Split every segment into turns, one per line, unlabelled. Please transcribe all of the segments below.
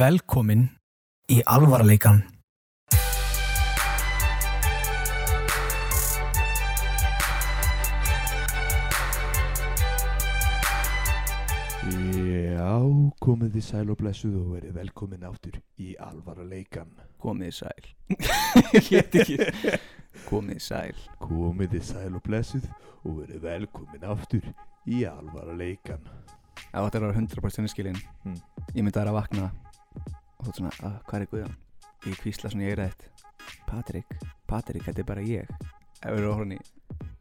Velkomin í alvarleikan.
Já, komið þið sæl og blessuð og verið velkomin áttur í alvara leikan.
komið sæl ég get ekki komið sæl
Komið þið sæl og blessuð og verið velkomin áttur í alvara leikan.
ef þetta er að vera 100% skilin
Mm.
ég myndi að vera að vakna og þú ert svona, "Ah, hvað er Guðjón? ég kvísla svona í eira eitt Patrik, Patrik, þetta er bara ég ef við erum horfni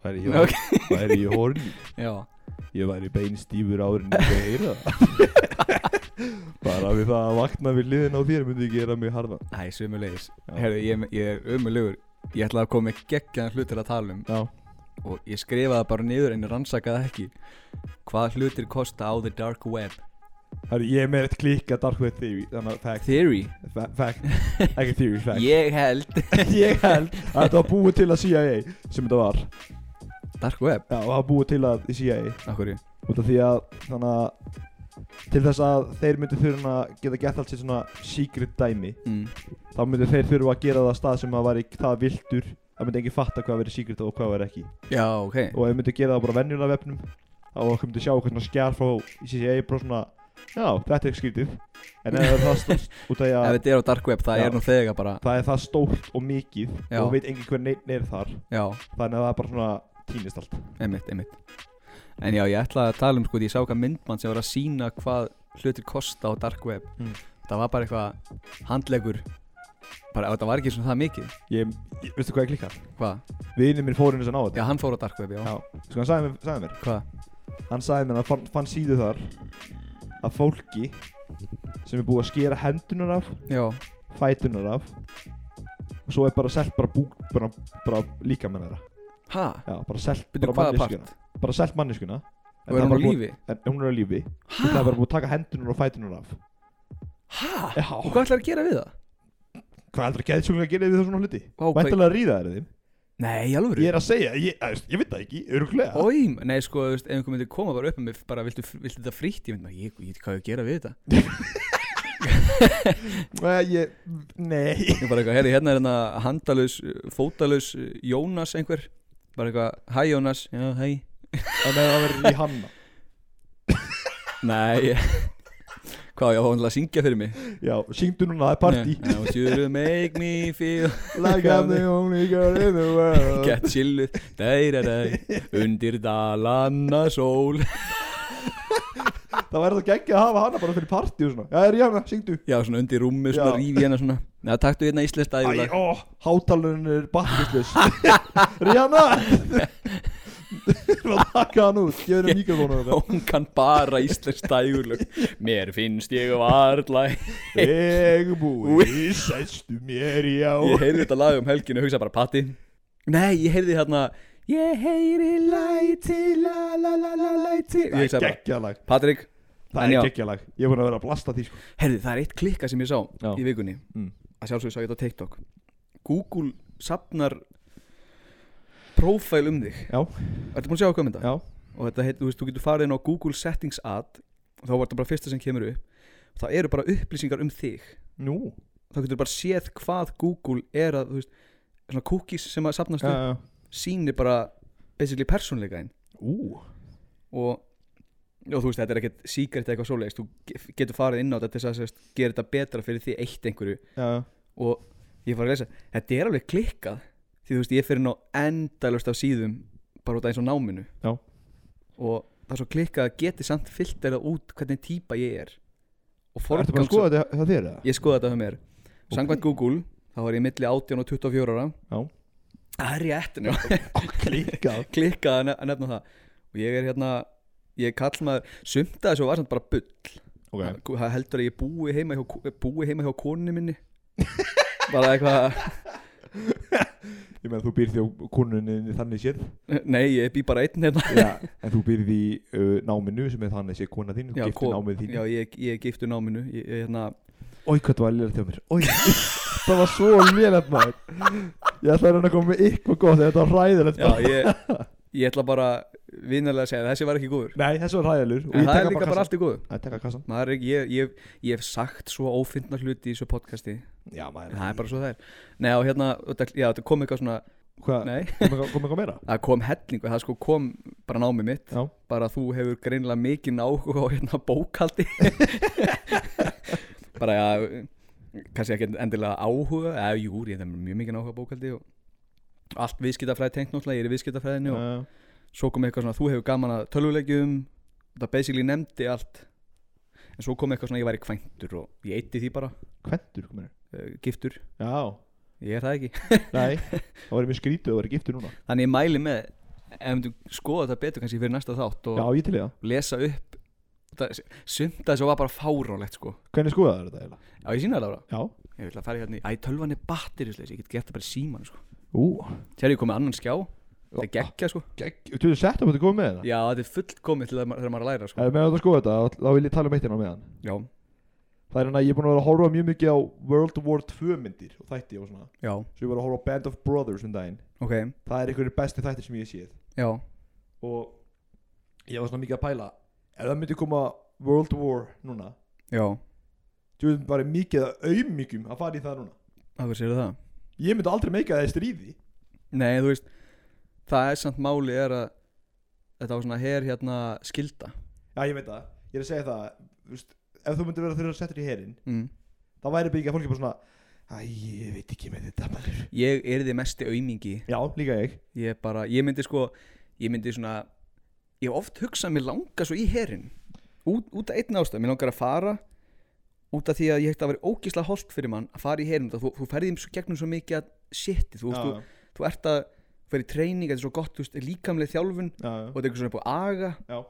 Væri
Nei, ok.
væri ég horni,
já,
ég væri beinstífur árin í beira. Bara við það að vakna við liðin á þér myndi ég gera mig harðan.
það er sömulegis
Já.
Herðu, ég, ég er umulegur ég ætlaði að koma með geggjaðan hlut til að tala um
Já,
og ég skrifaði bara niður en ég rannsakaði ekki hvað hlutir kosta á the dark web
Herri, ég er með eitt klíka dark web theory, þannig að fact,
theory,
fa- fact, ekki theory, fact.
ég held
Ég held að þetta var búið til að CIA sem þetta var.
dark web,
Já, það var búið til að CIA.
okkur ég
út af því að þannig að til þess að þeir myndu þurfa að geta gett allt sér svona secret dæmi
mm.
þá myndu þeir þurfa að gera það á stað sem að væri það viltur það myndi enginn fatta hvað verið secret og hvað verið ekki
já, ok
og ef þeir myndu gera það bara á venjulega vefnum þá okkur myndu sjá okkur svona skjál frá CIA bara svona já þetta er ekki skrítið en ef það er það stórt út af því
ef
að
þetta er á dark web það
Já.
er nú þegar bara
það er það stórt og mikið
Já.
og veit enginn hver neitt er þar
já,
þannig að það er bara svona týnist allt
einmitt, einmitt en já, ég ætlaði að tala um sko, því ég sá hvað myndmann sem var að sína hvað hlutir kosta á dark web
Mm.
það var bara eitthvað handlegur bara, það var ekki svona það mikið
ég, ég, veistu hvað ég klikkað?
hvað,
vinið minn fór einu sem á
já,
þetta
hann fór á dark web, já,
Já. sko hann sagði mér, sagði mér
hvað,
hann sagði mér að fann, fann síðu þar að fólki sem er búið að skera hendunar af
já
fætunar af og svo er bara selt bara, bú, bara, bara líka með þeirra
ha,
já, bara selt
byrju
bara
hvaða
manneskuna
part
bara selt manneskuna en
og er
það
hann á
bara búið-
lífi,
en hún er á lífi og það
ha,
er bara búið að taka hendunar og fætunar af
ha
já
og hvað ætlar að gera við það?
hvað heldur að geðsjóklega að gera við það svona hluti
Vá, hvað-
væntalega að ríða þeirra þeim
nei, alveg
ég er að segja ég, að, ég veit það ekki öruglega
Ói, nei sko, þú veist, ef einhver myndi koma bara upp með mér, bara viltu, viltu þetta fritt, ég myndi bara, ég, ég veit hvað ég á að gera við þetta
Nei, ég, nei
Ég bara eitthvað, herri, hérna er hérna handalus, fótalus Jónas einhver Bara eitthvað, hæ Jónas, já, hæ
þannig að það verður í hanna
Nei, ég- hvað, ég á hann að syngja fyrir mig
já syngdu núna það er partí
Nei, Now you make me feel
Like I'm the only girl in the world
get chilluð Dæra dæ, undir dalanna sól
Það væri það geggja að hafa hana bara fyrir partí og svona Já, er ég hana, syngdu
Já, svona undir rúmi, svona
Já.
rífi hérna svona Já, taktu hérna íslenskt
Æ,
æðulag
ó, hátalurinn er battislis Rihanna Það taka hann út, gefur henni mikrofónu þetta
Hún kann bara íslenskt æðulag Mér finnst ég varla
Ég búi, sæstu mér,
Ég
já
heyrði þetta lag um helginu og hugsa bara Patti Nei, ég heyrði hérna Ég heyri læti, la la la la læti Ég
Það er
hugsa bara,
geggja lag
Patrik En
Það
já.
er geggja lag Ég er búin að vera að blasta því sko
Heyrði, það er eitt klikka sem ég sá
Já.
í vikunni
Mm.
Að sjálfsögðu sá ég þetta á TikTok Google sapnar Profile um þig
Já,
Ertu búin að sjá hvað um þetta?
já,
Og þetta, heit, þú veist, þú getur farið inn á Google Settings ad Og þá var þetta bara fyrsta sem kemur upp Það eru bara upplýsingar um þig
nú
Þá getur bara séð hvað Google er að, þú veist Svona cookies sem að sapnast upp
Já, já.
sýnir bara basically persónleika þinn
Ú,
og og þú veist þetta er ekkert secret eitthvað svoleiðist þú ge- getur farið inn á þetta til þess að sérst, gera þetta betra fyrir því eitt einhverju
já,
og ég fara að lesa þetta er alveg klikkað því þú veist ég fyrir ná endalust af síðum bara út af eins og náminu
Já.
og það er svo klikkað að geti samt filterað út hvernig típa ég er og
ertu bara að skoða þetta hjá þér eða?
ég skoða þetta hjá mér samkvæmt Google þá var ég milli 18 og 24 ára
Já.
það er rétt nú
Klikkað
klikkað að nef- að nefna það og ég er hérna ég kall maður, sumt að þessu var samt bara bull
Ok,
það heldur að ég búi heima hjá, ko- búi heima hjá konunni minni bara eitthvað,
ég meina þú býr því á konunni þannig séð
nei ég bý bara einn hérna
Já, en þú byrði í uh, náminu sem er þannig sé kona þín, þú
Já,
gifti
ko-
námið þín
já ég, ég giftu náminu ég, ég, hérna,
Ói, hvað það var lélegt hjá mér Ói, það var svo lélegt maður Ég ætla að reyna að koma með ykkur gott en Þetta var ræðilegt
já, ég, ég ætla bara vinarlega að segja þessi var ekki góður
Nei, þessi var hræðilur
en það er líka bara allt í góðu
Það tekka kassan
Maður, er ekki- ég, ég, ég hef sagt svo ófindna hluti í þessu podcasti
Já, maður
en það er bara svo það er Nei og hérna, þetta- já, þetta kom eitthvað svona
Hvað,
Nei,
kom eitthvað- kom eitthvað meira?
það kom hellingu, það sko kom bara námið mitt
Já.
Bara þú hefur greinilega mikið náhuga á hérna bókaldi Bara já, kannski ekki endilega áhuga Eða jú, ég hef mjög mikið náhuga á bókaldi og Allt viðskiptafræði tengt náttúrulega, ég er í viðskiptafræðinu og
Já.
svo kom eitthvað svona þú hefur gaman að tölvulegjum þetta basically nefndi allt en svo kom eitthvað svona ég væri kvæntur og ég eitti því bara,
Kventur, komur
uh, giftur
Já,
ég er það ekki,
nei Það var mjög skrítið að vera giftur núna
þannig ég mæli með ef þú skoða þetta betur kannski fyrir næsta þátt og
Já, ég til í það
lesa upp þetta- sumt að þessu var bara fárálegt sko
Hvernig skoðaður þetta eiginlega?
já ég sína það ára,
Já
ég vil að fara hérna í æ, tölvan er batterisleis, ég get gert það bara í síman sko.
Ú
þegar ég kom með annan skjá þetta er geggja sko,
Gegg Þú hefur sett upp þetta komið með það?
já þetta er fullkomið til þegar maður- þegar maður er að læra sko
Ef við erum að skoða þetta, þá- þá vil ég tala um eitt hérna á meðan
já,
Það er hérna, ég er búin að vera að horfa mjög mikið á World War 2 myndir og þætti og svona
já,
Svo ég var að horfa á Band of Brothers um daginn
ok,
Það er einhverjir besti þættir sem ég séð
já
Og ég var svona mikið að pæla Ef það myndi koma World War núna
já,
Þú veitum bara mikið að auðmyggjum að fara í það núna
af hverju segir það
Ég myndi aldrei meika það í stríði
Nei, þú veist Það er samt máli er að Þetta var svona her hérna skilda
Já, ég veit það, ég er að segja það þú veist, Ef þú myndir vera þurfa að setja í herin
mm.
Það væri byggja fólki bara svona Æ, ég veit ekki með þetta maður
Ég er því mesti aumingi
Já, líka ég
Ég bara, ég myndi sko Ég myndi svona Ég hef oft hugsað að mér langa svo í herin Út, út af einn ástæð, mér langar að fara Út af því að ég hef það verið ógísla holt fyrir mann Að fara í herin, þú, þú ferði svo gegnum svo mikið að Shit, þú, veist,
já,
þú, þú ert að Fyrir treining, þetta er svo gott, þú veist, líkamlega þjálfun
já,
Og þetta er eitthvað svona búið að aga
já.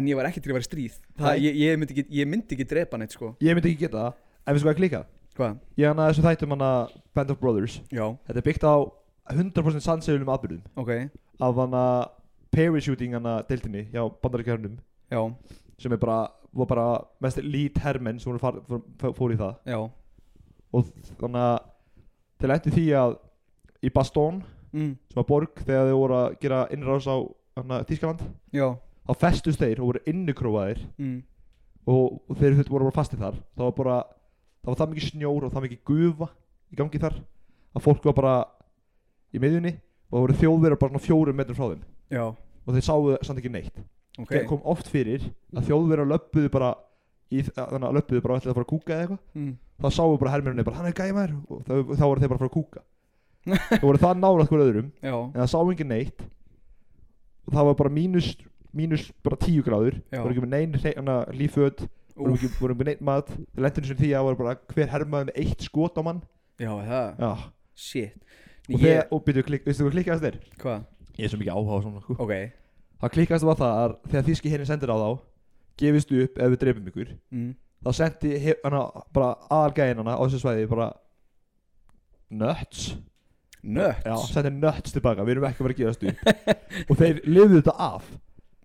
En ég var ekki til að vera í stríð það,
Nei.
ég, ég, myndi ekki, ég myndi ekki drepa neitt sko
Ég myndi ekki geta það Ef við sko ekki líka
Hvað?
Ég hann að þessu þættum hann að Band of Brothers
Já,
Þetta er byggt á 100% sannsegulum atbyrðum
ok
Af hann að parachuting hann að deildinni hjá bandaríkjörnum
Já,
sem er bara, var bara mest lít hermenn sem voru far, fór, fór í það
já
og þannig að þeir lendi því að í Bastón
mm,
sem var borg þegar þeir voru að gera innrás á hana, Þískaland
Já,
þá festust þeir og voru innukróaðir
mm,
og, og þeir þurftu voru bara fastið þar það var bara, það var það mikið snjór og það mikið gufa í gangi þar að fólk var bara í miðjunni og það voru þjóðverðar bara svona fjórum metrum frá þeim
já,
og þeir sáu samt ekki neitt
ok
okay. kom oft fyrir að þjóðverðar löppuðu bara í, að, þannig að löppuðu bara ætlaði að fara að kúka eða eitthvað
mm,
þá sáu bara hermjörnir bara hann er gæmar og þá, þá voru þeir bara að fara að kúka þá voru það nálægt hver öðrum
Já,
en það sá ekki neitt og það var bara mínus mínus bara tíu gráður
Já.
voru ekki með nein hrein- hana, líföt voru
úf,
ekki, voru ekki með neitt mat það lendur eins og því að voru bara hver hermaði með eitt skot á mann
já, það,
já.
shit
og
Ég,
þegar, og byrju, klik, veistu hvað klikkaðast þér?
hvað,
ég er svo mikið áhuga á svona sko.
ok
það klikkaðast var það að þegar þíski henni sendir á þá gefist upp ef við dreifum ykkur
mm,
þá sendi hef, hana, bara aðalgæðin hana á þessu svæði bara nuts já,
Nöts,
sendi nuts tilbaka, við erum ekki að vera að gefast upp og þeir lifðu þetta af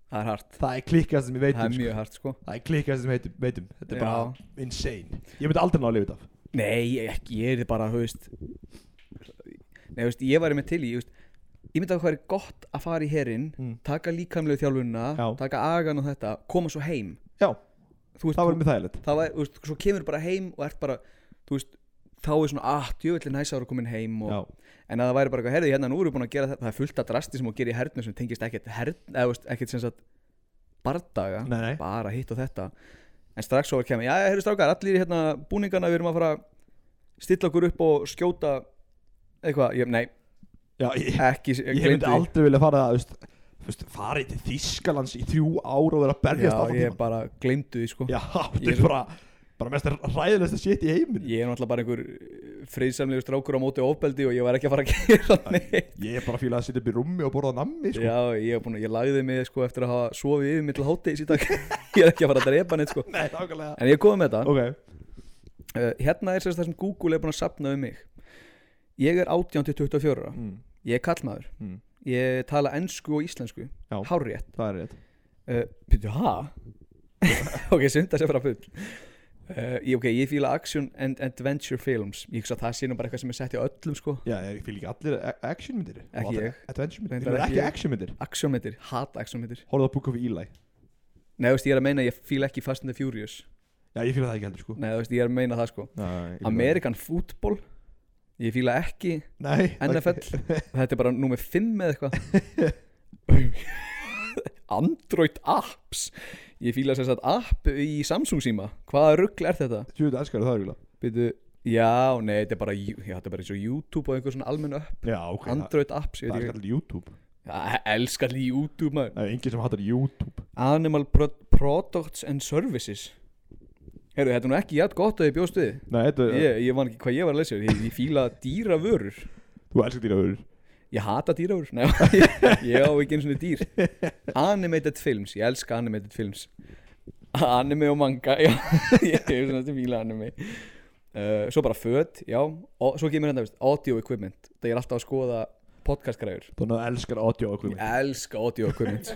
það er hart
það er klikkast sem ég veit
Það er
um sko.
mjög hart sko
það er klikkast sem ég veit um- veit um þetta er
Já.
bara insane ég myndi aldrei ná að lifa þetta af
Nei, ég- ekki, ég er þið bara, þú veist Nei, þú veist, ég væri með til í, þú veist Ég myndi að hvað er gott að fara í herin
Mm.
Taka líkamlegu þjálfunna
Já.
Taka agan og þetta, koma svo heim
já,
Þú veist,
það
þú-
var mjög þægilegt
það var, þú veist, svo kemur bara heim og ert bara, þú veist, þá er svona, ah, djöfulli næsa ára komin heim og,
já,
en að það væri bara eitthvað, herði, hérna nú erum við búin að gera þetta, það er fullt af drasti sem að gera í hernum sem tengist ekkert hern, eða, þú veist, ekkert sem sagt bardaga,
nei, nei,
bara hitt og þetta en strax svo er kemur, já, herri strákar, allir í hérna búningana, við erum að fara að stilla okkur upp og skjóta eitthvað, ég, nei,
já, ég,
ekki
ég
gleymdu
myndi
því.
aldrei vilja fara þú veist, þú veist, farið til Þískalands í þrjú ár og vera að berjast
já,
allan
ég
tímann.
bara gleymdu því, sko
já, þetta
Ég
er
er-
bara bara mest ræðilegsta shit í heiminn
ég er náttúrulega bara einhver friðsamlegur strákur á móti ofbeldi og ég var ekki að fara að gera neitt
ég er bara að fíla að sitja upp í rúmi og borða nammi sko.
Já, ég, hef búin, að- ég lagði mig sko, eftir að hafa sofið yfir mitt til hátegis í dag Ég er ekki að fara að drepa neitt sko.
nei, nákvæmlega
En ég er komið með þetta
ok,
uh, Hérna er sérst það sem Google er búin að sapna um mig Ég er 18-24 ára.
mm.
Ég er kallmaður
Mm.
Ég tala ensku og íslensku Eh,
Já.
Hárétt
það er rétt
uh, Býttu, ha? ok, sunda sér frá full Uh, ég, ok, ég fíla action and adventure films Ég hugsa að það sé nú bara eitthvað sem er sett í öllum sko
Já, ég fylg ekki allir a- action myndir
Ekki ég.
Adventure myndir,
Reyndar
ég meina
ekki
ekki
ég.
action myndir
Actionmyndir, hata actionmyndir
Horfðu á Book of Eli
Nei, þú veist, ég er að meina að ég fíla ekki Fast and the Furious
Já, ég fylg það ekki heldur sko
Nei, þú veist, ég er að meina það sko
Nei, ég fíla það
American Football Ég fíla ekki
ekki. Nei,
NFL
ok.
Þetta er bara númer 5 eða eitthvað Android apps Ég fíla sem sagt app í Samsung síma Hvaða rugl er þetta?
Djúið elskar það eiginlega
Byrju, já, nei, þetta er bara Jú- já, Þetta er bara eins og YouTube og einhver svona almenn app
Já, ok, það
Android apps, ég
það
veit
er
ekki
skallir YouTube
Já, elskar því YouTube maður
Það er enginn sem hattar YouTube
Animal pro Products and Services Herru, þetta er nú ekki jætt gott að ég bjóst við
Nei, þetta er,
Ég, ég man ekki hvað ég var að lesa Ég, ég fíla dýra vörur
þú elskar dýra öður
Ég hata dýra vörur Nei, ég, ég á ekki eins og dýr Animated films, ég elska animated films Anime og manga Já, ég er svona til fíla anime uh, Svo bara föt, já og, Svo kemur hérna, veist, audio equipment Það ég er alltaf að skoða podcastgræður
Þannig að elskar audio og
Ég
kvimi
elska audio equipment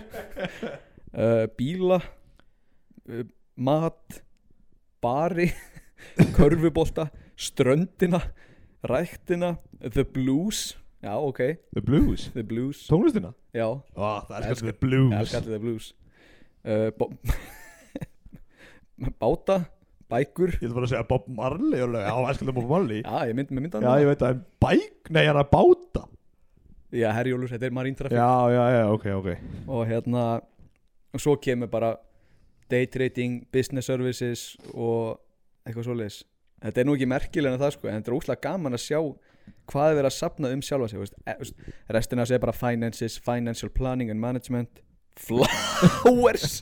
uh, Bíla uh, Mat Bari Körfubolta Ströndina Ræktina The Blues Já, ok,
The Blues
The Blues
Tónlistina
Já,
Ó, það
Elska-
elskar The
ég
Blues
elska allir The Blues uh, bó- Báta Bækur
Ég ætla bara að segja Bob Marley örugglega. Já, elskar það Bob Marley
Já, ég mynd með myndan
Já, ég veit það, en bæk, nei, hann er báta
Já, Herjólfur, þetta er Marine Traffic
Já, já, já, ok, ok
Og hérna Og svo kemur bara Day trading, business services Og eitthvað svoleiðis Þetta er nú ekki merkilega en það sko En þetta er óslega gaman að sjá Hvað er verið að sapna um sjálfa sig veist, e, veist, Restina sé bara finances, financial planning and management Flowers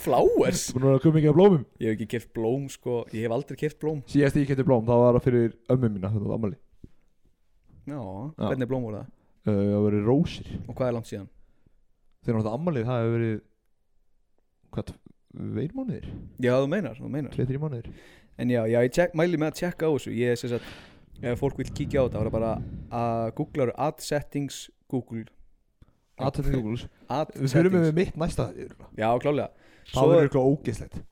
Flowers
Þú búin að koma mikið af blómum
Ég hef ekki keft blóm sko Ég hef aldrei keft blóm
Síðast ég kefti blóm, það var fyrir ömmu mína, þetta var ammali
Já,
Já.
hvernig blóm voru það?
Uh, Það var rósir
Og hvað er langt síðan?
Þegar hann átti ammalið það hefur verið Hvað, veir mánuðir?
Já, þú meinar, þú meinar
Tvei, þrjum mánuðir?
En já, já ég tjek, mæli með að tjekka á þessu Ég er sem sagt, ef fólk vil kíkja á þetta Það er bara að googla Ad settings Google
Aðtöndið Googles
Ad
Við fyrir
settings
með mitt næsta þætti, örugglega.
Já, klálega
Það
Svo
verður
er,
eitthvað ógeðslegt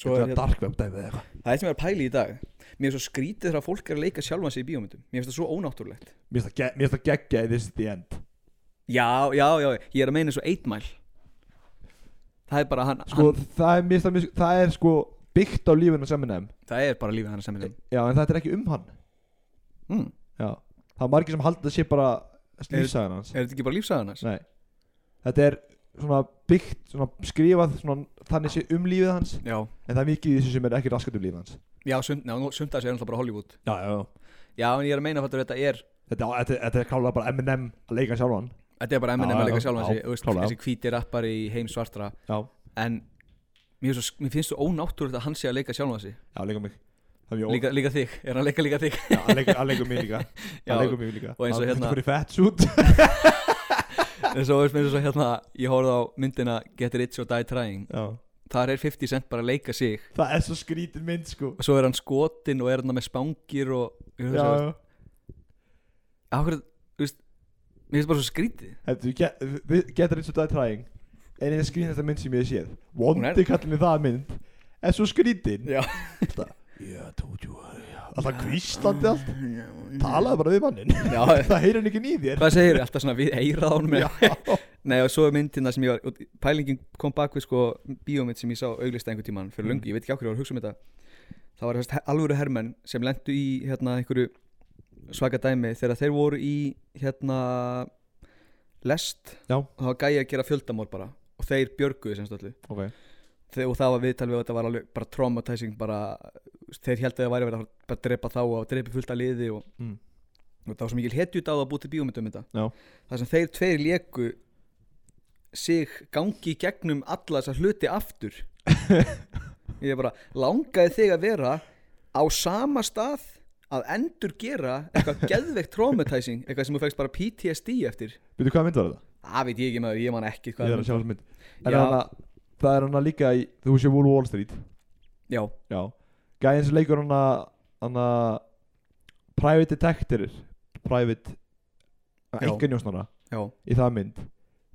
svo er
Eitthvað
hérna,
dark web dæmið eða eitthvað
það er sem ég er að pæli í dag Mér er svo skrítið þegar fólk er að leika sjálfan sig í bíómyndum Mér finnst það svo ónáttúrulegt
Mér finnst það ge- mér finnst það geggja í this is the end
Já, já, já, ég er að meina svo eitt mæl Það er bara hann,
Sko,
hann
það er, mér finnst það mjög- það er sko byggt á lífinu sem enn
Það er bara lífið hann sem er þeim
Já, en þetta er ekki um hann
mm.
Já, það er margir sem halda að sé bara lífsagan hans
Er þetta ekki bara lífsagan hans?
Nei, þetta er svona byggt, svona skrifað svona, þannig sé um lífið hans
Já,
en það er mikið í þessu sem er ekki raskat um lífið hans
já, sund, já, sundar þessi er náttúrulega bara Hollywood
Já, já, já
Já, en ég er að meina fattur, þetta er
Þetta, þetta, þetta er klálega bara Eminem að leika sjálfan
Þetta er bara
Já,
Eminem að leika
já,
sjálfan
já,
sig þú veist,
klálega.
Þessi hvíti rappari í heim svartra
Já,
En mér, finnst svo, mér finnst svo ónáttúrulegt að hann sé að leika sjálfan sig
já, leika mig Það er mjög
líka, líka þig, er hann að leika líka þig
Já, hann leikur- hann leikur mig líka
Já,
Hann leikur mig líka
og eins og
Hann-
hérna-
Þetta fyrir fett sút
En svo veist mér svo hérna Ég horfði á myndina Get Rich or Die Trying
Já
Þar er 50 cent bara að leika sig
Það er svo skrítin mynd sko
Og svo er hann skotinn og er hann með spangir Og ég
Já,
hugsa,
já
akkur, veist, Mér finnst bara svo skrítið
Þetta, get, við- Get Rich or Die Trying En eina skrýn þetta mynd sem ég hef séð
er-
Vondi kallin við það mynd Er svo skrýtin
Já
Alltaf Yeah, told you Alltaf kvíslandi allt Talaði bara við mannin
Mm. Já.
Það heyrir hann ekki í þér
Hvað segir alltaf svona við eirað á honum eða?
Já.
Nei og svo er myndina sem ég var og Pælingin kom bak við sko Bíómynd sem ég sá auglista einhver tíman Fyrir löngu, ég veit ekki á hverju ég var að hugsa um þetta Það var þess, alvöru hermenn sem lendu í Hérna einhverju svaka dæmi Þegar þeir voru í hérna Lest
Já.
Og það var gæi að gera fjöldamór bara Og þeir björguðu semst öllu
Ok
Þe- og það var viðtal við og þetta var alveg bara traumatizing bara, þeir held að það væri verið að fara bara að drepa þá og drepa fullt að liði og,
Mm.
og það var svo mikil hetjut á það að búti bíómyndum um þetta
Já.
það sem þeir tveir léku sig gangi í gegnum alla þessa hluti aftur ég bara langaði þig að vera á sama stað að endur gera eitthvað geðveikt traumatizing eitthvað sem þú fegst bara PTSD eftir
Veitu hvað mynd var þetta?
það veit ég ekki maður, ég man ekki
Ég
hvað
er að sjá þessu mynd En
Já.
hana, það er hana líka í Þú sé Wolf of Wall Street
já,
Já Gæðin sem leikur hana Hana Private Detective Private
Já.
Enga njósnara
já,
Í það mynd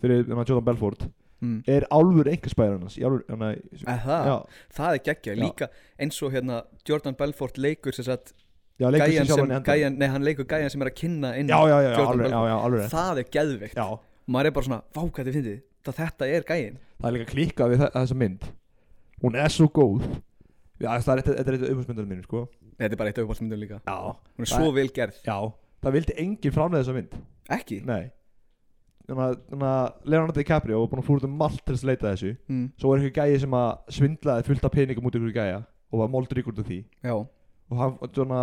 Fyrir hana Jordan Belfort
mm.
er álfur einhverspæður hans í álfur, hann að
Eh, það,
já,
það er geggja,
Já.
líka eins og hérna Jordan Belfort leikur sem sagt
já, leikur
gæjan
sér
sem,
sjálfan í hendinni.
gæjan, nei hann leikur gæjan sem er að kynna inn
já, já, já, já,
Jordan
alveg, já,
Belfort.
já, alveg rétt.
það er geðveikt,
já,
maður er bara svona vákætti fyndið, það þetta er gæjan
það er líka klíkað við þe- þessa mynd hún er svo góð já, það er þetta er eitt umhersmyndunum mínu, sko
þetta er bara eitt auðválsmyndum líka,
já,
hún er svo vel gerð
já, það vildi enginn framlega þessa mynd
ekki,
nei þannig að Leonardo DiCaprio var búin að fór út um allt til þess að leita að þessu
mm,
svo var einhver gæi sem að svindlaði fullt af peningum út ykkur gæja og var moldur ykkur út af því
já,
og hann, og svona,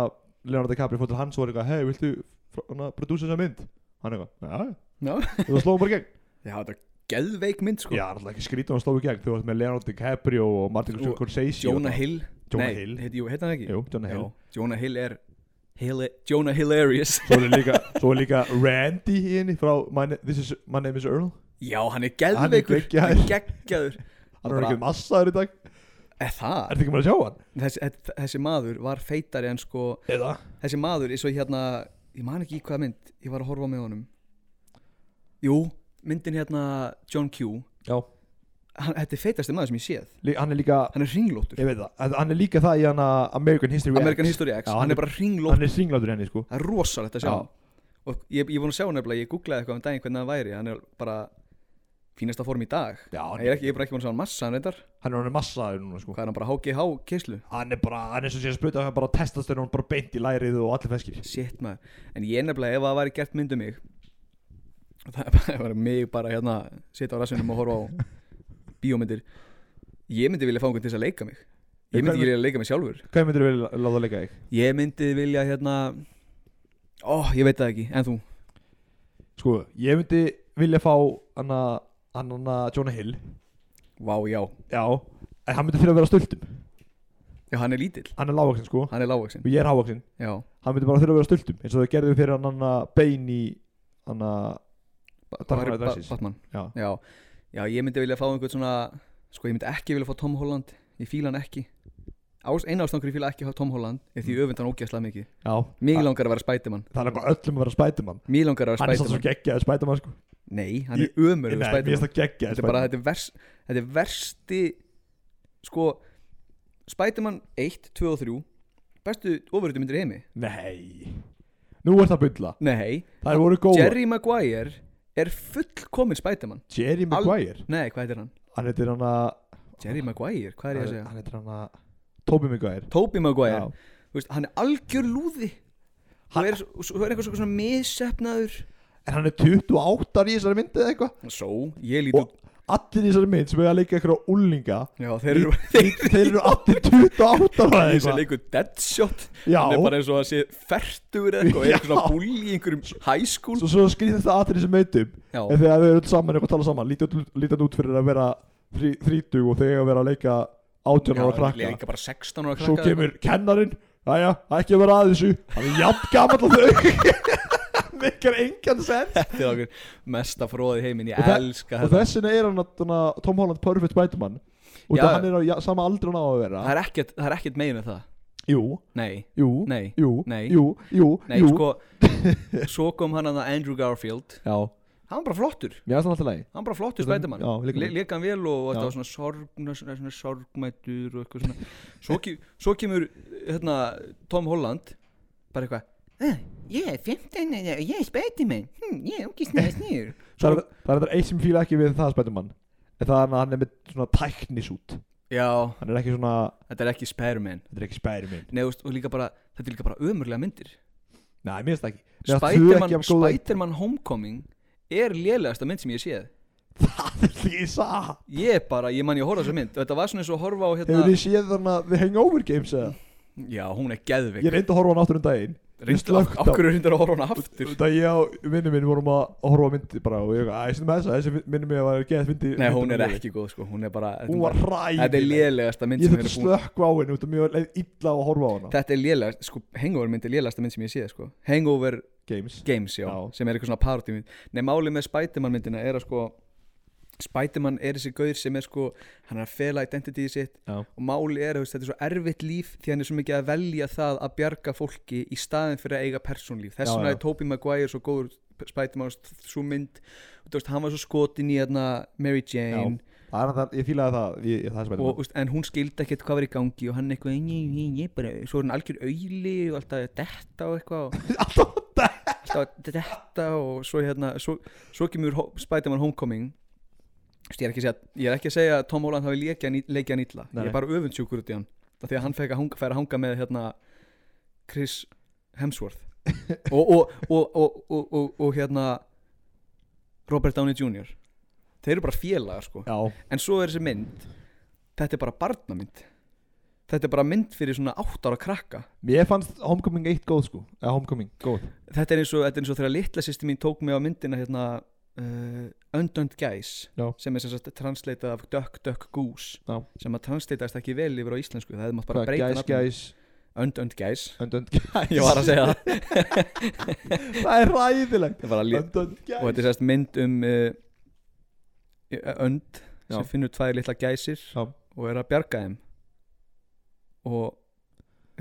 Leonardo DiCaprio fór til hans og var eitthvað, hei, viltu fr- svona, prodúsa þessa mynd? hann eitthvað,
já,
já, þú slóðum bara í gegn
já þetta er geðveik mynd sko
já, alltaf ekki skrítið hann slóðu í gegn þú varst með Leonardo DiCaprio og Martin
Og
Scorsese og
Jonah
það.
Hill
Jonah
nei,
Hill.
heit, jú, heit hann ekki
jú, Jonah Hill
Já, Jonah Hill er Hill, Jonah Hilarious
svo er líka, svo er líka Randy í henni frá my, Na- This is, my Name is Earl
já, hann er
Hann er
geðveikur,
geggjaður.
hann er geggjaður
hann er
Bara-
ekki massaður í dag
er það?
er þetta ekki maður að sjá hann?
þessi, þe- þessi maður var feitari en sko
eða?
þessi maður eins og hérna ég man ekki í hvaða mynd ég var að horfa með honum jú, myndin hérna John Q
já
hann, þetta er feitasti maður sem ég séð
Lí, hann er líka
hann er ringlótur
ég veit það hann- hann er líka það í hann American History
American History X
Já,
hann,
hann
er bara ringlótur
hann er singlátur í henni sko
það er rosalegt að sjá
Já.
hann. og ég, ég vona að sjá hann nefnilega ég googlaði eitthvað um daginn hvernig hann væri hann er bara fínasta form í dag
já, hann
ég er ekki, ég er bara ekki búin að sjá hann massa hann reyndar
hann er hann massaður núna sko
hvað er hann bara HGH keislu
hann er bara hann er svo sér að spruta hann bara testast þegar hann bara beint í lærið og allir feskir
shit maður en ég nefnilega ef það væri gert mynd um mig það er bara- það væri mig bara hérna sitja á rassinum og horfa á bíómyndir ég myndi vilja fá einhvern til þess að leika mig ég myndi ekki vilja leika mig sjálfur
hvað myndir þú vilja láta leika þig?
ég myndi vilja hérna ó ég veit það ekki en þú
sko ég myndi vilja fá hann að hann að Jonah Hill
vá já
já en hann myndi þurfa að vera stultum
já hann er lítill
hann er lágvaksinn sko
hann er lágvaxin
og ég er hávaksin
já
hann myndi bara þurfa að vera stultum eins og þau gerðu fyrir hann anna bein í hann Dark
Barry
Knight
Ba-
Rises.
Batman
já
já já ég myndi vilja fá einhvern svona sko ég myndi ekki vilja fá Tom Holland ég fíla hann ekki Ás, eina ástangur ég fíla ekki Tom Holland er
Mm.
því ég öfund hann ógæslega mikið
já
mig
Þa-
langar að vera Spiderman
það er bara öllum að vera spætumann
Mér langar að
Ah. hann
vera
er satt svo
Spiderman
geggjaði spætumann sko
Nei, hann
Ég-
er ömurður
Nei, mér finnst
Spiderman
það geggjaði
Þetta er bara, þetta er, vers, þetta er versti Sko Spiderman 1, 2 og 3 Bestu ofurhutum myndir í heimi
nei nú er það bulla
Nei,
það voru góða Jerry,
Jerry Maguire Er fullkomin Spiderman
Maguire
Nei, hvað heitir hann?
hann heitir hann að
Jerry Maguire, hvað er ég að segja?
hann heitir hann að Tobey Maguire
Tobey Maguire,
já
þú veist, hann er algjör lúði Þú
Hann-
er, svo er eitthvað svona missefnaður
en hann er 28 ára í þessari mynd eða eitthvað
Svo, ég lít
og
út
allir í þessari mynd sem hefur að leika eitthvað úlinga
Já, þeir eru
þeir eru allir 28 ára eða
Þessi
eitthvað
leikur Deadshot
Já.
Hann er bara eins og að sé fertur eða eitthvað
Já.
Eitthvað svona búli í einhverjum high school
svo, svo skrýðist það aðrið sem meitum
Já.
en þegar þau eru öll saman eitthvað að tala saman lítið öll- lítið hann út fyrir að vera þrí- þrítug og þegar að vera að leika
Já,
18 ára
líklega
krakka
líka bara 16 ára krakka
svo kemur kennarin aðja, ekki að vera að þessu hann er jafn gamall að þau mikil engan sens
Þetta er okkur mesta fróði heimin Ég
Og það-
elska
og
þetta
þess vegna er hann að- svona, Tom Holland perfect Spiderman og
Já.
það hann er á ja, sama aldri hann á að vera
Það er ekkert, það er ekkert meina það
jú,
Nei,
jú,
nei,
jú,
nei.
jú, jú,
nei,
jú.
sko Svo kom hann að Andrew Garfield
já,
Hann var bara flottur
mér er það alltaf leið
Hann bara flottur
Þetta-
spætumann
já, líka-
Leka hann vel og
Já.
þetta var svona sorgna svona, svona sorgmætur og eitthvað svona Svo, ke svo kemur hérna, Tom Holland Bara eitthvað "Eh, Ég er 15 ára, ég er spætumann hm, Ég er okkur snæður snýður
það er það er eitt sem fíla ekki við það Spiderman en það er hann að hann er með svona tæknisút
Já,
hann er ekki svona
þetta er ekki Spiderman
þetta er ekki Spiderman
Nei, þú veist, og líka bara, þetta er líka bara ömurlega myndir
nei, mér finnst það ekki Mér finnst þau
Spiderman
ekki af góða-
Spiderman Homecoming er lélegasta mynd sem ég séð
það er ekki satt
Ég er bara, ég man ég að horfa á þessa mynd og Þetta var svona eins og að horfa á
hefur
hérna
þið séð þarna The Hangover Games eða
Já, hún er geðvik
ég reyndi að horfa á hann áttur um daginn
Reynstu af, af hverju reyndur að horfa á hana aftur
Það ég á vinnu minn vorum að að horfa á myndi bara og ég að ég sem þess að þessi vinnu minn var að geða myndi
Nei, hún er ekki góð, sko Hún er bara, þetta
Hún
er
var
bara- þetta er
ræðileg
lélegasta mynd
Ég
sem ég
þurfti
er
að
búin
slökka á henni út af mjög leið illa að horfa á hana
Þetta er lélegast, sko, Hangover mynd er lélegasta mynd sem ég séð, sko Hangover
Games
Games, já,
Já.
sem er eitthvað svona parody mynd Nei, málið með Spiderman myndina er að sko Spiderman er þessi gaur sem er sko hann er að fela identity sitt
Já.
og málið er að þetta er svo erfitt líf því hann er svo mikið að velja það að bjarga fólki í staðin fyrir að eiga persónlíf þess
Já,
vegna
já.
er Tobey Maguire svo góður Spiderman svo mynd, og þú veist, hann var svo skotin í hérna, Mary Jane
Það er það, ég fílaði það, ég, ég, það er spennið
og, úst, en hún skildi ekkert hvað var í gangi og hann eitthvað ég, ég, ég, bara, svo er hann algjör auðli og alltaf að detta og eitthvað og-
Alltaf
alltaf að detta og svo hérna svo, svo kemur Ho- Spider-Man Homecoming Þú veist, ég er, ekki að segja, ég er ekki að segja að Tom Holland hafi leikja hann í- leikið hann illa
Nei.
ég er bara öfundsjúkur út í hann af því að hann fekk að hanga, færa að hanga með hérna, Chris Hemsworth og, og, og, og, og, og, og hérna Robert Downey Jr. þeir eru bara félagar sko
Já,
en svo er þessi mynd þetta er bara barnamynd þetta er bara mynd fyrir svona 8 ára krakka
mér fannst Homecoming 1 góð sko Eða Homecoming, góð
þetta er eins og, þetta er eins og þegar litla sýsti mín tók mig á myndina hérna uh, Undönd Gæs
Já.
sem er sem sagt transleitað af Duck Duck Goose
Já.
sem að translitaðist ekki vel yfir á íslensku það hefði mátt bara
Hvað,
breyta
Gæs,
nafninu.
gæs,
Undönd Gæs
öndönd gæs
ég var að segja það
Það er ræðilegt
Þetta er bara lé-
Öndönd
og
gæs
þetta er sérst mynd um uh, önd
Já.
sem finnur tvær litla gæsir
Já.
og er að bjarga þeim og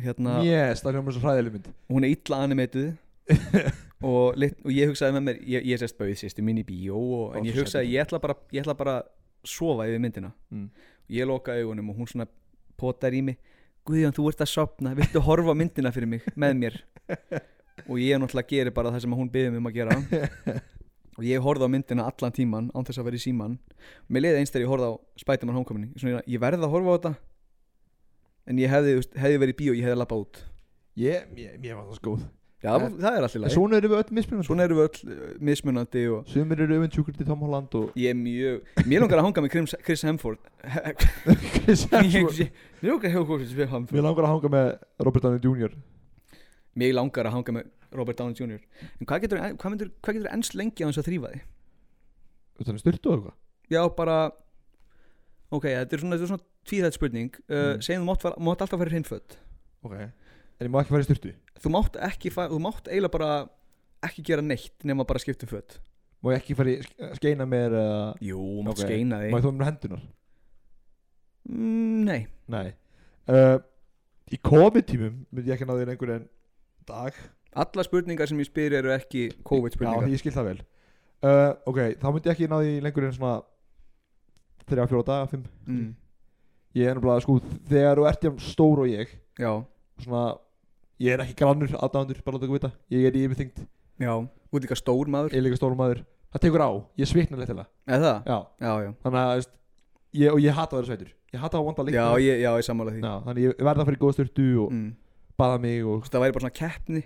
hérna
Yes, það hljómar svo hræðileg mynd
hún er illa animeituð og, lit, og ég hugsaði með mér ég, ég sérst bauð sýstu mín í bíó og, en
Ó,
ég
þú
hugsaði
sætur.
ég ætla bara ég ætla bara að sofa yfir myndina
Mm.
ég loka augunum og hún svona potar í mig Guðjón þú ert að sopna, viltu horfa á myndina fyrir mig með mér og ég náttúrulega geri bara það sem hún byggði mig um að gera og ég horfði á myndina allan tíman án þess að vera í síman mér leiði einst þegar ég horfði á Spiderman Homecoming Ég svona, ég verði að horfa á þetta en ég hefði, þú veist, hefði verið í bíó, ég hefði labbað út
Ég, mér, mér var það svo góð
Já, það er allir
En
læg
svona eru við öll mismunandi
Svona eru við öll uh, mismunandi og
Sumir eru öfundsjúkur til Tom Holland og
ég er mjög Mér langar að hanga með Chris- Chris Hemsworth
Chris Hemsworth
Ég- Mér langar að hanga með Chris
Mér
Hemsworth
langar að hanga með Robert Downey Jr.
Mér langar að hanga með Robert Downey Jr. En hvað getur, hvað myndir, hvað getur ennst lengi á þess að þrýfa þig?
Þú veist hann styrtu og eitthvað
Já, bara Ok, þetta er svona, þetta er svona tvíðætt spurning uh,
Mm.
Segjum þú mátt, fara- mátt alltaf fara hreinföld
Ok En ég má ekki fara í styrtu
Þú mátt ekki fa- Þú mátt eiginlega bara ekki gera neitt nema bara skipta um föt
Má ég ekki fara í sk- skeina mér eða
Jú, þú mátt
Ok.
skeina
Má
þig
ég þó mér hendunar
mm, Nei,
Nei uh, Í COVID-tímum myndi ég ekki ná þér einhver en dag
alla spurningar sem ég spyr eru ekki COVID-spurningar
Já, ég skil það vel uh, Ok, þá myndi ég ekki ná því lengur en svona 3-4 daga, 5
mm.
Ég er nefnilega, sko, þegar þú ert jafn stór og ég
Já,
Svona, ég er ekki grannur, aðdáðandur, bara láta ekki vita Ég er í yfirþyngd,
já Þú ert líka stór maður
ég er líka stór maður Það tekur á, ég svitna leitt til það
Eða það?
Já,
Já, já
þannig að, veist ég, Og ég hata að vera sveitur Ég hata að vanda líka
Já, ég, já, ég sammála því
Já, þannig ég verða að fara í góða styrtu og
mm.
baða mig og
Þú veist, Það væri bara svona keppni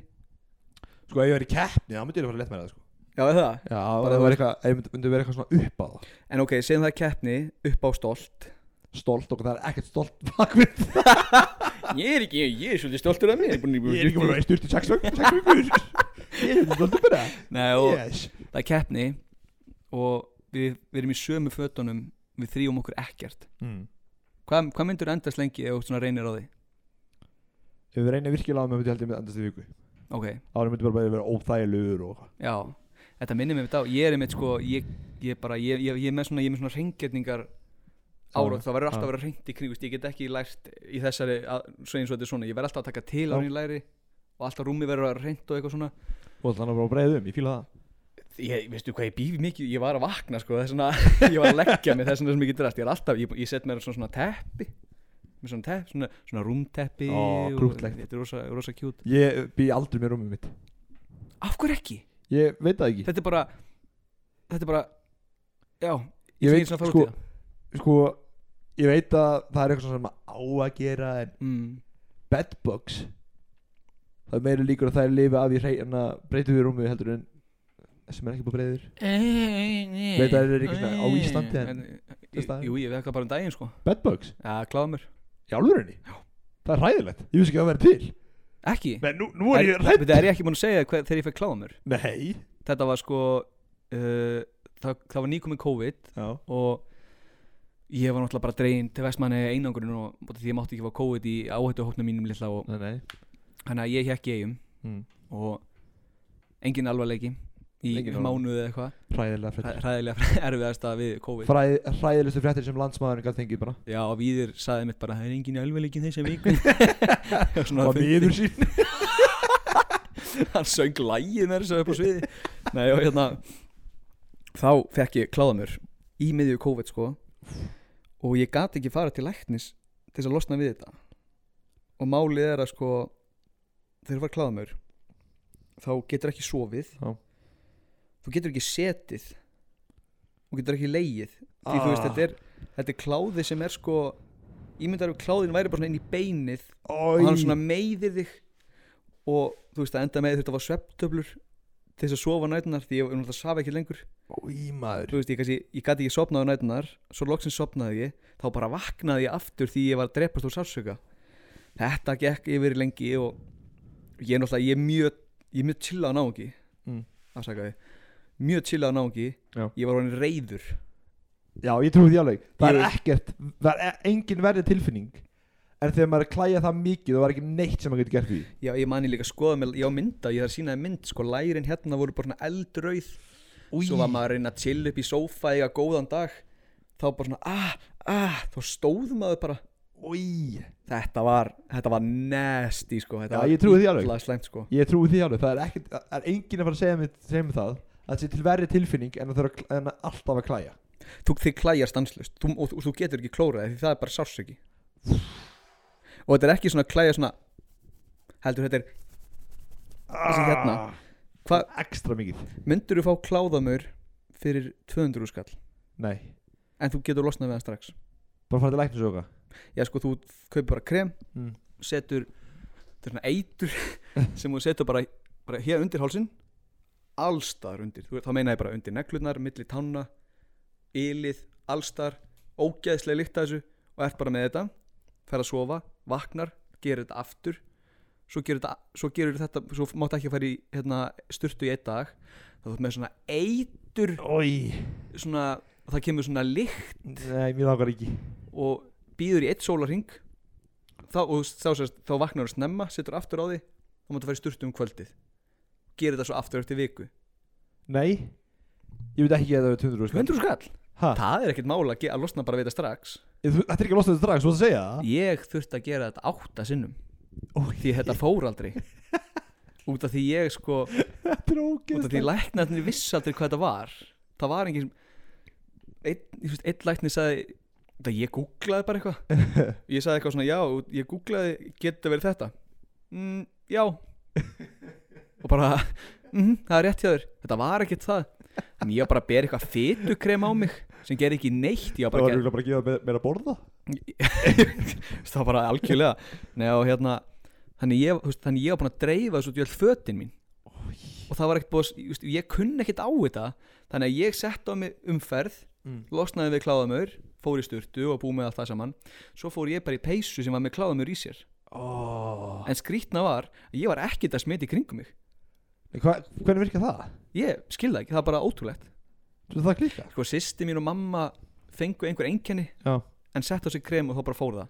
Sko, ef ég verið keppni, þá myndi ég fara að leta með það, sko
Já, eða það
Já, bara það var eitthvað, ef myndi, myndi vera eitthvað svona upp á það
En ok, segjum það er keppni upp á stolt
Stolt og það er ekkert stolt bakvið
Ég er ekki, ég, ég er svolítið stoltur af mér Ég er búin-
Ég er ekki búin að vera styrt í sex vögn, sex vögnur Ég er ekki stolt bara
Nei, og
Yes
það er keppni Og við, við erum í sömu fötunum Við þrýjum okkur ekkert
mm.
Hvað, hvað myndur endast lengi ef þú svona reynir á því?
Ef við reynir virkilega á mig, myndi ég held ég myndi endast í viku
Ok,
Ára myndi bara bara vera óþægilegur og
já Þetta minnir mig þetta á Ég er einmitt sko Ég, ég bara, ég, ég, ég er með svona Ég er með svona reyngetningar ára Það verður alltaf
Já.
að vera reynt í kring veist, Ég get ekki lært í þessari að, Svo eins og þetta er svona Ég verð alltaf að taka til ára í læri Og alltaf rúmi verður að reynt og eitthvað svona
Og þannig að bara breiðum, ég fíla það
ég, veistu hvað ég býfi mikið, ég var að vakna sko, þess vegna, ég var að leggja mig þess vegna sem ég getur allt, ég er alltaf, ég, ég set mér svona, svona teppi, með svona teppi svona, svona rúmteppi
Ó,
og-
krúttlegt.
þetta er rosa, rosa kjút,
Ég bý aldrei með rúmið mitt
af hverju ekki?
Ég veit það ekki
þetta er bara þetta er bara, já
Ég
sé
veit,
svona að fara
sko-
út í það.
Sko, ég veit að það er eitthvað svona sem á að gera En
mm,
bedbugs Það er meira líkur að það er lifi af í rey En að breytu við rúmið heldur en Sem er ekki búið breiður Veit að það er ekki svona á Íslandi en
en,
þess staðar.
jú, ég veit það bara um daginn sko
Bedbugs?
já, kláða mér,
Í alvörunni? Já Það er hræðilegt Ég vissi ekki að það væri til
ekki
Nei, nú, nú er ég hrætt
þetta er ég ekki búin að segja þér hver, þegar ég fekk kláða mér
Nei
þetta var sko uh, það, það var nýkomið COVID
Já
og ég var náttúrulega bara dregin til vestmanni einangurinn og og því ég mátti ekki fá COVID í áhættuhóknum mínum litla og
Nei, nei
hann að ég hekk í eigum
mm.
og engin alvarleiki í
Engin alvarleiki.
mánuði eða eitthvað
Hræðilega
Hræ-
fréttir
hræðilega erfiðast að við COVID
Fræ, Hræðilegustu fréttir sem landsmaðurinn gæti fengið bara
já og viðir saði mitt bara það er engin alvarleiki þess að viku Og svona
Og
fyndið.
miður sín
hann söng lægið með þessu upp á sviði Nei, og hérna þá fekk ég kláða mér í miðju COVID sko og ég gat ekki fara til læknis til þess að losna við þetta og málið er að sko þegar var kláða mér þá getur ekki sofið
Já.
þú getur ekki setið og getur ekki leið því þú
Ah.
veist þetta er, þetta er kláði sem er sko ímyndar ef kláðin væri bara svona inn í beinið og hann svona meiðir þig og þú veist að enda með þetta var svepptöflur til þess að sofa nætunar því ég var náttúrulega að safa ekki lengur
Í maður
þú veist ég, kannski, ég gæti ekki sopnað á nætunar svo loksins sopnaði ég þá bara vaknaði ég aftur því ég var að drepast úr sársöka þetta gekk yfir lengi og ég er náttúrulega ég er mjög, ég er mjög chilla á náungi
Mm.
afsakaði mjög chilla á náungi
Já.
ég var honin reyður
Já, ég trúi því alveg Það er
Ég-
ekkert, það er e- engin verri tilfinning En þegar maður er að klæja það mikið Það var ekki neitt sem maður getur gert því
Já, ég mani líka að skoða með, já mynda, ég þarf að sína þér mynd, sko lærin hérna voru bara svona eldrauð Svo var maður að reyna að chill upp í sófa eiga góðan dag Þá bara svona, ah, ah, þá stóð maður bara
Í
Þetta var, þetta var nasty, sko þetta
Já,
var
ég trúi því alveg.
illa slæmt, sko
Ég trúi því alveg, það er, ekkert, það er enginn að fara að segja mér, segja mér það að það sé til verri tilfinning en að það er en að alltaf að klæja
Þú þig klæjar stanslust þú, og, og þú getur ekki klórað því það er bara sársöki Og þetta er ekki svona klæja svona Heldur þetta er, Þessi hérna.
Hva?
Hva-
Ekstra mikið
myndur þú fá kláðamur fyrir 200 skall
Nei,
En þú getur losnað við hann strax
bara fara til læknis og eitthvað
Já, sko, þú kaupir bara krem
Mm.
setur þetta er svona eitur sem þú setur bara, bara hér undir hálsin allstar undir, þú, þá meina ég bara undir neglurnar, milli tanna ylið, allstar ógeðslega líkt að þessu og ert bara með þetta fer að sofa, vaknar gerir þetta aftur svo gerir þetta, svo gerir þetta, svo máttu ekki að fara í hérna, styrtu í einn dag þá þú ert með svona eitur
Ói,
svona, það kemur svona líkt
nei, mér þakkar ekki
og býður í eitt sólarring þá, og þú veist, þá, sérst, þá vaknar þú snemma setur aftur á því þá máttu fara í sturtu um kvöldið gerir þetta svo aftur eftir viku
Nei, ég veit ekki að það er 200 skall.
skall?
Ha?
það er ekkert mála að, ge- að losna bara við þetta strax
Ég- þú- Þetta er ekki að losta þetta strax, þú varst að segja það
ég þurfti að gera þetta átta sinnum
Ói,
því þetta fór aldrei út af því ég sko út
þetta er
af því
ógeðslega
læknarnir viss aldrei hvað þetta var það var engin einn, ég veist, einn læknir sagði það ég googlaði bara eitthvað ég sagði eitthvað svona já, ég googlaði getur verið þetta mm, já og bara mm, það er rétt hjá þér, þetta var ekkert það en ég var bara að bera eitthvað fitukrem á mig sem ger ekki neitt ég var
Það
bara
var
að
örugglega bara að gefa mér- mér að borða
það var bara algjörlega Nei, og hérna, þannig ég, þú veist, þannig ég var búin að dreifa þessu út í öll fötin mín og það var ekkert búið að- ég, veist, ég kunni ekkert á þetta þannig að ég sett á mig umferð
Mm.
losnaði við kláðamör, fór í sturtu og búið með allt það saman svo fór ég bara í peysu sem var með kláðamör í sér
oh.
en skrýtna var að ég var ekkert að smita í kringum mig
Hva, Hvernig virkar það?
ég skilða ekki, það var bara ótrúlegt
Þú veist það klika?
sko, sýsti mín og mamma fengu einhver einkenni
Já
en sett á sig krem og þá bara fór það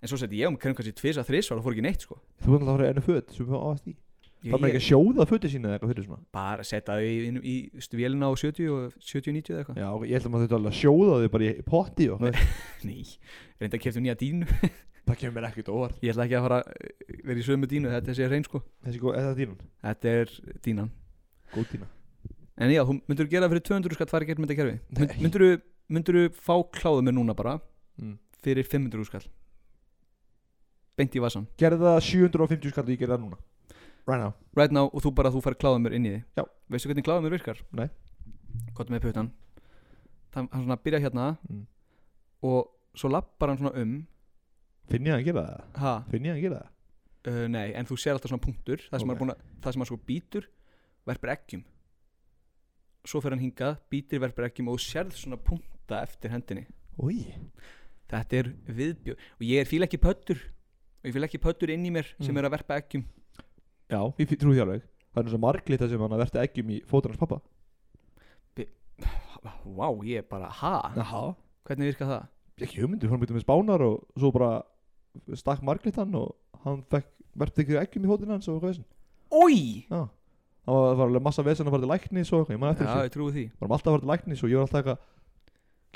en svo setti ég um krem kannski tvisa, þrisvar og fór ekki neitt sko.
Þú veist að fara í ennu föt sem við áast í
ég,
Það er maður ekki að sjóða fötu sína eða eitthvað fyrir svona
bara setja þau í, í, í vélina á 70 og 70-90 eða eitthvað
Já, ég held að maður þetta alveg að sjóða þau bara í potti og
Nei, reynda að kefta nýja dínu
Það kemur mér ekkert á óvart
Ég ætla ekki að fara eh, vera í sömu dínu, þetta sé hrein sko
Þessi góð, þetta er dínan
Þetta er dínan
Góð dína
En já, þú myndur gera fyrir 200 skatt fara gert mynda kerfi
Nei.
Myndur þú, myndur þú fá kláðu mér núna bara
Mm.
fyrir 500 skall Beint í vasan
Gerði það 750 skall og ég gerði það núna Right now
Right now og þú bara þú fær kláðu mér inn í þig
Já.
Veistu hvernig kláðu mér virkar?
Nei.
Kottu með puttan Hann hann svona byrja hérna
Mm.
og svo lappar hann svona um
Finn ég að gera það?
Ha?
Finn ég að gera það?
Uh, nei, en þú sér alltaf svona punktur Það sem
Ok.
okay. að, það sem að sko býtur Verpir eggjum Svo fer hann hingað, býtir verpir eggjum Og þú sérð svona punkta eftir hendinni
Úi
Þetta er viðbjör Og ég er fíla ekki pöttur Og ég fíla ekki pöttur inn í mér sem
Mm.
er að verpa eggjum
Já, ég fí- trúi því alveg Það er eins og marglita sem hann að verta eggjum í fótur hans pappa
Vá, wow, ég er bara, ha?
Jaha
Hvernig virka það?
Ekki hugmyndu, hann byrjuði með spánar og svo bara stakk marglitan og hann fekk verpti ykkur eggjum í fótur hans og hvað þessin
Ói!
Já Það var, það var alveg massa vesen að fara til læknis og eitthvað Ég maður eftir
Já,
þessu
ég trúi því
Varum alltaf að fara til læknis og ég var alltaf eitthvað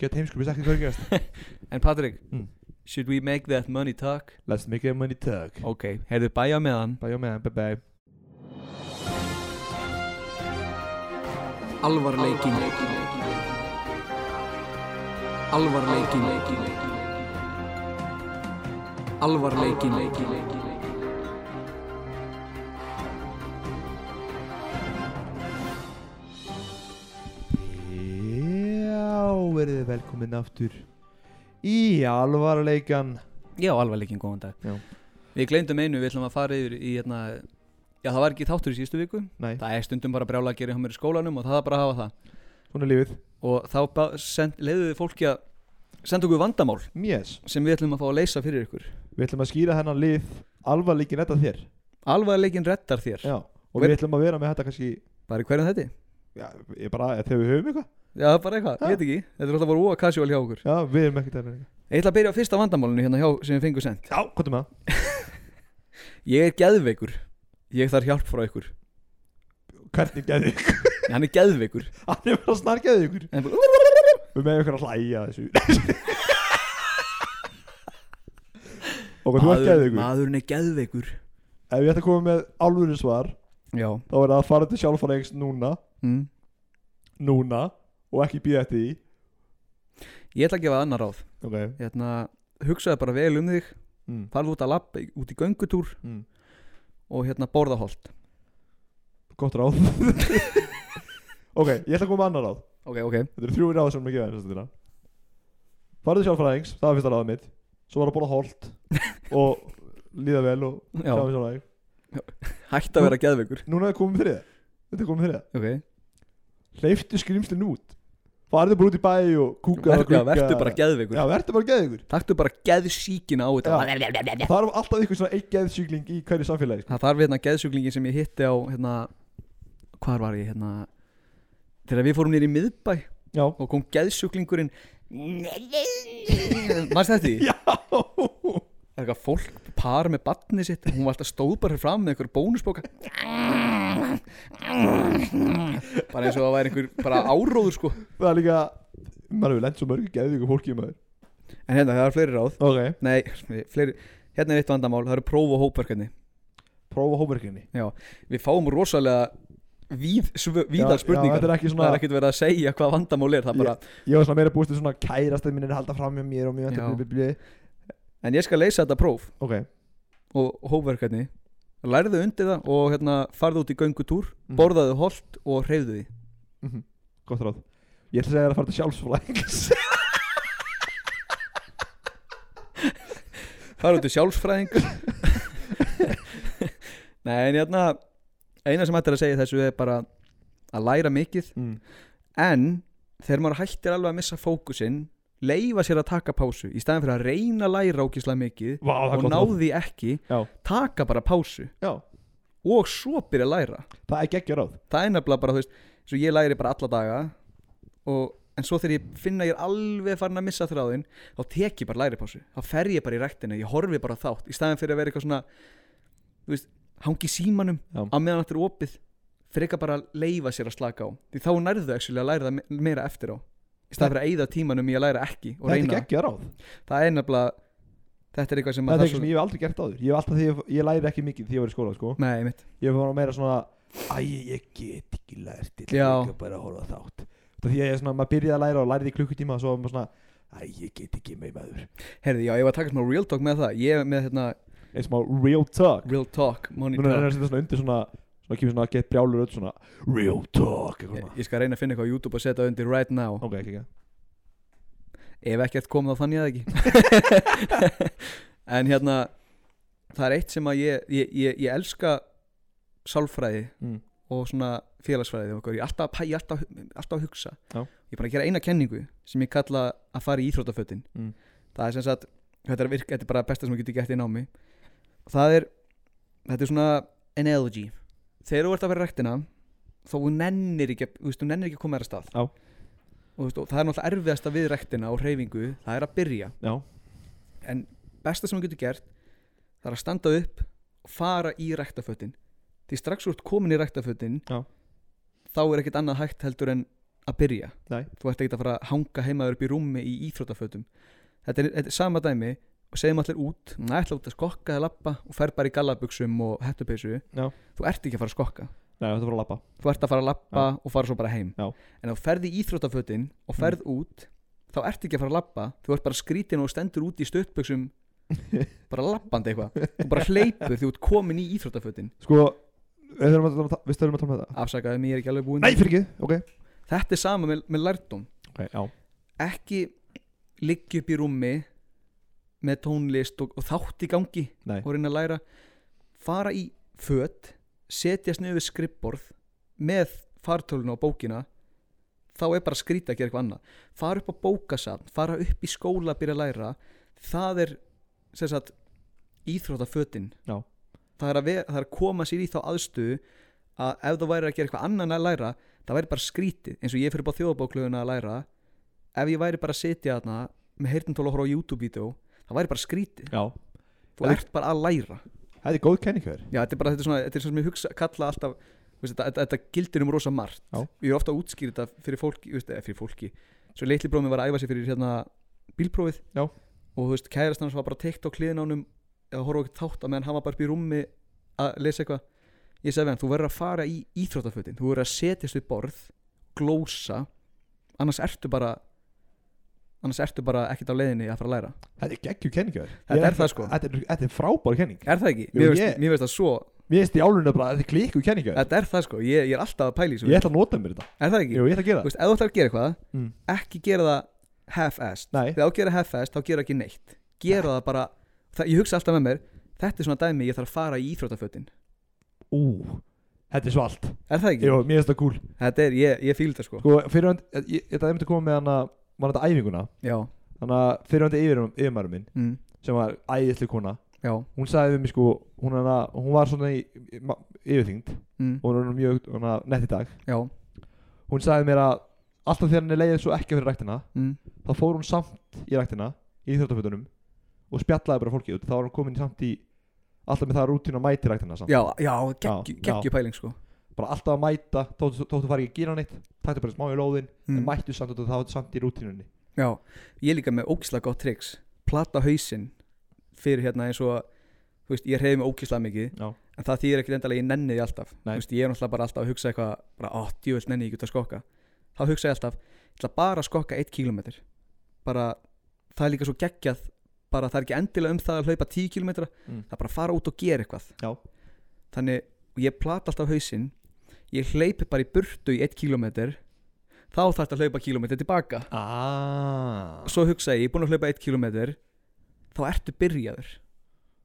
Get heimskupið sagt hvað er að gerast
En Patrik,
Mm.
should we make that money talk?
um Let's make a money talk
Ok, heyrðu bæja með hann
Bye, man, bye, bye
Alvarleikin Alvarleikin Alvarleikin
Já, verið þið velkomin aftur í alvarleikan
Já, alvarleikin, góðan dag
Já.
Við glemdum einu, við ætlum að fara yfir í hérna Já, það var ekki þáttur í síðustu viku
Nei,
Það er stundum bara brjála að gera hjá mér í skólanum og það er bara að hafa það
svona er lífið
Og þá ba- send- leiðum við fólki að senda okkur vandamál
Yes,
sem við ætlum að fá að leysa fyrir ykkur
við ætlum að skýra hennan lið alvarleikin þetta þér
Alvarleikin reddar þér
Já, og
Hver-
við ætlum að vera með þetta kannski
Bara í hverjum þetta?
Já, ég bara, þegar við höfum eitthvað
Já, það er bara eitthvað,
Ha?
ég veit ekki Þetta er alltaf bara óa casual hjá okkur
Já, við erum ekkert þennan
Ég ætla að byrja á fyrsta vandamálinu hérna hjá sem við fengum send
Já, hvað er með það?
Ég er geðveikur Ég þarf hjálp frá ykkur
Hvernig geðið ykkur?
Nei, Hann er geðveikur
Hann er bara snargeðið ykkur
Hann er bara-
Við með ykkur að hlæja að þessu Og hvað þú ert geðið
Maður-
ykkur?
Maðurinn er geðveikur
Ef ég ætti að koma með alvöru svar
Já
Þá er það að fara til sjálfræðings núna
mm.
Núna Og ekki býða eftir því
Ég ætla að gefa annar ráð
Ok
hérna, Hugsaðu bara vel um þig
mm.
Farðu út að labba, út í göngutúr
Mm.
Og hérna borða holt
Gott ráð Ok, ég ætla að koma með annar ráð
Ok, ok
Þetta eru þrjú ráð sem við gefa þér Farðu til sjálfræðings Það var fyrsta ráðið mitt Svo var að bóla holt Og líða vel og
Já.
sjá við sjálfræðing
Hætt að vera geðveikur
Núna er komið þriða Þetta er komið þriða
Ok
Hleyftu skrimslin út Farðu bara út í bæ og kúka
Vertu, vertu bara geðveikur
Já, verður bara geðið ykkur
Taktu bara geðsíkina á þetta
Það er alltaf ykkur svona eitt geðsjúkling í hverju samfélagi sko.
Það þarf hérna geðsjúklingin sem ég hitti á hérna, Hvar var ég hérna Þegar við fórum nýr í miðbæ
Já
Og kom geðsjúklingurinn Mæst þetta því?
Já
Það er eitthvað fólk, par með barnið sitt Hún var alltaf stóð bara fram með einhver bónusbóka Bara eins og það væri einhver bara áróður sko
Það er líka Maður hefur lent svo mörgu geðið ykkur fólki maður
En hérna, það eru fleiri ráð
Ok
Nei, fleiri, hérna er eitt vandamál Það eru próf og hópverkefni
Prófa hópverkinni
Já, við fáum rosalega víð, svö, víðar spurningar
Þetta er ekki svona
Það er ekkert verið að segja hvað vandamál er það bara,
Ég var svona meira búist til svona Kærastið minn er að halda fram hjá mér og mér
Já.
bli, bli, bli.
En ég skal leysa þetta próf
Ok
og hópverkefni Lærðu undir það og hérna, farðu út í göngutúr
Mhm.
Borðaðu holt og hreyfðu því
Mhm. Gott ráð Ég ætla að segja þér að fara til sjálfsfræðings
Fara út í sjálfsfræðing Nei, en hérna Eina sem hættir að segja í þessu er bara að læra mikið
mm.
En þegar maður hættir alveg að missa fókusinn Leifa sér að taka pásu Í staðin fyrir að reyna að læra ókislega mikið
Vá, það er
Og
gott
ná
ráð
því ekki
Já.
Taka bara pásu
Já
Og svo byrja að læra
Það er geggja ráð
Það er nefnilega bara, þú veist Svo ég læri bara alla daga og, En svo þegar ég finna að ég er alveg farin að missa þráðin Þá tek ég bara læripásu Þá fer ég bara í ræktina, ég horfi bara á þátt Í staðin fyrir að vera eitthvað svona Þú veist, hangi í símanum
Já.
Á meðan þetta er opið Freka bara að leifa sér að slaka á Því þá nærðu actually að læra það me- meira eftir á Í staðin fyrir að eyða tímanum í að læra ekki Og
Þetta er
reyna,
geggja ráð
það er nefnilega Þetta er eitthvað sem
Þetta er
maður
eitthvað sem ég hef aldrei gert áður Ég hef alltaf því ég, ég læri ekki mikið því ég var í skóla sko
Nei, mitt
Ég hef bara meira svona Æ, ég get ekki lært Ég
Já.
ætla ekki að bara að horfa á þátt Það því að ég er svona, maður byrjaði að læra og lærið í klukkutíma og svo var maður svona, æ, ég get ekki með maður
Herði, já, ég var að taka smá real talk með það Ég er með hérna
Eins og má real talk
real talk
Núna er það
monitor
að setja svona undir svona Svona kemur svona að get brjálur öll svona Real talk eitthvað
ég,
svona
ég skal reyna að finna eitthvað á YouTube að setja undir right now
Ok, ekki, ekki
Ef ekkert kom þá fann ég það ekki En hérna Það er eitt sem að ég Ég, ég, ég elska sálfræði
Mm.
Og svona félagsfræði og okkur. Ég er alltaf að pæja, alltaf, alltaf að hugsa
Já.
Ég er bara að gera eina kenningu Sem ég kalla að fara í íþróttafötin
Mm.
Það er sem sagt Þetta er, virk, þetta er bara besta sem ég geti gett í námi Það er Þetta er svona analogy Þegar þú ert að vera rektina Þá þú nennir ekki, að- þú veist, þú nennir ekki að koma þér að stað
Já.
og, þú veist, og það er náttúrulega erfiðasta við rektina og hreyfingu Það er að byrja
Já,
en besta sem þú getur gert það er að standa upp og fara í ræktafötin því strax þú ert komin í ræktafötin
Já.
þá er ekkert annað hægt heldur en að byrja
Nei.
þú ert ekkert að fara að hanga heimaður upp í rúmi í íþróttafötum þetta er, þetta er sama dæmi og segjum allir út maður ætla út að skokka eða lappa og fer bara í gallabuxum og hettupeysu
Já.
þú ert ekki að fara að skokka
Nei, þetta var að lappa
þú ert að fara að lappa og fara svo bara heim
Já. Mm.
en ef þú ferð í íþróttafötin og ferð út þá ert ekki að fara að lappa þú ert bara skrítin og stendur út í stöttbuxum bara lappandi eitthvað þú bara hleypur því þú ert komin í íþróttafötin
Sko, við þurfum að tala um það Við stöðum að tala um þetta
afsakaði mér ekki alveg búin
Nei, fyrir ekki, ok
þetta er sama með, með lærdum
Ok, já
ekki liggja upp í rúmi með tónlist og, og þátt í gangi
Nei.
og reyna að læra fara í föt setjast niður við skrippborð með fartöluna og bókina þá er bara skrýta að gera eitthvað annað fara upp á bókasafn, fara upp í skóla að byrja að læra, það er sem sagt íþrótafötin
Já.
það er, að vera, það er að koma sér í þá aðstöðu að ef þú væri að gera eitthvað annan að læra það væri bara skrítið, eins og ég fyrir bara þjóðabóklöfuna að læra ef ég væri bara að sitja þarna með heyrnintól og horfa á YouTube-vídeó það væri bara skrítið,
Já
þú
Það er-
ert bara að læra
Þetta er góð kenning hér
já, þetta er bara þetta er svona, þetta er svona sem ég hugsa, kalla alltaf þú veist, þetta, þetta, þetta gildir um rosa margt
Já.
ég er ofta að útskýra þetta fyrir fólki, þú veist, eða fyrir fólki svo leitli brómi var að æfa sig fyrir hérna bílprófið
Já.
og þú veist, kærast hans var bara teikt á kliðinánum eða horfa okkur þátt að meðan hann var bara upp í rúmi að lesa eitthvað ég sagði við hann, þú verður að fara í íþróttafötin þú verður að setjast við borð glósa, annars ertu bara annars ertu bara ekkert á leiðinni að fara að læra
Þetta er geggjú kenning hér
Þetta er það, sko.
Þetta er, þetta er frábár kenning
er það ekki?
Jú,
mér veist,
ég-
mér veist það svo,
Mér veist í álunum bara Þetta er klikku kenning hér
þetta er það sko ég, ég er alltaf að pæli
Ég ætla að nota mér þetta
er það ekki?
Jú, ég ætla að gera
Þú
það
veist, ef þú ætlar að gera eitthvað,
Mm.
ekki gera það half-assed.
Nei.
Þegar þú gera half-assed, þá gera ekki neitt. Gera það bara, það, ég hugsa alltaf með mér, þetta er svona dæmi ég þarf að fara í íþrótafötin.
Ú, þetta er svalt
Er það ekki?
Jú, mér veist það cool
Þetta er, ég, ég fíl það sko.
Sko, fyrirhandi Ég þetta er myndi að koma með hana Var þetta æfinguna
Já.
Þannig að fyrirhandi yfir, yfirmarum minn
Mm.
Sem var æðisli kona
Já.
Hún sagði við mig sko Hún, hana, hún var svona í, í, ma- yfirþyngd
Mm.
Og hún var mjög hana, nett í dag
Já.
Hún sagði mér að Alltaf þegar henni leiði svo ekki fyrir ræktina
Mm.
þá fór hún samt í ræktina í þjóttafötunum og spjallaði bara fólkið út þá var hún komin samt í alltaf með það rútín að mæta í ræktina samt
Já, já, geggju,
Já, já.
geggju pæling sko.
bara alltaf að mæta, þótt þótt þú farið ekki að gera neitt taktu bara smá í lóðin, en
Mm.
mættu samt og það var samt í rútínunni
Já. Ég er líka með ógislega gott triks. Plata hausinn fyrir hérna eins og, þú veist, ég reyði mig ógislega mikið.
Já.
En það þýðir ekkert endalega ég nenni því alltaf Þú
Nei.
veist, Ég er náttúrulega bara alltaf að hugsa eitthvað bara, ó, djúvill nenni ég ekki út að skokka Þá hugsa ég alltaf, ég ætla bara að skokka 1 km Bara, það er líka svo geggjað Bara það er ekki endilega um það að hlaupa 10 km
Mm.
Það er bara að fara út og gera eitthvað
Já.
Þannig, og ég plata alltaf hausinn Ég hleypi bara í burtu í 1 km Þá þarf þetta að hlaupa kilometri tilbaka
aaaah
Svo hugsa ég, ég er búin að hlaupa 1 km Þá ertu byrjaður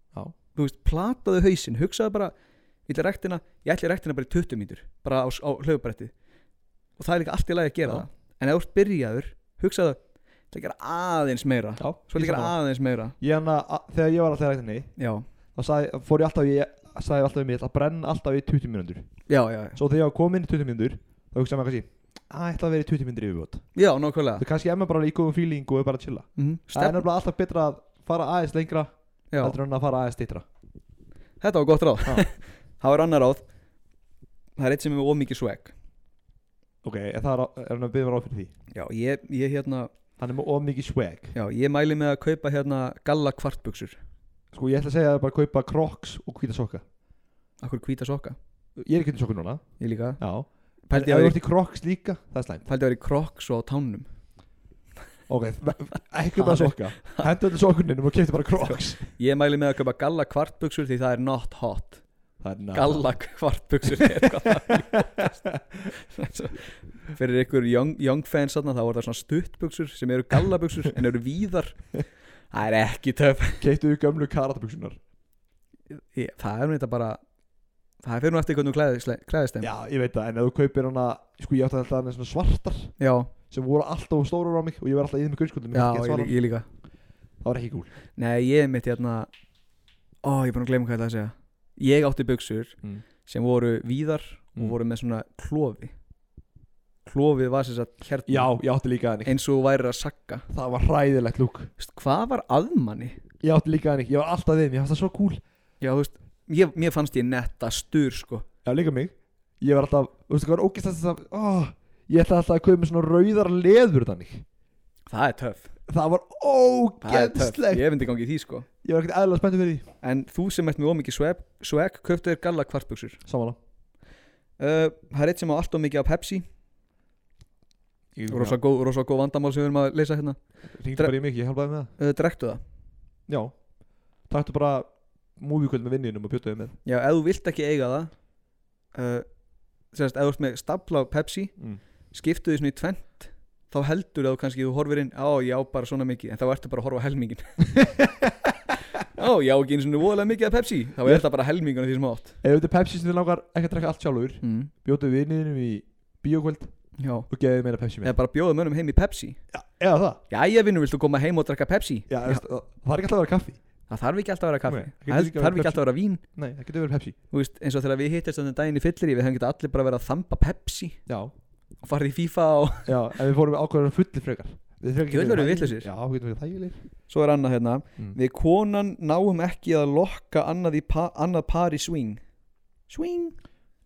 Já.
þú veist, plataðu hausinn, hugsaðu bara ég ætla í rektina, ég ætla í rektina bara í 20 mínútur bara á, á hlaupbretti og það er líka allt í lagi að gera
Já.
það en ef þú ert byrjaður, hugsaðu ég ætla að gera aðeins meira
Já,
svo
ég
líka
sammála.
aðeins meira
Ég hana, að, þegar ég var alltaf í ræktinni
já,
þá sagði, fór ég alltaf í sagði alltaf í mig, ég ætla að brenna alltaf í 20 mínútur
já, já, já,
svo þegar ég var komin í 20 mínútur þá hugsaði maður kannski, að ætla að vera í 20 mínútur yfirbútt
já, nákvæmlega
það kannski er maður bara í góðum feeling og er bara að chilla
mm,
það er
stefn,
nefnilega alltaf betra að fara aðeins lengra
já,
heldur en að fara aðeins stýtra
þetta var gott ráð
Já.
það var annar ráð það er eitt sem er með ómikið swag
ok, en það er, á- er hann að byggja ráð fyrir því
já, ég, ég hérna,
hann er með of mikið swag
já, ég mæli með að kaupa hérna galla kvartbuksur,
sko ég ætla að segja að bara að kaupa crocs og hvíta sokka
akkur hvíta sokka
ég er ekki hvíta sokka núna
ég líka,
já en
pældi ég
ef þú
að
ert í crocs líka það er slæmt
pældi að vera í crocs og á tánum
ok ekki bara sokka hendur öllu sokkuninum og kemta bara crocs
Ég mæli með að köpa galla kvartbuksur því það er not hot
það er nátt
Galla kvartbuksur er hvað það er ljótast. Fyrir ykkur young, young fans þarna þá voru það svona stuttbuksur sem eru gallabuksur en eru víðar Það er ekki töf
kemtu gömlu karatabuksunar
Ég- Það er nú þetta bara Það fyrir nú eftir hvernig þú klæðist þeim
já ég veit það en ef þú kaupir hana sko ég átti að þetta er svona svartar
já,
sem voru alltaf stórar á mig og ég var alltaf í þeim í grunnskóldum
já ég, lí- ég líka
það var ekki gúl
Nei, ég er mitt hérna Ó, ég er búin að gleyma hvað ég ætlaði að segja Ég átti buksur
Mm.
sem voru víðar
Mm.
og voru með svona klofi Klofið var sem sagt hérna
já ég átti líka þannig
eins og þú værir að sakka
það var hræðilegt lúk
Vist, hvað var aðmanni?
ég átti líka þannig ég var alltaf í þeim ég fannst það svo gúl
Já, þú veist, ég, mér fannst ég netta stur sko.
Já, líka mig Ég var alltaf, þú veistu hvað er ógist að þess að ó, Ég ætla alltaf að kaupa með svona rauðar leður þannig
það er töff
það var
Það er töff.
ógeðslegt
Ég finnst í gangi í því sko
Ég var ekkert eðlilega spenntur fyrir því
En þú sem ert með ómikið swag, swag Kauptu þér galla kvartbuksur
Samanlega
uh, Það er eitt sem á allt og mikið af Pepsi Rosa góð, rosa góð vandamál sem við erum að leysa hérna
Ringdi bara í mig, ég hjálpaði með það
uh, Drektu það
Já Taktu bara Móvíkvöld með vinninum og bjóttuði með
Já, ef þú vilt ekki eiga það uh, Sérst, ef þú ert með stapla af Pepsi
mm.
Skiptu því svona í tvent Þá heldur þú kannski þú horfir inn Á, já, bara svona mikið En þá ertu bara að horfa á helmingin Á, já, ekki eins og nú voðalega mikið af Pepsi Þá er þetta bara helmingun af því sem þú átt
Ef þetta er Pepsi sem þið langar ekki að drekka allt sjálfur
mm.
Bjóttuði vinninum í bíókvöld
Já
og geðið meira Pepsi með
Eða bara bjóða mönnum heim í Pepsi
Já, Eða það
Jæja vinnur, viltu koma heim og drakka Pepsi?
Já, veist, það það er ekki alltaf að vera kaffi
Það þarf ekki alltaf að vera kaffi
Nei, það getur
Það
líka að
þarf ekki
vera
alltaf að vera vín
Nei, það getur verið Pepsi
Þú veist, eins og þegar við hittist þannig daginn í fyllir Við hefum getað allir bara verið að þamba Pepsi
Já,
Og farið í FIFA og
já, en við fórum ákveður fullir frekar Við frekar
Djöfull
getum
erum við
þægilegir.
vitlausir.
Já, við getum verið þægilegir
Svo er annað hérna
Mm.
Við konan náum ekki að lokka annað, í pa, annað par í swing Swing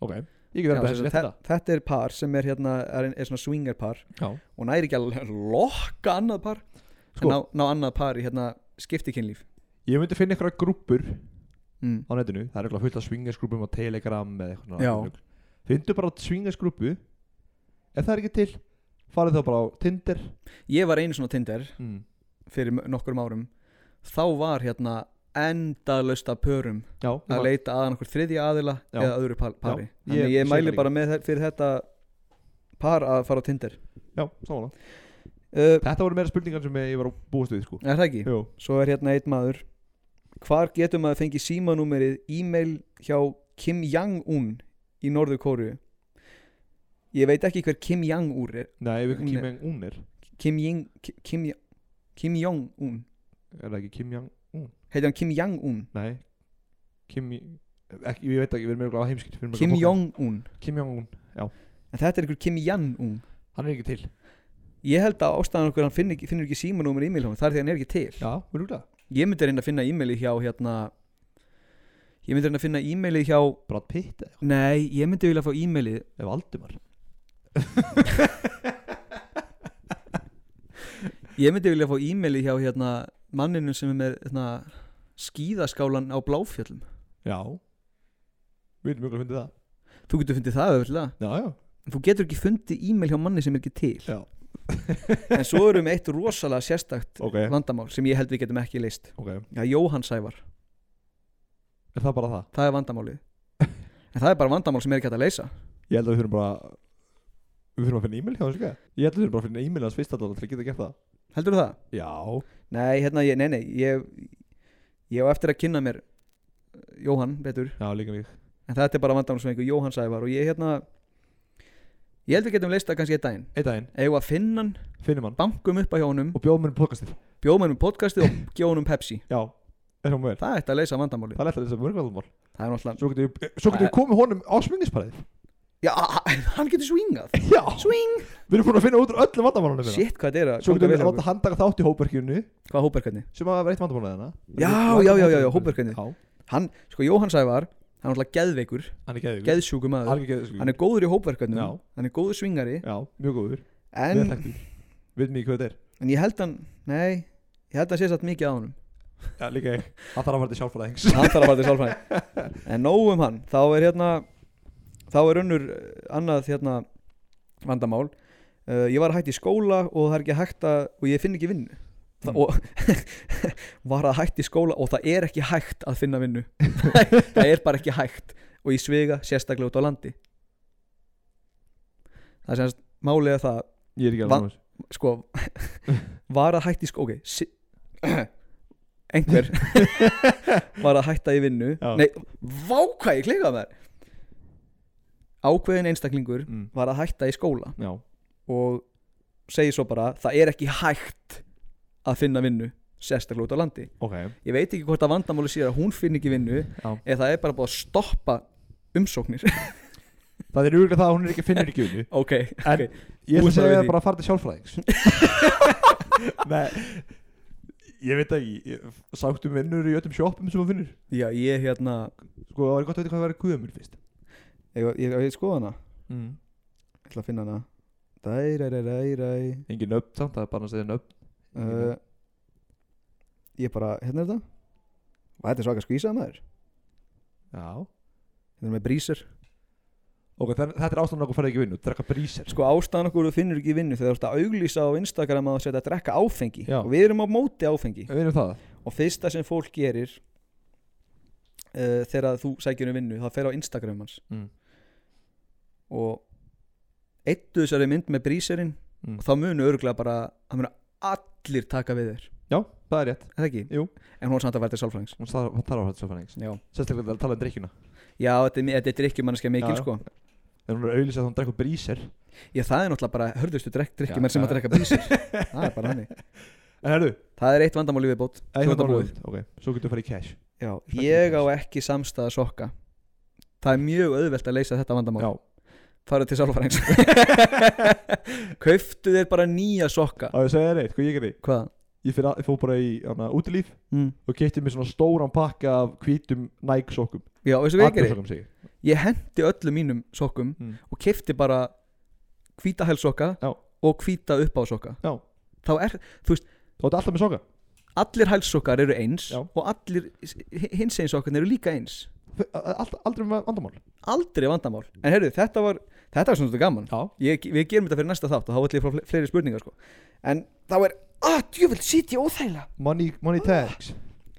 Ok, ég get
Já,
verið að
sem
þessi
sagt,
rétt hérna. þetta
þe- Þetta er par sem er hérna Er, er svona swingerpar
Já,
Og næri ekki að lokka annað par
Sko.
sko. ná, ná annað par í hérna skiptikinnlíf
ég myndi finna einhverja grúpur
mm.
á netinu það er eitthvað fullt af swingersgrúpum á Telegram eða eitthvað
Já.
svona. findu bara swingersgrúpu ef það er ekki til farið þá bara á Tinder
Ég var einu svona á Tinder
mm.
fyrir m- nokkrum árum þá var hérna endalaust af pörum
já,
að leita aðan okkur þriðja aðila
Já.
eða öðru pa- pari
Ég
þannig ég,
sé
mæli
það
bara með, þe- fyrir þetta par að fara á Tinder
já,
uh,
samanlega þetta voru meira spurningar sem ég var að búast við sko.
er það ekki?
Jú.
svo er hérna einn maður hvar getur maður fengið símanúmerið e-mail hjá Kim Jong-un í norðu kóru ég veit ekki hver Kim Jong-un er
nei, ef ekki
Hún
Kim
er-
Jong-un er
Kim Jong Ki- Kim, Jo- Kim Jong-un
er það ekki Kim Jong
heitir hann Kim Jong-un
nei, Kim ekki, ég veit ekki, við erum meira á heimskipt við erum
Kim
örugglega að
Jong-un
bóka. Kim Jong-un,
en þetta er einhver Kim Jong-un
hann er ekki til
Ég held að ástæðan okkur hann finnur ekki, finnur ekki símanúmer í e-mail hann, það er því að hann er ekki til.
já, við erum glæða
Ég myndi reyna að finna e-mailið hjá hérna Ég myndi reyna að finna e-mailið hjá
Brad Pitt eða
Nei, ég myndi vilja fá e-mailið
eða Valdimar
Ég myndi vilja fá e-mailið hjá hérna manninu sem er með hérna, skíðaskálan á bláfjöllum
já við erum mjög að finna það
Þú getur fundið það öðvöldlega
já, já,
Þú getur ekki fundið e-mail hjá manni sem er ekki til
já.
En svo erum við eitt rosalega sérstakt
ok,
vandamál sem ég held við getum ekki leist
ok,
Já, Jóhann Sævar,
er það bara það
það er vandamálið En það er bara vandamál sem er ekki hægt að leysa
Ég held að við þurfum bara Við þurfum að finna e-mail hjá þessu gæja. Ég held að við þurfum bara að finna e-mail hans fyrst alltaf til að geta gert það
Heldurðu það?
Já
Nei, hérna, ég, nei, nei ég, ég á eftir að kynna mér eh, Jóhann betur,
Já, líka mig
en þetta er bara vandánu sem einhver Jóhann Sævar og ég hérna ég held við getum leist það kannski eitt daginn
Einn daginn,
eigum að finna hann,
finnum hann
bankum upp að hjá honum
Og bjóðum henni podcastið
bjóðum hann um podcastið og gjóðum honum Pepsi
Já, er hún vel
það ætti að leysa vandamáli
Það er alltaf þess að mörg vandamál
það er náttúrulega,
Svo getum við, svo getum við komið honum á smingisparið
já, hann getur swingað
Já
swing,
Við erum búin að finna út úr öllum vandamálunum hérna.
shit hvað þetta er að
Svo
ganga
getum við
vel hjá
að láta
okkur.
hann taka þátt í hópverkjunni
hvað hóperkarni,
Sem að vera eitt vandamál með hana
Já, já, já, já, já, hópverkefnið.
Já,
hann, sko Jóhann Sævar hann er náttúrulega geðveikur,
hann er geðvík
geðsjúku maður
Algjör geðvík
hann er góður í hóperkarnum,
Já.
hann er góður svingari
Já, mjög góður
en
En Við mikið hvað þetta er
En ég held hann, nei Ég held hann sé satt mikið á honum
Já, líka ég Það þarf að vera til sjálfræðings
Hann þarf að fara til sálfræðing En nóg um hann, þá er hérna Þá er önnur eh, annað hérna vandamál uh, Ég var hægt í skóla og það er ekki hægt að Og ég finn ekki vinnu Það,
Mm.
og var að hægt í skóla og það er ekki hægt að finna vinnu það er bara ekki hægt og ég svega sérstaklega út á landi það er semst málega það
Ég er ekki
Va-
alveg nóg.
sko var að hætta í skó ok si einhver var að hætta í vinnu
Já.
nei, vá hvað ég klikað með ákveðin einstaklingur
Mm,
var að hætta í skóla
Já
og segi svo bara það er ekki hægt að finna vinnu sérstaklega út á landi
Ok,
ég veit ekki hvort að vandamáli sé að hún finn ekki vinnu
já
eða það er bara búið að stoppa umsóknir
Það er örgulega það að hún er ekki finnur ekki unni
ok,
En
ok
ég
Þú ert
ætla að
bara
segja
við
það
því.
bara að fara til sjálfræðings Nei Ég veit ekki ég- Sáttum vinnur í öllum sjoppum sem hún finnur
já ég hérna
Sko það var gott að veit hvað það væri guðumur fyrst
ég, ég, ég skoða hana
mm.
ætla að finna hana Dæræræræræ
Engin nöfn samt, það er bara að segja nöfn
uh, Ég bara, hérna er þetta Og þetta er svaka skvísað maður
Já
Þetta er með brísir
Ok, þann, þetta er ástæðan okkur færði ekki í vinnu, drekka brísir
Sko ástæðan okkur þú finnur ekki vinnu Þegar þú ert að auglýsa á Instagram að þú setja að drekka áfengi
Já.
Og við erum á móti áfengi
Við erum það
Og fyrsta sem fólk gerir uh, Þegar þú sækir um vinnu Það fer á Instagram hans
Mm.
Og eittu þessari mynd með brísirinn
Mm.
Og þá munu örgulega bara Það munu allir taka við þér
Já, það er rétt
Er Það ekki?
Jú.
En hún er samt að verða sálfræðings
Hún þarf þarf að hafa þetta svo fæðings
Já
Sérstaklega þegar að tala um drikkjuna
Já, þetta er, mi- þetta er drikkjumannskja mikil
Já, já.
sko
En hún er auðvitað að hún drekka brísir
Já, það er náttúrulega bara hörðustu drek- drikkjumenn
Já,
sem
já.
að drekka brísir Það er bara hannig
En herru,
Það er eitt vandamáli við bót Svo
eitt
er þetta
vandamál við. Ok, svo getur þú farið í cash
Já, ég á ekki samstæða sokka Það er mjög auðvelt að leysa þetta vandamál
Já,
Farðu til sálfræðings Kauftu þér bara nýja sokka
og ég segja þér eitt, hvað ég gerði
Hvað?
Ég fyrir að, ég fór bara í hana, útilíf
Mm.
og keypti mér svona stóran pakka af hvítum Nike sokkum
Já, veistu hvað ég gerir?
sokkum sig
Ég hendi öllum mínum sokkum
Mm.
og kefti bara hvíta hælsokka
Já.
og hvíta upp á sokka
Já.
Þá er,
Þú átti alltaf með sokka
allir hælsokkar eru eins
Já.
og allir hins eins okkarnir eru líka eins
F- a- a- ald- Aldrei með vandamál
aldrei vandamál en heyrðu, þetta var, þetta var svona gaman
Já
ég, við gerum þetta fyrir næsta þátt og þá ætlum ég frá fleiri spurningar sko. en þá er, að djúvill sit ég óþægilega
Money, money tags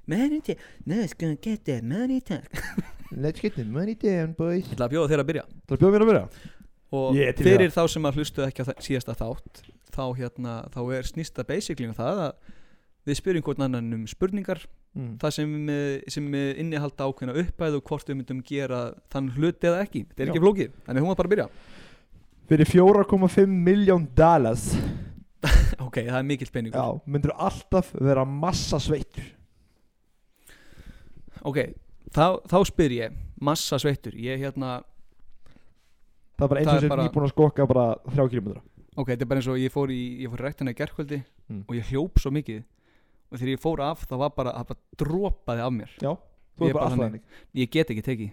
money tag, no it's gonna get that money tag ég
Let's get the money down boys
ætla að bjóða þeirra að byrja
Það bjóðum mér að byrja
og
Ég er til í
fyrir þá sem að hlustu ekki á þa- síðasta þátt þá, hérna, þá er snýsta basically um það að við spyrjum hvort annan um spurningar
mm.
það sem, eh, sem eh, innihalda ákveðna uppæð og hvort við myndum gera þann hluti eða ekki, þetta er ekki
Já.
flókið þannig hún var bara að byrja,
Fyrir 4,5 miljón dollars
ok, það er mikill peningur
Já, myndur alltaf vera massa sveittur
ok, þá, þá spyr ég massa sveittur, ég hérna
Það er bara eins
Það
og
er
sem bara...
bara-
nýbúin að skokka bara 3 km
ok, þetta er bara eins og ég fór í, ég fór í ræktina í gerkvöldi
Mm.
og ég hljóp svo mikið og þegar ég fór af þá var bara, það bara dropaði af mér
Já, þú
Ég
er
er
bara
bara
alltaf
þannig.
þannig
ég get ekki tekið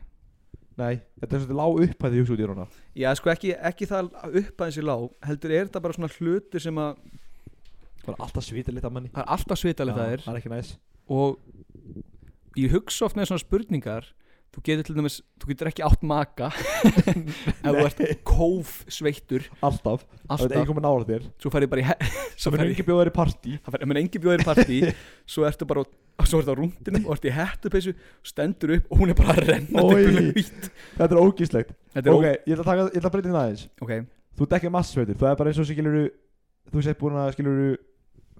Nei, þetta er svolítið lág upphæði hugsa út í rána
já, sko ekki, ekki það upp aðeins í lág heldur er þetta bara svona hlutur sem að
Bara alltaf svita lit af manni
það er alltaf svitaleg það er
Það er ekki næs
og ég hugsa oft með svona spurningar þú getur til dæmis, þú getur ekki átt maka ef þú ert kóf sveittur
Alltaf Það er
alltaf,
einhver með nála þér
svo fær ég bara í he- svo
Sem er
fær ég
engi bjóðar í partí
það verður, menn engi bjóðir í partí svo ertu bara, á- svo ertu á rúndinum og ertu í hættupeysu, stendur upp og hún er bara að renna
Oj.
upp hvít
Þetta er ógíslegt
þetta er
Ok,
okay.
ég ætla að taka- ég ætla að breyta þín aðeins
ok,
Þú ert ekki massa sveitur Það er bara eins og skilur Þú sett búin að skilur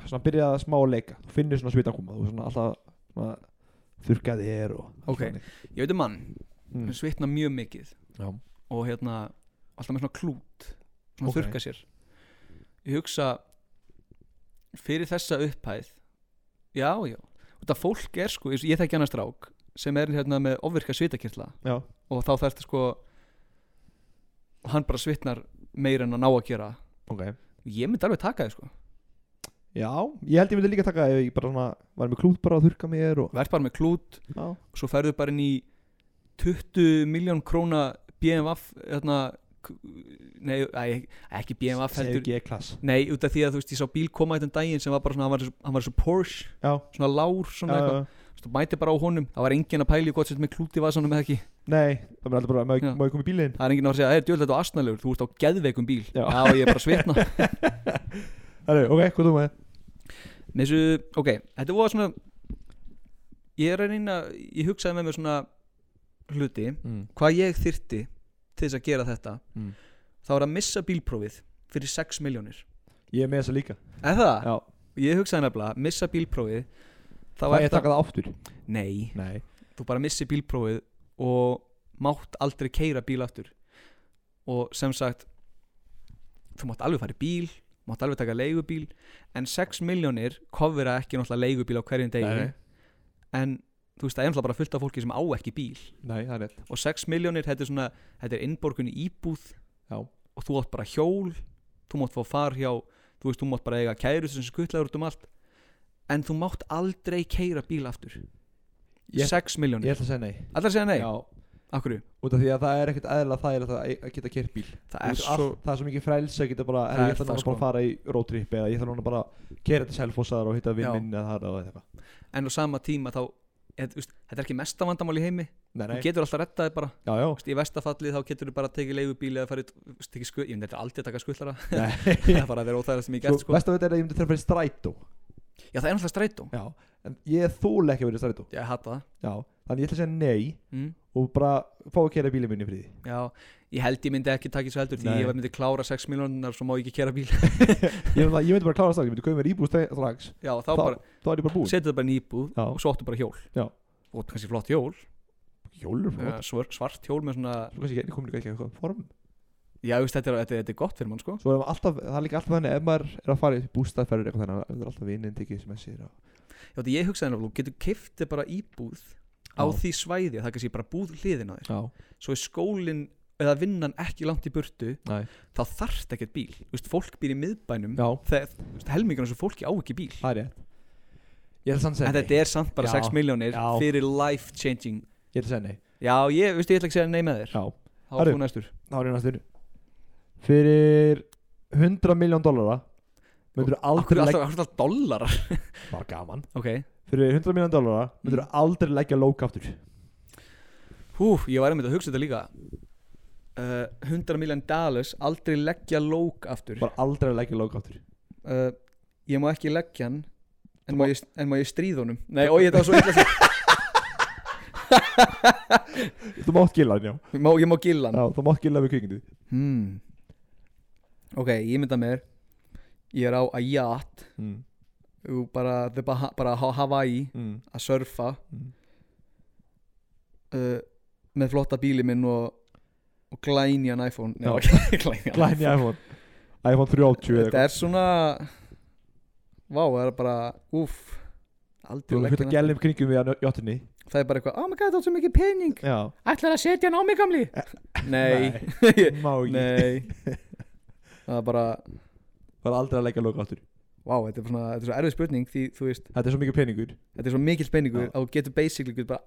Svona byrja smá að leika Þú finnir svona svita koma Þú svona alltaf svona, Þurka þér og allt
Ok.
þannig.
ég veit um mann
Mm.
hann svitna mjög mikið
Já.
og hérna, alltaf með svona klút svona
Ok.
þurka sér ég hugsa fyrir þessa upphæð já, já, þetta fólk er sko ég þekki annars drák sem er hérna með ofvirka svitakirla
Já
og þá þarfti sko og hann bara svitnar meira en að ná að gera
Ok
ég myndi alveg taka þið sko
Já Ég held ég myndi líka taka Ef ég bara svona Var með klút bara að þurka mér og
verð bara með klút
Já
og svo ferðu bara inn í 20 miljón króna BMF hérna, k- nei, æ, ekki BMF
Segðu
heldur,
G-klass
nei, út af því að þú veist ég sá bíl koma þetta um daginn sem var bara svona hann var eins og- hann var svo Porsche,
Já
svona lár svona
Já,
eitthvað,
já.
þú veist, mæti bara á honum það var enginn að pæli hvort sem með klúti var svona með ekki
Nei Það er aldrei bara Má
Já.
ég- má ég koma í bílinn
það er enginn að fara að segja, það er djöðlega þetta astnalegur þú ert á geðveikum bíl,
Já.
ég er bara að svitna
Herru, ok, hvað þú með
með þessu, ok, þetta var svona ég er að reyna ég hugsaði með mér svona hluti
mm.
hvað ég þyrti til þess að gera þetta
Mm.
þá er að missa bílprófið fyrir 6 miljónir
Ég er með þessa líka
er það?
Já
ég hugsaði nefnilega, missa bílprófið þá
Það
er
ég taka það aftur
nei,
Nei
þú bara missi bílprófið og mátt aldrei keira bíl aftur og sem sagt þú mátt alveg fara í bíl mátt alveg taka leigubíl en 6 miljónir kofira ekki náttúrulega leigubíl á hverjum degi
Nei.
en þú veist það er náttúrulega bara fullt af fólki sem á ekki bíl
Nei, það er rétt
og 6 miljónir þetta er svona þetta er innborgun í íbúð
Já.
og þú átt bara hjól þú mátt fá far hjá þú veist þú mátt bara eiga kæru sem skuttlaður út um allt en þú mátt aldrei keira bíl aftur
Ég-
6
Ég
miljónir
ætla að segja nei
allar segja nei
Já
Akkur,
út af því að það er ekkert eðla þægilegt að e- að geta kert bíl
það er
Þú veist,
svo
allt- það er svo mikið frels að geta bara,
Það
herri,
er
ég ætla
það,
núna bara að
sko.
fara í roadtrip eða ég ætla núna bara að kera til selfossaðar og hitta vinn
Já.
minn eða það og eitthvað
En á sama tíma þá eð, veist, Þetta er ekki mesta vandamál í heimi
Nei,
Þú
nei,
getur alltaf rettaði bara
já, já
veist, Í vestafallið þá getur þú bara tekið leigubíl Eða farið, veist, tekið skuð Ég myndi þetta aldrei að taka skuðlara
Nei.
Það er bara að vera óþægast sem ég
Sko,
gert sko.
Vestu að þetta er að ég myndi þarf að fara í strætó
Já það er náttúrulega strætó
Já, en ég þúl ekki að vera í strætó
Ég hata það
Já, þannig ég ætla að segja nei
mm.
og bara fá að kera bílið minni í friði
Já, ég held ég myndi ekki takið svo heldur Því
Nei.
ég myndi klára 6 miljónar Svo má ég ekki kera bíl
Ég myndi, ég myndi bara klára strax, ég myndi kaupa mér íbúð stra- strax
Já þá
Þá-
bara
Þá er ég bara búinn
setja það bara í íbúð
Já.
og svo áttu bara hjól
Já.
og kannski flott hjól,
Hjólur
eh,
flott
svör, svart hjól með svona
Svo kannski ekki- komin ekki ekki eitthvað form
já, veist, þetta, er, þetta, er, þetta er gott fyrir mann sko
Svo er maður alltaf, það er líka alltaf þannig ef maður er að fara í bústaðferður eitthvað þannig að það er alltaf vinninn tekið sem þessir
já, því ég hugsaði náttúrulega, þú getur kiftið bara íbúð á
Já.
því svæði að það er kannski bara búð hliðin á þér
Já,
svo er skólinn eða vinnan ekki langt í burtu
Nei.
þá þarft ekkert bíl, Þú veist, fólk býr í miðbænum
já,
þegar þú veist, helmingur þessu fólki á ekki bíl
það er rétt Ég ætla sanns
en
að
þetta er samt bara
Já.
6 miljónir
Já.
fyrir life changing
Ég ætla að segja nei
já, ég, veist, ég ætla ekki að segja nei með þér
Já,
þá
Herru.
er þú næstur
þá er ég næstu Fyrir 100 miljón dollara Myndur
Akkur
aldrei
er
leggja
alltaf, alltaf dollarar
Bara gaman
Ok,
Fyrir 100 miljón dollara Myndur
Mm.
aldrei leggja lók aftur
hú, ég var einmitt að hugsa þetta líka uh, 100 miljón dollars Aldrei leggja lók aftur
Bara aldrei leggja lók aftur
uh, Ég má ekki leggja hann En má ég, en má ég stríð honum Nei, og ég þetta var svo illa sér
Þú mátt gilla hann já
Ég má, ég má gilla hann
Já, þú mátt gilla við kvikindi
hmm. Ok, ég mynda mér Ég er á að ját
mm.
bara, the Baha- bara á Hawaii
mm.
Að surfa
Mm.
uh, Með flotta bíli minn og Og glænjan iPhone Nei,
Já.
ok, glænjan
Glæni iPhone iPhone 30 eða
Þetta
eitthvað
er svona Vá, það er bara, úff
Þú
Aldrei
erum
leggja
fyrir að
hann
gæla um kringum við hann jottunni
Það er bara eitthvað, oh my god, það er svo mikið pening
Já
Ætlar að setja hann á mig gamli
Eh,
Nei,
Má ekki
nei Það er bara,
Bara aldrei að leggja lók aftur
vá, þetta er svona Þetta er svo erfið spurning því, þú veist,
Þetta er svo mikið peningur
þetta er svo mikil spenningur
Já.
að þú getur basically getur bara,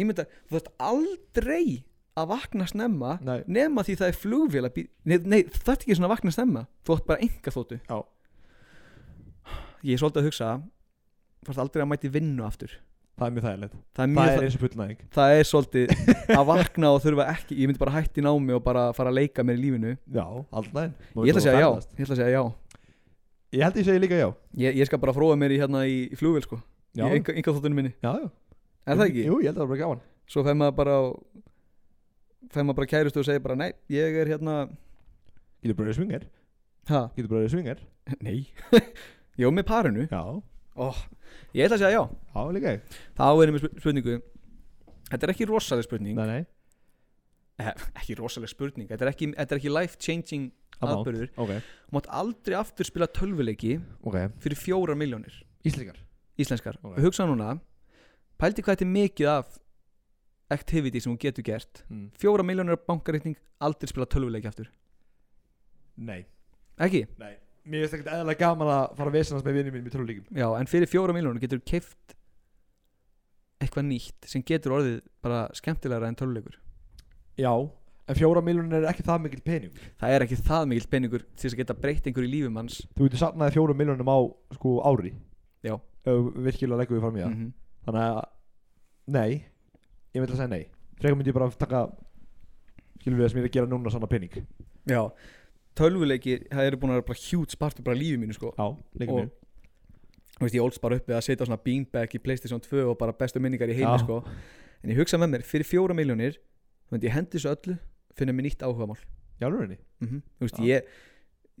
Ég mynda, þú þarft aldrei að vakna snemma
Nei
nema því það er flugvél að býr Nei, nei þú þarft ekki svona að vakna snemma Þú átt bara enga þóttu
Já.
Ég er svolítið að hugsa Þú þarft aldrei að mæti vinnu aftur
Það er mjög þægilegt
Það er mjög
Það er eins og fullnæðing
það er svolítið að vakna og þurfa ekki ég myndi bara hætti námi og bara fara að leika mér í lífinu
Já, aldrei
ég ætla að segja já ég ætla að segja já
Ég held ég segi líka já
ég, ég skal bara fróa mér í hérna í, í flugvél sko
Já,
í enga, enga þóttunum minni
já, já
er það ekki?
Jú, ég held að það var gaman
svo fær maður bara á- fær maður bara kærustu og segir bara nei ég er hérna
Getur bara verið svingar
ha
Getur bara verið svingar
nei ég er með parinu
Já
oh, ég ætla að segja já
Já, líka ég
þá erum við sp- spurningu þetta er ekki rosaleg spurning
Nei, nei
eh, ekki rosaleg spurning þetta er ekki, þetta er ekki life changing
Amount.
aðbörður
Ok
mátt aldrei aftur spila tölvuleiki
Ok
fyrir fjóra miljónir
Íslíkar
íslenskar
Ok.
okay. hugsa núna pældi hvað þetta er mikið af activity sem hún getur gert
mm.
fjóra miljónur bankarreikning aldrei spila tölvuleiki aftur
Nei
ekki,
Nei Mér finnst ekkert eðalega gaman að fara að vesenast með vinið mínum í trúlíkum
já, en fyrir fjóra miljónur getur keift eitthvað nýtt sem getur orðið bara skemmtilegra en tölvuleikur
Já En fjóra miljónir er ekki það mikil pening
það er ekki það mikill peningur til þess að geta breytt einhverju lífum hans
Þú getur satnaði fjóra miljónum á sko ári
Já.
Ef við Virkilega leggum við fram í það
Mhm.
Þannig að Nei Ég myndi að segja nei Frekar myndi ég bara taka Skilum við það sem ég er að gera núna sanna pening
já, tölvuleiki það eru búin að vera bara huge partur bara af lífi mínu sko
Já, líka
Og-
mér
þú veist, ég ólst bara uppi að setja á svona beanbag í Playstation 2 og bara bestu minningar í heimi
Já.
sko. en ég hugsa með mér, fyrir fjóra miljónir þú myndi ég hendi þessu öllu, finna mér nýtt áhugamál
Já, lúrinni
mm þú veist,
Já.
ég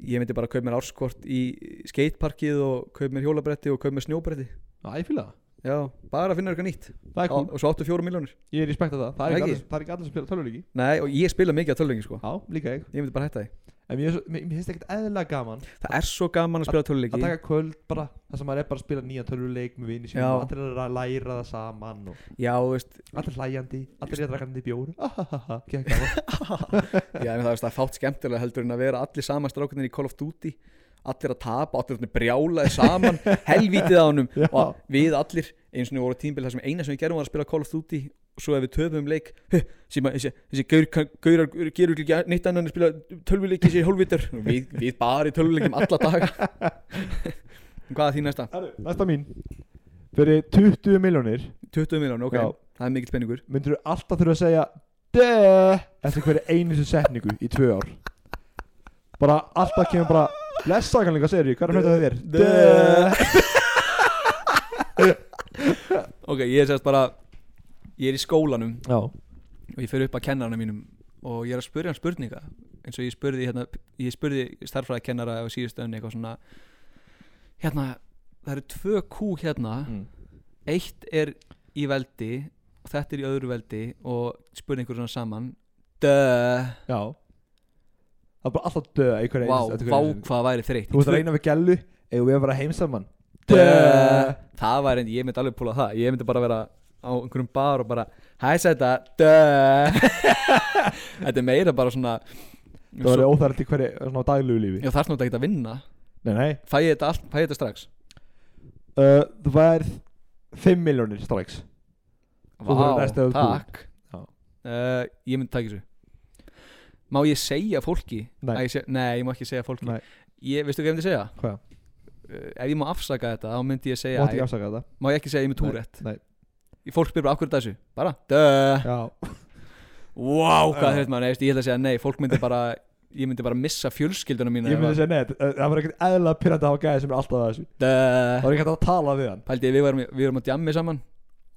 ég myndi bara kaup mér árskort í skateparkið og kaup mér hjólabretti og kaup mér snjóbretti
Já, ég fíla það
já, bara að finna eitthvað nýtt
Það er
Á,
cool
og svo áttu fjóra miljónir
Ég er í spekta það Það er
Ekki?
ekki, allir- það er ekki allir sem spila tölvuleiki
nei, og ég spila mikið á tölvöngin sko
Já, líka ég
ég myndi bara hætta því,
En mér, er svo- mér, mér finnst ekkert eðlilega gaman
það er svo gaman að spila
Að
tölvöngin
taka kvöld bara Það sem maður er bara að spila nýja tölvuleik Með vini
Já.
sínum og Allir er að læra það saman og
já, þú veist,
Allir hlæjandi Allir er að drakkandi bjóru Ahahaha Gekk gaman
já, en það, veist, það er fátt skemmtilega heldur en að vera allir saman strákunir í Call of Duty allir að tapa, allir að brjálaði saman helvítið á honum
Já.
og við allir eins og voru tímbil það sem eina sem við gerum var að spila Call of Duty og svo ef við töfum leik "Huh, sem að þessi, þessi gaur, kann- gaurar gerur ekki neitt annan en spila tölvuleiki sér hólvitar við, við bara í tölvuleikum alla daga hvað er því næsta?
Herru, Næsta mín Fyrir 20 miljónir
20 miljón, ok,
Já.
það er mikill spenningur
myndur þú alltaf þurfa að segja Döööö Eftir hverju einustu setningu í tvö ár Bara alltaf kemur bara Blessaðan líka segir ég, hvað er að frétta þér? Döööö
ok, ég er sérst bara ég er í skólanum
Já
og ég fer upp að kennarana mínum og ég er að spurja hann spurninga eins og ég spurði, hérna, ég spurði starffræði kennara á síðustu önni eitthvað svona hérna, það eru tvö kú hérna
Mm.
eitt er í veldi og þetta er í öðru veldi og spurði einhver svona saman Döööö
Já Það er bara alltaf döööö í hverju
Vá,
einustu- eftir
vá
hverju einustu setningu.
hvað væri þreytt
Þú veist að reyna við gælu Eða við erum bara heim saman
Döööö Það væri, en ég myndi alveg púla það Ég myndi bara vera á einhverjum bar og bara Hæ sæta, döööö Þetta er meira bara svona
Það verður óþært í hverju svona daglegu lífi
Já, þarf nú ekki að vinna
Nei, nei
Fæ ég þetta, allt, fæ ég þetta strax
uh, Þú værið 5 miljónir strax Þú þarf að resta þér bú.
takk
Já.
uh, Ég myndi taka þessu Má ég segja fólki?
Nei.
Að ég seg, nei, ég má ekki segja fólki
Nei.
ég, Veistu hvað ég myndi segja?
Hvað?
Uh, ef ég má afsaka þetta, þá myndi ég segja
Mátt ekki afsaka þetta
Má ég ekki segja ég með túrætt?
Nei,
Fólk spyrir bara, akkur er þetta þessu? Bara, döööö
já
Vá, hvað
Já.
þreytt maður, nei, veistu, ég held að segja nei Fólk myndi bara, ég myndi bara missa fjölskylduna mína
Ég myndi segja nei, þetta- það var ekkert eðla pyrrandi að hafa gæði sem er alltaf að þessu Það
Döööö
var ekki hægt að tala við hann
Pældi, ég, við varum, við varum á djammi saman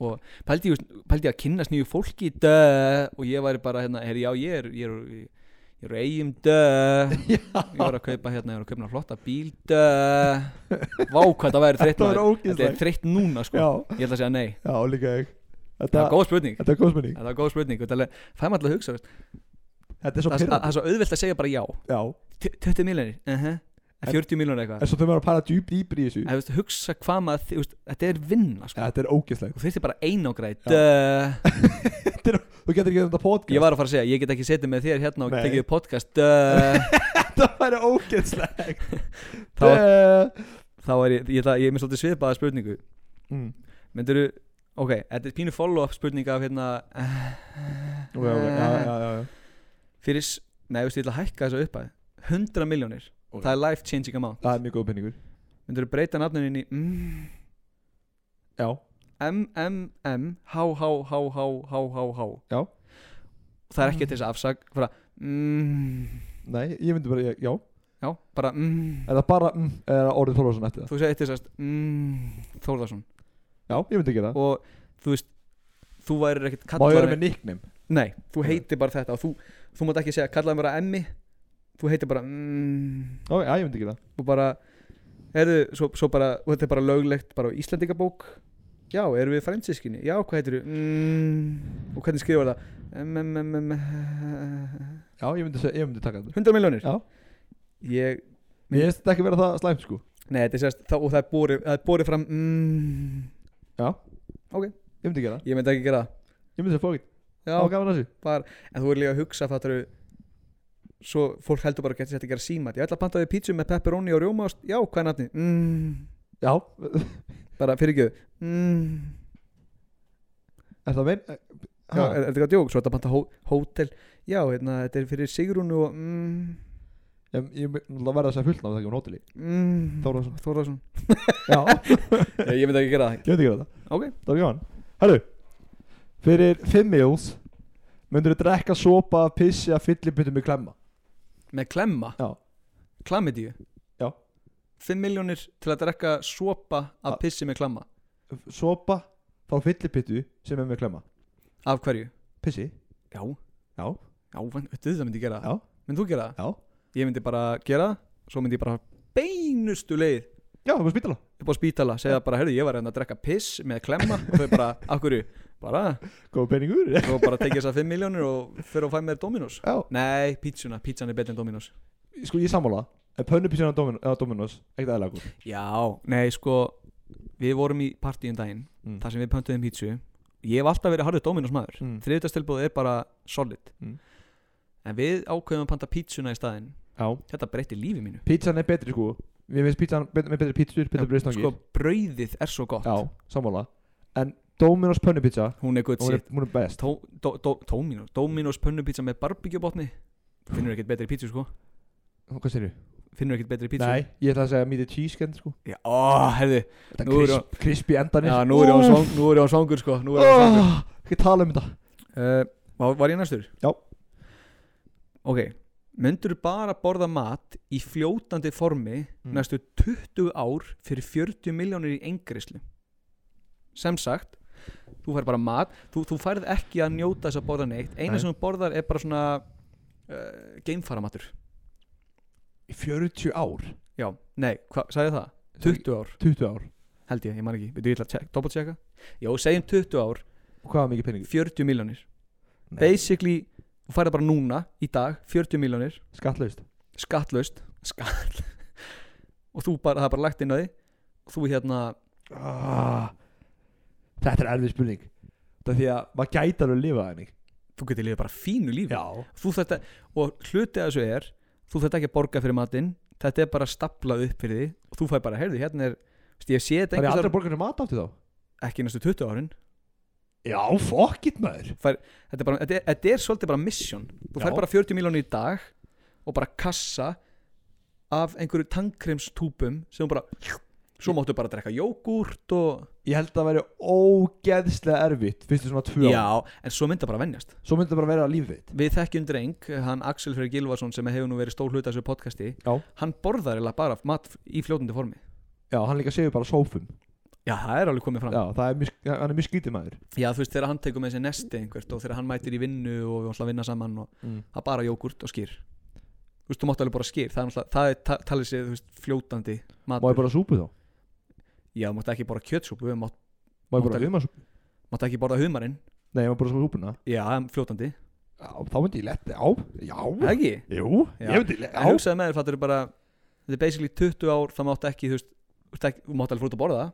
Og pældi, ég- pældi ég að kynnast nýju fólki Döööö Og ég væri bara, hérna, herri, já, ég er Ég er, ég ég er úr eigum, döööö Ég var að kaupa, hérna, ég var að kaupa flotta bíl, döööö Vá, hvað það væri þreytt
Þetta var
maður Þetta
ógeðslegt.
er þreytt núna, sko
Já,
Ég held að segja nei
já, líka ég
Það
Þetta,
er góð spurning
þetta er góð spurning
Það er góð spurning, þetta er alveg, það er maður alltaf að hugsa veist.
Þetta er svo
Það er- það
pyrrandi
er svo auðvelt að segja bara já
Já,
T- 20 miljonir uh -huh. 40 miljonir eitthvað
en svo þau maður að pæla djúpt dýpri í þessu
að, veist, hugsa hvað maður þi- veist, þetta er vinna sko.
Þetta er ógeðslegt
og þurfti bara einangræð
Já.
Duh.
Þetta er- Þú getur ekki gert þetta podcast
ég var að fara að segja, ég get ekki setið með þér hérna og
Nei.
tekið upp podcast Duh.
Þetta væri ógeðslegt Eh,
þá,
Dö.
þá er ég, ég, ætla- ég er með svolítið svipaða spurningu
Mm,
myndirðu, ok, þetta er pínu follow-up spurninga af hérna eh,
ok, ok, já, já, já, já.
fyrir, s- nei, veist, ég ætla að hækka þessu upp 100 miljonir,
Ok.
það er life changing amount
Það er mjög góð penningur
myndirðu breyta nafninu inn í mm,
Já,
M, M, M, H, H, H, H, H, H, H
Já.
Það er ekki til þess að afsak bara, mm,
nei, ég myndi bara, ég- já
já, bara, mm
Er það bara, mm, er það orðið Þorvarsson eftir það
Þú segir til þess að, mm, Þórðarsson
Já, ég myndi ekki það
Og þú veist, þú værir ekkert
Má ég
kallaður
vera með nickname?
Nei, þú heitir bara þetta og þú, þú mátt ekki segja, kallaði bara Emmi Þú heitir bara, mm,
Ó, já, ég myndi ekki það
og bara Erðu, svo, svo bara, og þetta er bara löglegt bara á Íslandingabók Já, erum við fransískinni? Já, hvað heitir þú? Mm, og hvernig skrifa það? Mm, mm, mm, mm,
Já, ég myndi, seg- ég myndi taka þetta
100 miljónir
Já.
ég,
Mér finnst þetta ekki vera það slæmt sko
nei þetta er sérst þá- og það er borið, það er borið fram mm,
Ég myndi ekki það
ég myndi ekki gera
Ég myndi segja fókitt
það
Já,
já,
gaman að þessu
bara, en þú er líka að hugsa fattar svo fólk heldur bara að geta þetta að gera símat ég ætla að panta við pítsu með pepperoni og rjómaost já, hvað er nafni? Mm,
Já,
bara fyrirgjöðu mm,
er það mein
já, er, er þetta ekki að djók? svo ætla að panta hó, hótel já, hérna, þetta er fyrir Sigrúnu og mm,
Ég, ég myndi náttúrulega verða að segja fullnafn þegar hún hóteli
mm,
Þórðarsson.
Þórðarsson.
Já,
Já, ég myndi ekki gera það
ég myndi ekki það
ok,
Það var gaman Herru Fyrir 5 meals Myndur þú drekka sopa, pissi að fylliputum í klemma
með klemma
Já.
klamidíu
Já.
5 miljónir til að drekka sopa af
Ah.
pissi með klamma
Sopa frá fylliputu sem er með klemma
af hverju?
Pissi
já,
Já
já, þetta það myndi ég gera
Já.
myndi þú gera það?
Já
ég myndi bara gera það, svo myndi ég bara beinustu leið
Já, það var spítala
upp á spítala, segja bara, heyrðu, ég var hérna að drekka piss með klemma og þau bara, af hverju? bara,
Góð peningur Já
og bara tekið þessar 5 miljónir og fyrir að fæ mér Dominos nei, pítsuna, pítsan er betri en Dominos
Sko, ég sammála En pönnupissin á Domin- á Dominos Ekkert aðlega góð
Já, nei sko Við vorum í partíum daginn
Mm.
Þar sem við pöntuðum pítsu Ég hef alltaf verið harður Dominos maður mm.
Mm.
Þriðutastilbúð er bara solid
Mm.
En við ákveðum að panta pítsuna í staðinn
Já
Þetta breytti lífi mínu
Pizzan er betri sko Við finnst pizzan bet- með betri pizzur, betri bristangir
Sko brauðið er svo gott
Já, sammála En Dominos pönnupizza
hún er good
hún, er-
shit
hún er best
Tó- dó- dó- Tómino, Dominos pönnupizza með barbegjubotni finnur ekkert betri pítsu sko
Hvað segir þú?
finnur ekkert betri pítsu
Nei, ég ætla að segja meat and cheese kennd sko
já, ó, herði,
Þetta
Nú er
krisp, krispi endanir
já, nú er ég á svang- nú er ég á svangur sko nú er ég á svangur
oh, Ekki tala um þetta
uh, var, var ég næstur?
Já.
Ok, myndur bara borða mat í fljótandi formi
Mm.
næstu 20 ár fyrir 40 miljónir í engrislu sem sagt þú fær bara mat, þú, þú færð ekki að njóta þess að borða neitt, eina
Nei.
sem þú borðar er bara svona uh, geimfaramatur
Í 40 ár
já, nei, hvað, sagði ég það? 20 ár,
20 ár
held ég, ég man ekki veitu, ég ætla að check- double checka já, segjum 20 ár,
Og hvað var mikið peningur?
40 miljónir basically, þú færð bara núna í dag, 40 miljónir
Skattlaust
skattlaust skatt og þú bara, það er bara lagt inn á því og þú hérna,
ah, Þetta er erfið spurning Það er því að maður gæti alveg að lifa þannig
þú getur lifað bara fínu lífi
Já
þú þetta, og hluti að þessu er þú þetta ekki að borga fyrir matinn þetta er bara staplað upp fyrir því og þú fæ bara, heyrðu, hérna er þú veist, ég sé þetta
Það er
einhvers
aldrei
staðar-
borgarnir mat aftur þá
ekki næstu 20 árin
Já, fuck it maður
þetta er, bara, þetta, er, þetta er svolítið bara mission þú fær
Já.
bara 40 miljónir í dag og bara kassa af einhverju tangkremstúpum sem þú bara svo máttu bara drekka jógúrt og
Ég held að það væri ógeðslega erfitt Fyrstu svona tvö ár
já, en svo mynda bara venjast
Svo myndi það bara vera lífið þitt
Við þekkjum dreng, hann Axel Freyr Gilvason sem hefur nú verið stór hluta af þessu podcasti
Já.
Hann borðar eiginlega bara mat í fljótandi formi
Já, hann líka segir bara sófum
Já, það er alveg komið fram Já,
Já, það er mjög, hann er mjög skrítið maður
þú veist, þegar hann tekur með þessi nesti einhvert og þegar hann mætir í vinnu og við ætlum að vinna saman og
mm.
það er bara jógurt og skýr Þú veist, þú mátt alveg bara skýr, það er, náttúrulega- það er ta- talið sér, þú veist, fljótandi
Má
matur
ég bara súpu þá?
Já, þú mátt ekki borða kjötsúpu, þú mátt,
Má ég bara
Mátti-
humarsúpu?
mátt ekki borða humarinn
Nei, ég má bara súpuna
Já, það er fljótandi
Já, þá myndi ég letta á Já,
Það er ekki
jú,
Já.
ég myndi letta
En
á
hugsaði með þér, fattur bara Þetta er basically 20 ár, það mátt ekki, þú veist, þú veist, ekki- þú mátt alveg fór út að borða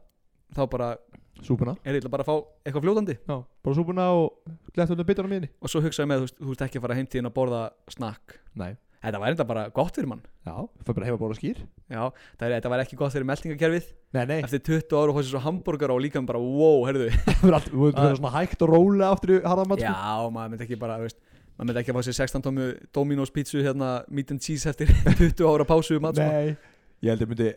þá bara
Súpuna
er ég ætla bara að fá eitthvað fljótandi
Já, bara súpuna og letta undan bitarna minni
og svo hugsaði með þú veist, þú veist ekki að fara heimtíðin að borða snakk
Nei
þetta væri enda bara gott fyrir mann
Já, það bara hefa bara skýr
já, það er, þetta væri ekki gott fyrir meltingakerfið
Nei, nei
eftir 20 ára og hósið svo hambúrgar og líka bara wow, herðu já,
Það er allt Þú veitum
Ah.
það svona hægt og rólega aftur í harðamat sko.
maður myndi ekki bara, þú veist maður myndi ekki að fá sér 16 tómu Dominos pítsu hérna meat and cheese eftir 20 ára pásu mat, sko.
Nei Ég held ég myndi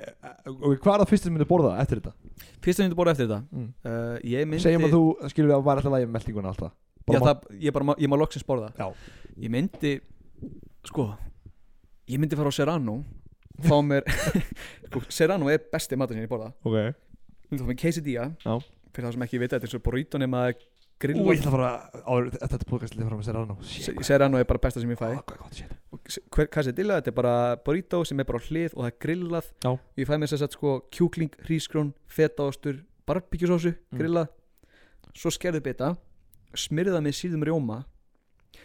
Ok, hvað er það fyrst sem myndi borða eftir þetta?
fyrst myndi borða eftir þetta
Mm.
uh, ég myndi
Segjum að þú skilur að væri alltaf lægi með meltinguna alltaf
já,
Bara
það, ég, bara, má- ég má loksins borða
Já.
ég myndi sko ég myndi fara á Serrano fá mér sko, Serrano er besti matur sem ég borða
ma- Ok
Þú fór með quesadilla
Já.
Fyrir það sem ekki vita, þetta er svo burrito nema grill
Ú, ég ætla að fara áður- Þetta podcast lifir fram að sér annað Shit, hvað-
Serrano er bara besta sem ég fæ
Ah, hvað er gott, shit.
Og s- hver- Quesadilla, þetta er bara burrito sem er bara á hlið og það er grillað
Já.
Ég fæ mér þess að sko kjúkling, hrísgrón, fetaostur, barbíkjusósu,
Mm.
grillað Svo skerðu bita, smyrða með síðum rjóma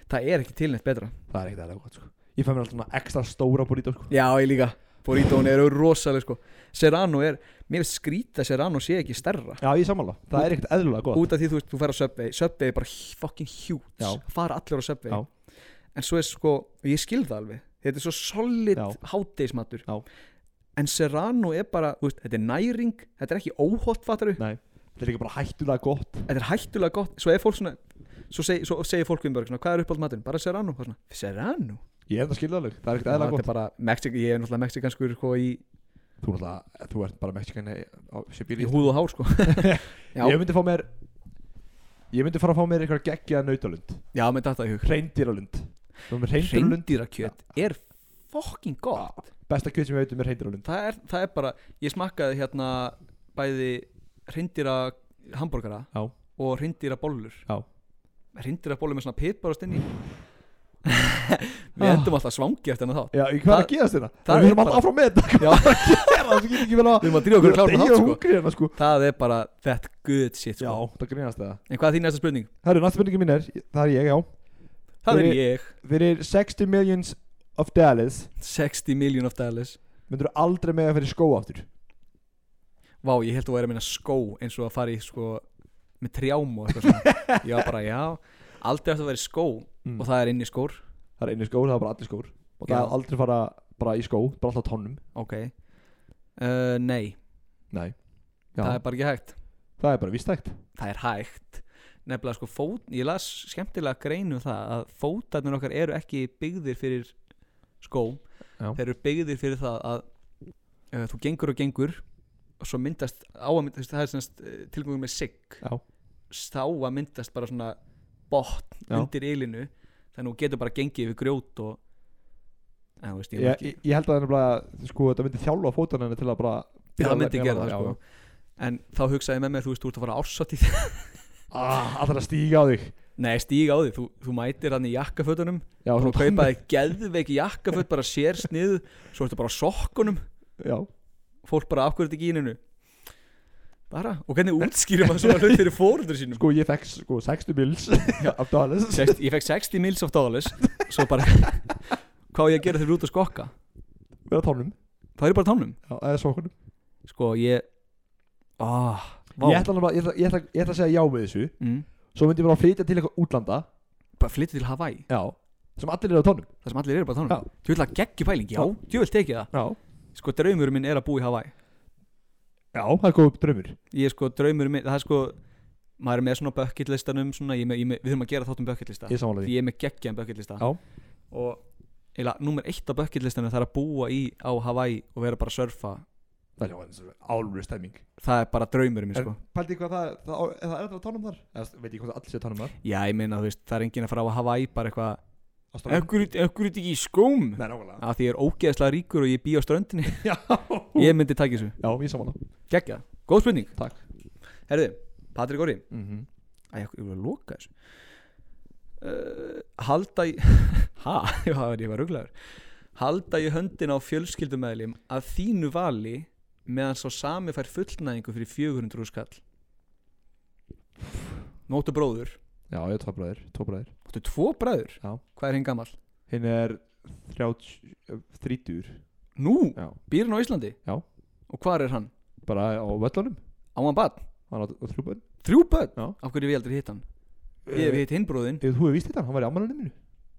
Það er ekki tilnætt betra
Það er ekkert aðeins gott sko Ég fæ mér alltaf svona ekstra stóra burrito sko
Já, ég líka Burritoin eru rosaleg sko Serrano er, mér finnst skrýta að Serrano sé ekki stærra
Já, ég sammála Það er ekkert eðlulega gott
út af því þú veist, þú fer á Subway Subway er bara h- fucking huge
Já.
fara allir á Subway
Já.
en svo er sko, og ég skil það alveg þetta er svo solid
Já.
hátegismatur
Já.
en Serrano er bara, þú veist, þetta er næring þetta er ekki óhótt fattaru
Nei Þetta er líka bara hættulega gott
þetta er hættulega gott, svo er fólk svona svo, seg, svo segir fólk um börg, svona, hvað er uppáld maturinn bara Serrano, hvað svona, Serrano
Ég er enda skilðaleg Það er
Já,
ekkert eðlulega
þetta er
gott
bara, Mexik, ég er náttúrulega mexikanskur sko, í,
Þú, er náttúrulega- þú ert bara mexikan á
í
Sibíri
húð og hár sko. já,
Ég myndi fá mér Ég myndi fara að fá mér eitthvað geggja nautalund
já, með þetta í hug
Hreindýralund Þú með hreindýralund
hreindýrakjöt er fucking gott
Besta kjöt sem ég veit um er hreindýralund
það er, það er bara, ég smakkaði hérna bæði hreindýra hambúrgara
Já.
og hreindýra bollur
Já.
hreindýra bollur með svona pipar á stinni við endum alltaf svangi eftir hennar þátt
Já, í hvað er
Það-
að geðast þetta?
það
Við
er
erum alltaf
bara-
áfram með þetta
Já.
Hvað er að gera? Það getur ekki vel að
við erum að drífa okkur að klára
Ég
þennan
er
þátt sko.
hungri hérna sko
það er bara that good shit
Já,
sko.
það grínast það
en hvað er þín næsta spurning?
Herru, næsta spurningi mín er Það er ég, já
það er
Fyrir-
ég,
Fyrir 60 millions of dollars
60 million of dollars
myndur þú aldrei með að fyrir skó aftur
vá, ég held að vera að minna skó eins og að fara í sko með trjám og eitthvað svona já, bara já, aldrei eftir að vera í skó
Mm.
og það er inn í skór
það er einu skór, það er bara allir skór og það
Já.
er aldrei fara bara í skó, bara alltaf á tónnum
ok, uh, nei
nei, Já.
það er bara ekki hægt
það, það er bara vístækt
það er hægt nefnilega sko fót, ég las skemmtilega greinu það að fótarnir okkar eru ekki byggðir fyrir skó
Já.
þeir eru byggðir fyrir það að uh, þú gengur og gengur og svo myndast á að myndast það er semst tilgöngum með sigg
Já.
þá að myndast bara svona botn
Já.
undir ylinu þannig að þú getur bara gengið yfir grjót og en, þú veist, ég,
ég,
ég,
ég, ég held að það er bara sko, þetta myndi þjálfa fótanina til að bara
ég,
byrja
það myndi
að-
gera það
já,
sko
já.
en þá hugsaði ég með mér þú veist þú ert að fara ársat í
ah, allra stíga á þig
Nei, stíga á því, þú, þú mætir hann í jakkafötunum
já,
og þú
svona-
kaupaði geðveik jakkaföt bara sér snið, svo ertu bara á sokkunum
já,
fólk bara af hverju þetta ekki í gíninu bara, og hvernig útskýrum að svona hlut fyrir fórundur sínum
sko ég fekk sko 60 mils af Dallas
Sest, ég fekk 60 mils of dollars svo bara, hvað á ég að gera þegar þú ert út að skokka
vera tónum,
það er bara tánum,
já, eða sókunum
sko ég ah, vá.
ég ætla, nefnilega- ég, ætla, ég, ætla, ég ætla að segja já með þessu
mm,
svo myndi ég bara flytja til eitthvað útlanda
bara flyttu til Hawaii,
já, sem allir eru á tónum
það sem allir eru bara
Já.
tánum þú vil að geggju pæling, já,
Já.
þú vil tekið það
já,
sko draumurum minn er að búa í Hawaii
já það er góð draumur
ég er sko draumur minn, það er sko maður er með svona bucket listanum svona, ég er með, ég er með, við þurfum að gera þáttum bucket lista
ég samanlega
því
því
ég er með geggjaðan bucket lista
Já.
og eila, númer eitt á bucket listanum það er að búa í á Hawaii og vera bara að surfa
það er já, álur stemming
það er bara draumur minn
En
sko
pældi hvað það, það, það, það er allir á tónum þar eða veit ég hvað það allir séu á tónum þar
já ég meina þú veist, það er enginn að fara á Hawaii bara eitthvað
á ströndum.
ekkur er þetta ekki í skóm
Nei, nákvæmlega.
að því ég er ógeðslega ríkur og ég bý á ströndinni
Ah. Já.
ég myndi taka þessu,
já, ég samanlega
geggjað, góð spurning
Takk.
herðu, Patrik Orri
mm -hmm.
Æ, ég ég var að loka þessu uh, Halda í Ha, ég var, ég var rugglaður Halda í höndin á fjölskyldumeðlim að þínu vali meðan sá sami fær fullnæðingu fyrir 400 skall Nóttu bróður
já, ég er tvo bræðir, tvo bræðir.
Nóttu tvo bræður
Já.
Hvað er hinn gamall?
hinn er 30 eh, 30
Nú,
já,
býr hann á Íslandi?
Já.
Og hvar er hann?
bara á völlunum
Á hann barn?
hann á, á þrjú börn
Þrjú börn?
Já. Eh.
Af hverju hef ég aldrei hitt hann? Ég hef hitt hinn bróðinn
Ef þú hefur vist þetta, hann var í ammælunum mínu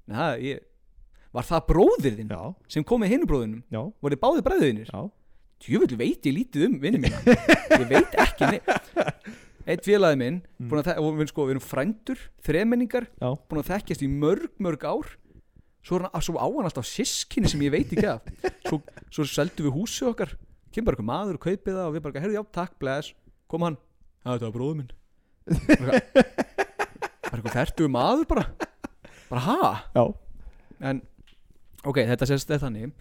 Nei, það- ég... Var það bróðir þinn
Já,
sem kom með hinn bróðinum?
já,
Voru báði bræðinir?
já
djúvill veit ég lítið um vinni mína ég veit ekki neitt eitt félagi minn
Mm.
búinn að þe- og við, erum sko, við erum frændur, þremenningar
Já.
búin að þekkjast í mörg, mörg ár svo, er hann, svo á hann alltaf sískinni sem ég veit ekki af svo, svo seldu við húsið okkar kemur bara eitthvað maður og kaupið það og við bara, herðu já, takk, bless kom hann, "Já, þetta var bróður minn bara bara eitthvað ferdu maður bara bara ha
Já,
en ok, þetta sést þetta þannig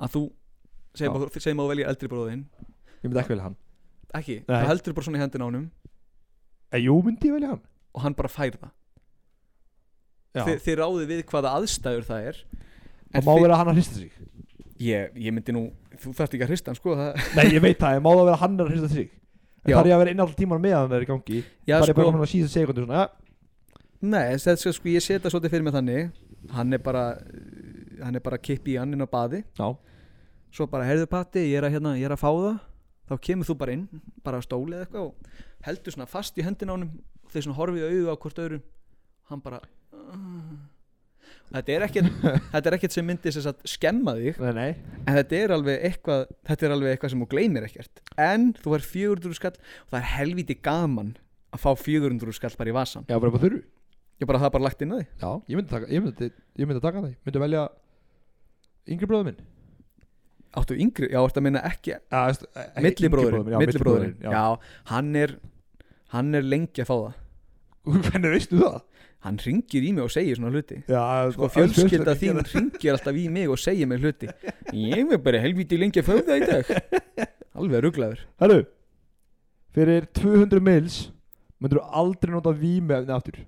að þú
Já.
segjum að, þú- segjum að þú velja eldri bróðin
ég myndi ekki velja hann
ekki,
Nei.
það heldur bara svona í hendin á honum
En Eh, jú, myndi ég velja hann
og hann bara fær það
Já,
Þi, þið ráðið við hvaða aðstæður það er
það má
þið-
vera hann að hrista sig
ég, ég myndi nú, þú þarft ekki að hrista hann sko það,
Nei, ég veit það, en má það vera hann að hrista sig En
Já.
þar ég að vera inn alltaf tíman með hann er í gangi
já
Það er
sko,
bara hann að síðan segja hvernig svona "Ah, Já,
nei, þess, sko ég setja svolítið fyrir mig þannig hann er bara uh, hann er bara að kippa í hann inn á baði
já,
svo bara, heyrðu patti, ég er að hérna, ég er að fá það þá kemur þú bara inn, bara á stóli eða eitthvað og heldur svona fast í hendin á honum og þeir svona horfið auðu á hvort öðru hann bara þetta er ekkert, þetta er ekkert sem myndi sem sagt, skemma þig
nei, nei
En þetta er alveg eitthvað Þetta er alveg eitthvað sem þú gleymir ekkert En þú er 400 skall Og það er helviti gaman að fá 400 skall bara í vasan
Já, bara upp á þurru
Ég bara það er bara lagt inn að því
Já, ég myndi taka, ég myndi, ég myndi taka það Ég myndi velja yngri bróður minn
Áttu yngri, já, eh, ertu að minna ekki Millibróðurinn,
Millibróðurinn
millibróðurinn já. hann er Hann er lengi að fá það
Hvernig veistu það?
Hann ringir í mig og segir svona hluti
Já,
Sko fjölskylda þín ringir alltaf í mig og segir mig hluti Ég er bara helviti lengi að fá það í dag Alveg rugglaður
Herru, fyrir 200 mils myndur þú aldrei nota vímefni aftur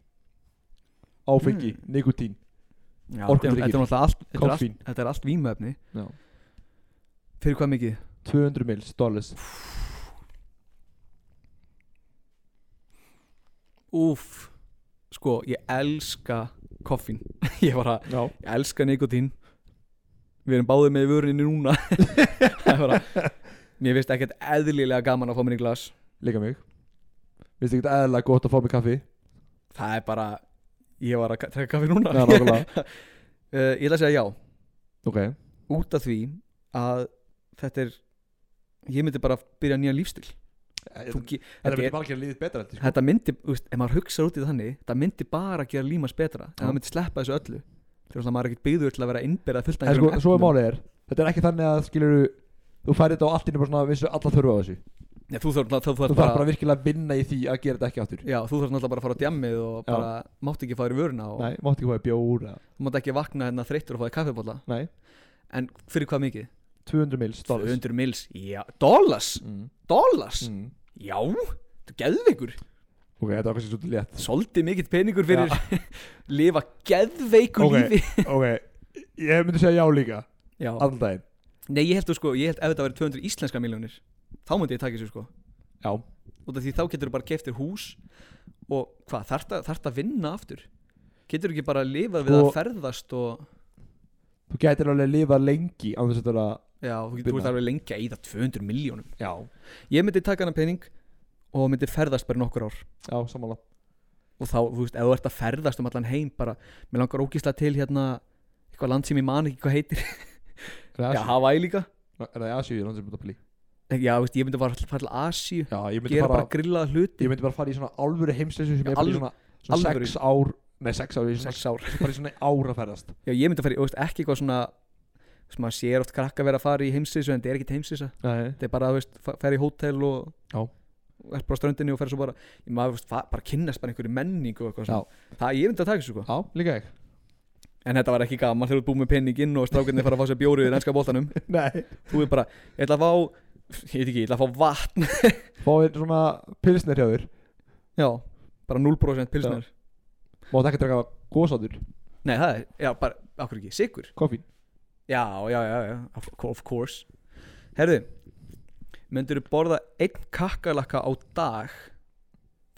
Áfengi,
Mm.
nikotín
Já, Þetta er
Orkudrykkir.
náttúrulega allt, þetta er
Koffín.
allt, þetta er allt vímöfni
Já.
Fyrir hvað mikið?
200 mils, dollars
Úf Sko, ég elska koffín Ég bara,
Já,
ég elska nikotín Við erum báðið með vörinni núna Það er bara Mér finnst ekkert eðlilega gaman að fá mér í glas
líka mig Vistu ekki eðlilega gott að fá mig kaffi
Það er bara Ég var að ka- taka kaffi núna
Já, nákvæmlega.
Eh, Ég ætla að segja já
Ok,
Út af því að þetta er Ég myndi bara byrja nýjan lífstil Þú ge- þetta,
Þetta myndi
er,
bara gera liðið betra þetta, sko.
þetta myndi, þú veist, ef maður hugsa út í það þannig það myndi bara gera límas betra en það myndi sleppa þessu öllu þegar svona maður er ekkert byggður til að vera innbyrða fullt af
En sko,
einhverjum
svo er
efnum.
málið er Þetta er ekki þannig að skilur Þú færi þetta á allt inni bara svona Vissu alla þörfu á þessu
Já, þú þarf náttúrulega
Þú
þú
þarf
þarf bara,
bara virkilega að vinna í því að gera þetta ekki áttur
já, þú þarf náttúrulega bara að fara á djammið og
Já.
bara mátt ekki fara í vöruna og
Nei, mátti ekki fæði bjór eða-
þú mátt ekki vakna hérna þreyttur og fáið kaffibólla
Nei,
en fyrir hvað mikið?
200 mils dollars
200 mils, já, dollars
mm.
dollars,
Mm.
já þú geðveikur,
Ok, þetta var kannski svolítið létt
soldi mikill peningur fyrir lifa geðveiku
Ok.
lífi
Ok, ég myndi segja já líka
já.
Allan daginn
nei, ég held þú sko, ég held ef þetta verið 200 íslenska miljónir þá myndi ég taka þessu sko
Já,
út af því þá getur þú bara keftir hús og hvað, þarf það að vinna aftur getur þú ekki bara lifað við að
Sko-
ferðast og
þú gætir alveg að lifa lengi Án þess að þetta
já, þú
Vinna.
getur þú alveg lengi að eyða 200 miljónum
Já,
ég myndi taka hana pening og myndi ferðast bara í nokkur ár
já, samanlega
og þá, þú veist, ef þú ert að ferðast um allan heim bara, mér langar ógísla til hérna eitthvað land sem ég man ekki hvað heitir já, Hawaii líka
Er það í Asíu, landsins myndi að pli
já, þú veist, ég myndi bara fara til Asíu
Já, ég myndi
gera
bara,
bara grillaða hluti
ég myndi bara fara í svona alvöru heimsleisu sem
Já,
ég er bara í
alv-
svona, svona
alvöru.
sex ár Nei, sex ár, ég er svona,
sex ár
bara í svona ára ferðast
já, ég myndi að fara í, þú veist, ekki eitthvað svona þú veist, maður sér oft krakka vera að fara í heimsísu en þetta er ekki heimsísa
Nei,
þetta er bara, þú veist, fa- fer í hótel og
Já.
og er bara á ströndinni og fer svo bara ég maður, þú veist, fa- bara kynnast bara einhverju menningu og eitthvað
Já.
svona það, ég myndi að taka þessu, sko
já, líka ég
en þetta var ekki gaman þegar þú ert búið með penninginn og strákarnir fara að fá sér bjórið í ennska bóltanum
Nei
þú er bara, ég ætla að fá ég veit ekki, ég ætla að fá vatn
Fáir svona pilsnir hjá þér
já, bara 0% pilsnir
Máttu ekki draka góðsátur,
nei, það er, já, bara, okkur ekki, sigur
koffín
já, já, já, já, of, of course herðu myndirðu borða einn kakkalakka á dag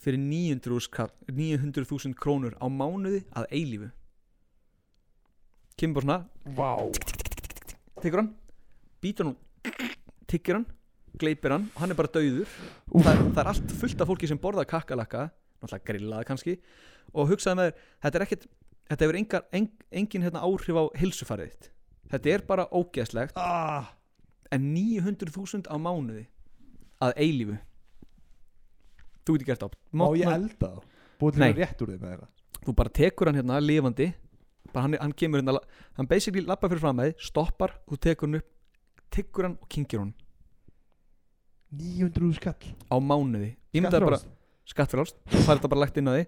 fyrir 900.000 kall- 900.000 krónur á mánuði að eilífu kemur bara svona
Vá
tekur hann, býtur hann tikkir hann, gleipir hann og hann er bara dauður
Úff.
það, það er allt fullt af fólki sem borða kakkalakka náttúrulega grillaða kannski og hugsaði með þér, þetta er ekkert þetta hefur engar, en, engin hérna, áhrif á hilsufarið þitt þetta er bara ógeðslegt
ah,
en 900.000 á mánuði að eilífu þú getur gert á
Má ég
Mótna-
elda þá? Búið til
Nei.
að rétt úr þeim eða eitthvað
þú bara tekur hann hérna lifandi bara hann, hann kemur hérna hann basically lappa fyrir fram að þið, stoppar þú tekur hann upp, tekur hann og kingir hann
900 skall
á mánuði Ímyndaðu bara- skattfrálst þú fær þetta bara lægt inn að því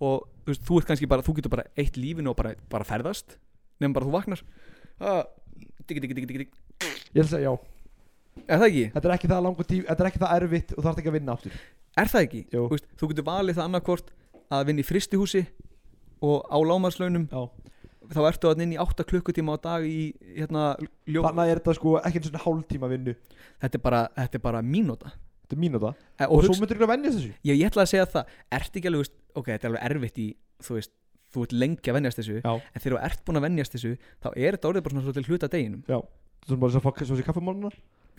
og þú, veist, þú, ert kannski bara, þú getur bara eitt lífinu og bara, bara ferðast nefnum bara þú vaknar Ah, digg, digg, digg, digg, digg.
Ég ætla að segja já
er það ekki?
Þetta er ekki það langur tíf Þetta er ekki það erfitt og þú þarf ekki að vinna aftur
Er það ekki?
Jú.
Þú veist, þú getur valið það annarkvort að vinna í fristihúsi og á lámarslaunum
Já
þá ertu að inn í 8 klukkutíma á dag í hérna ljó...
Þannig er þetta sko ekki eins og hálftíma vinnu Þetta
þetta, er bara, þetta er bara mínúta
er mínúta
Eh,
Og
og
svo
hugst,
myndir þú að venja þessu
ég, ég ætla að segja það ertu ekki alveg, þú veist, ok, þetta er alveg erfitt í þú veist, þú ert lengi að venjast þessu
Já
en þegar þú ert búin að venjast þessu þá er þetta orðið bara svona svolítið hluti af deginum
Já Svo bara þess að fá svo þessi kaffemáluna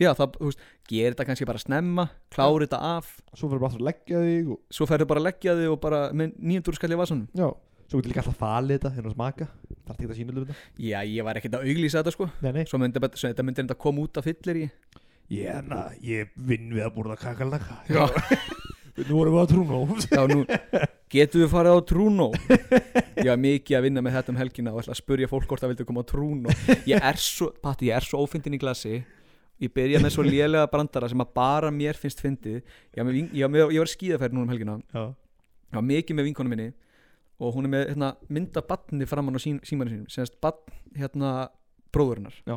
Já, það, þú veist, gerir þetta kannski bara snemma klárir þetta af,
Svo fyrir bara aftur að leggja þig og,
svo ferðu bara að leggja þig og bara með 900 skall í vasanum
Já Svo getur líka alltaf falið þetta hérna að smaka Það er ekki þetta sínilega þetta
Já, ég var ekkert að auglýsa þetta sko
Nei, nei
Svo myndi, bara- svo þetta myndir þetta koma út af fyllir í
Ég, na, ég vinn við að borða kakalaka Já Nú erum við að trúna á
Já, nú, getum við farið á Trúnó? Ég var mikið að vinna með þetta um helgina og ætla að spurja fólk hvort það vildu koma á Trúnó Ég er svo, patti, ég er svo ófindin í glasi Ég byrja með svo lélega brandara sem að bara mér finnst fyndið Ég var, með vin- ég var, með- ég var skíðaferð núna um helgina
Já
ég var mikið með vinkonu minni og hún er með hérna, mynda batni framann á sín, símanni sínum semast batn hérna bróðurinnar
Já.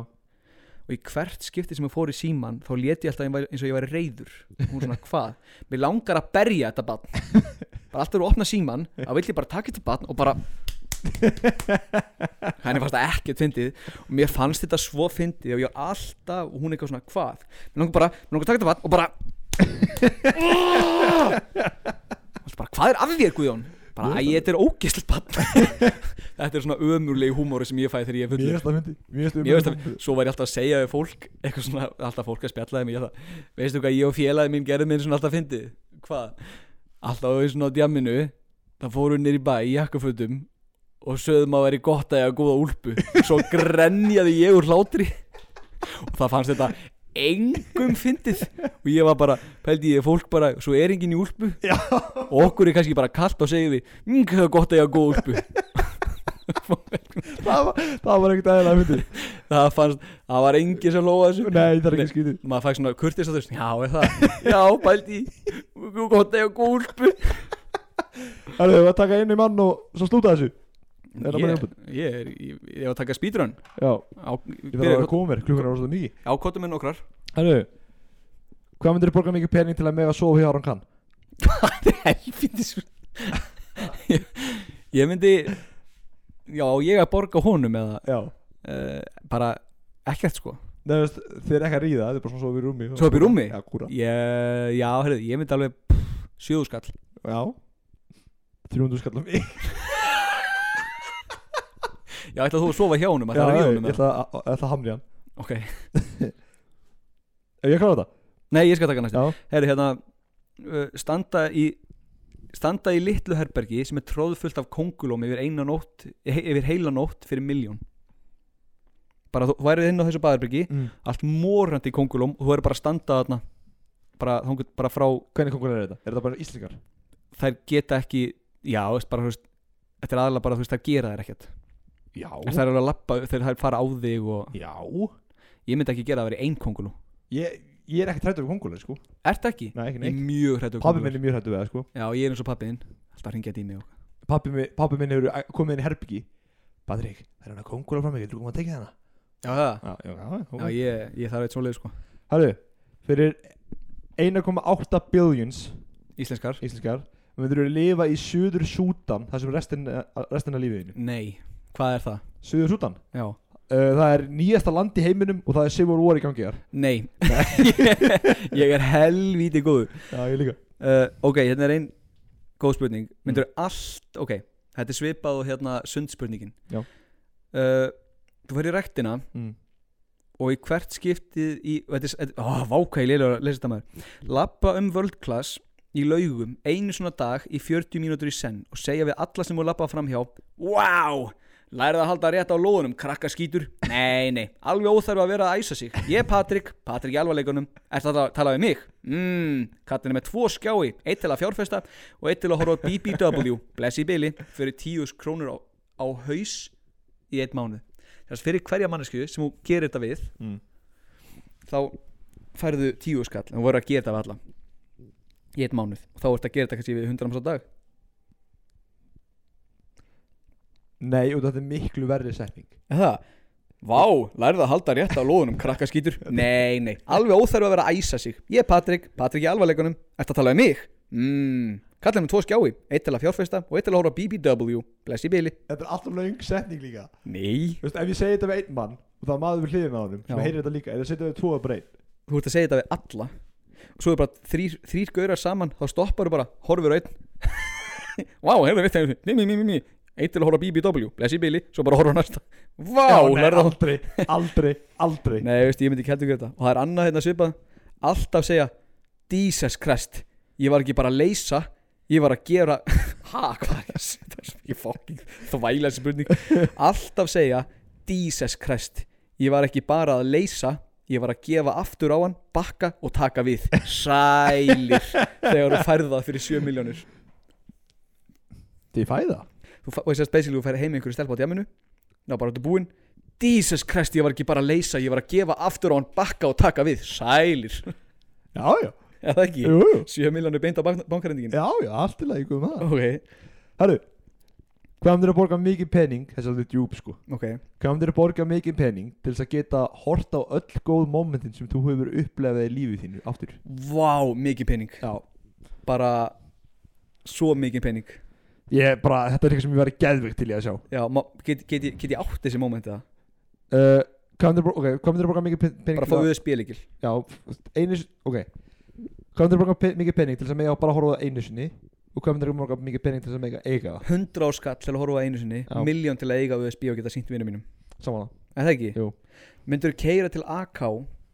og í hvert skipti sem ég fór í síman þá leti ég alltaf ein- eins og ég væri reyður og hún svona hvað, mér langar að berja þetta batn bara alltaf þú opna síman þá vill ég bara taka þetta batn og bara henni fannst það ekkert fyndið og mér fannst þetta svo fyndið og ég var alltaf, og hún eitthvað svona hvað mér langar bara, mér langar að taka þetta batn og bara Og svo bara, hvað er af þér Guðjón? Bara, æ, þetta er ógeðslega bann Þetta er svona ömurlegi húmóri sem ég fæ þegar ég er
Mér
fullur
finnst það myndi Mér finnst
Mér veist
það
að, svo var ég alltaf að segja við fólk eitthvað svona, alltaf fólk að spjallaði mig ég það, veistu hvað ég og félagi mín gerði minn svona alltaf fyndið, hvað alltaf við svona á djamminu það fóru nýr í bæ í jakkafötum og sögðum að vera í gott að ég að góða úlpu svo grenjaði ég úr hlátri og það fannst þetta engum fyndið og ég var bara, pældi ég fólk bara svo er enginn í úlpu
Já.
og okkur er kannski bara kallt og segir við mmm, það er gott að ég hafa góð úlpu
það var, það var ekkert aðeins að myndi
það fannst, það var enginn sem lóða þessu
Nei, það er ekki skýtið
maður fæk svona kurtis að þessu, já, er það já, pældi, það er gott að ég hafa góð úlpu
Það er að taka einu mann og svo slúta þessu Er það bara í
ég,
úlpunni?
ég er, ég, ég var að taka speedrun
Já,
á,
ég þarf að vera
byrja-
að koma mér, klukkan er orðið ný
á kottum með nokkrar
Hæru, hvað myndir borga mikið pening til að mega sofa hjá Aron Kahn?
helvítis ég, ég myndi já á ég að borga honum eða
Já
uh, bara ekkert sko
Nei, þú veist, þið er ekki að ríða, þið er bara svona sofa í rúmi
Sofa í rúmi?
Já, kúra
ég, já heyrðu, ég myndi alveg pff, sjöðuskall
Já 300 skall á mig
já ætla þú að sofa hjá honum
Já,
ætla að ríða
ég
honum
ég
eða?
ætla að- að það hamri hann
ok,
Ef ég klára þetta?
nei ég skal taka næstu
Já
herru hérna uh, standa í standa í litlu herbergi sem er tróðfullt af kongulóm yfir eina nótt he, yfir heila nótt fyrir miljón bara þú værið inn á þessu baðherbergi
mm.
allt morandi í kongulóm og þú er bara að standa þarna bara, þangur, bara frá,
Hvernig kongur er þetta? Er þetta bara íslingar?
þær geta ekki já, þú veist, bara, þú veist, þetta er aðalega bara þú veist, þær gera þær ekkert
Já
en þær eru alveg að lappa, þegar þær fara á þig og
Já
ég myndi ekki gera það verið ein kongulú
Ég, ég er ekki trættur við kongulum, sko
ert ekki?
Nei, ekki
ég er
neitt
mjög hrættu
Pabbi minn er mjög hættu við það, sko
já, ég er eins og pabbiðinn, alltaf hringja í mig og...
Pabbi minn, pabbi minn hefur eh, komið inn í herbyggi Patrik, það er hann að kongula frá mig, getur þú komið að tekið hana?
já, það,
Já, já, já, ok.
já, ég, ég þarf eitt svoleið sko
Herru, fyrir 1,8 billions
íslenskar,
íslenskar myndur þú lifa í Suður Súdan þar sem restin, eh, restin af lífiðinu
nei, hvað er það?
Suður Súdan,
já,
uh, það er nýjasta land í heiminum og það er Civil War í gangi þar
nei ég er helvíti góður
Já, ég líka
uh, Ok, hérna er ein góð spurning Myndur allt, ok Þetta er svipað og hérna sundspurningin
Já.
uh, Þú fyrir ræktina
mm.
og í hvert skiptið í og Þetta er, ó, vákæði lélega að lesa þetta maður Lappa um world class í laugum einu svona dag í 40 mínútur í senn og segja við alla sem voru lappað framhjá Wow! Lærið að halda rétt á lóðunum, krakka skítur Nei, nei, alveg óþarf að vera að æsa sig Ég er Patrik, Patrik í alvarleikunum Er þetta að tala við mig? Mmm, kattin er með tvo skjái Eitt til að fjárfesta og eitt til að horfa á BBW Bless í byli, fyrir tíus krónur á, á haus í eitt mánu Þess fyrir hverja mannesku sem hún gerir þetta við
Mm.
Þá færðu tíu skall Hún voru að gera þetta við alla Í eitt mánuð, þá ertu að gera þetta kannski við 100 á dag
Nei, og þetta er miklu verri setning
Það? Vá, lærðu að halda rétt á lóðunum, krakka skýtur Nei, nei, alveg óþarf að vera að æsa sig Ég er Patrik, Patrik í alvarleikunum Ertu að tala um mig? Mmm, kallar með tvo skjái Eitt til að fjárfesta og eitt til að horfa á BBW Bless í byli
Þetta er alltaf löng setning líka
Nei
Þú veist, ef ég segi þetta við einn mann og það er maður við hliðin á honum sem
Já.
heyrir þetta líka, eða setja við tvo að breyt
Þú ert að segja þetta við alla Og svo er bara þrýr, þrýr gaurar saman Þá stopparðu bara, horfur á einn Vá, heyrðu við þegar Nei, nei, nei, nei, nei Eitt til að horfa á BBW, bless í byli Svo bara horfa á næsta Vá, lærðu að
aldrei, aldrei, aldrei
Nei, veist, ég myndi ekki heldur gera þetta Og það er annað hérna svipað Alltaf segja Jesus Christ Ég var ekki bara að leysa Ég var að gera Ha, hvað er þessi- þetta? er svo mikið fucking Þvæla þessi spurning Alltaf segja Jesus Christ Ég var ekki bara að leysa Ég var að gefa aftur á hann Bakka og taka við Sælir Þegar þú færðu það fyrir 7 miljónir
Þið fæða
Þú fa- og þess að basically þú færði heim einhverju stelpa á djaminu Ná bara áttu búinn Jesus Christ, ég var ekki bara að leysa Ég var að gefa aftur á hann bakka og taka við Sælir
Já, já,
Er það ekki?
jú, jú
7 miljónir beint á bank bankarendingin
Já, já, allt í lagi, guðum það
Ok,
Herru, hvað myndir að borga mikið pening Þess að þetta er djúb sko
ok
Hvað myndir að borga mikið pening Til þess að geta hort á öll góð momentin Sem þú hefur upplegaði í lífið þínu aftur
Vá, mikið pening Já Bara Svo mikið pening
Ég bara, þetta er eitthvað sem ég verið geðvegt til ég að sjá
Já, ma, get, get, ég- get ég átt þessi mómenti það?
uh, Hvað myndir að borga, okay, hvað myndirðu að borga mikið pen- pening
Bara
til
fáið þau spilíkil
að, Já, einu sinni, ok Hvað myndir að borga pe mikið pening Til þess að mega bara horfa á það einu sinni Og hvað myndir að borga mikið pening til þess að mega eiga
100 áskall til að horfa á einu sinni
Já.
Miljón til að eiga á USB og geta sínt vinnum mínum
það Saman
Er það ekki?
Jú.
Myndur keira til AK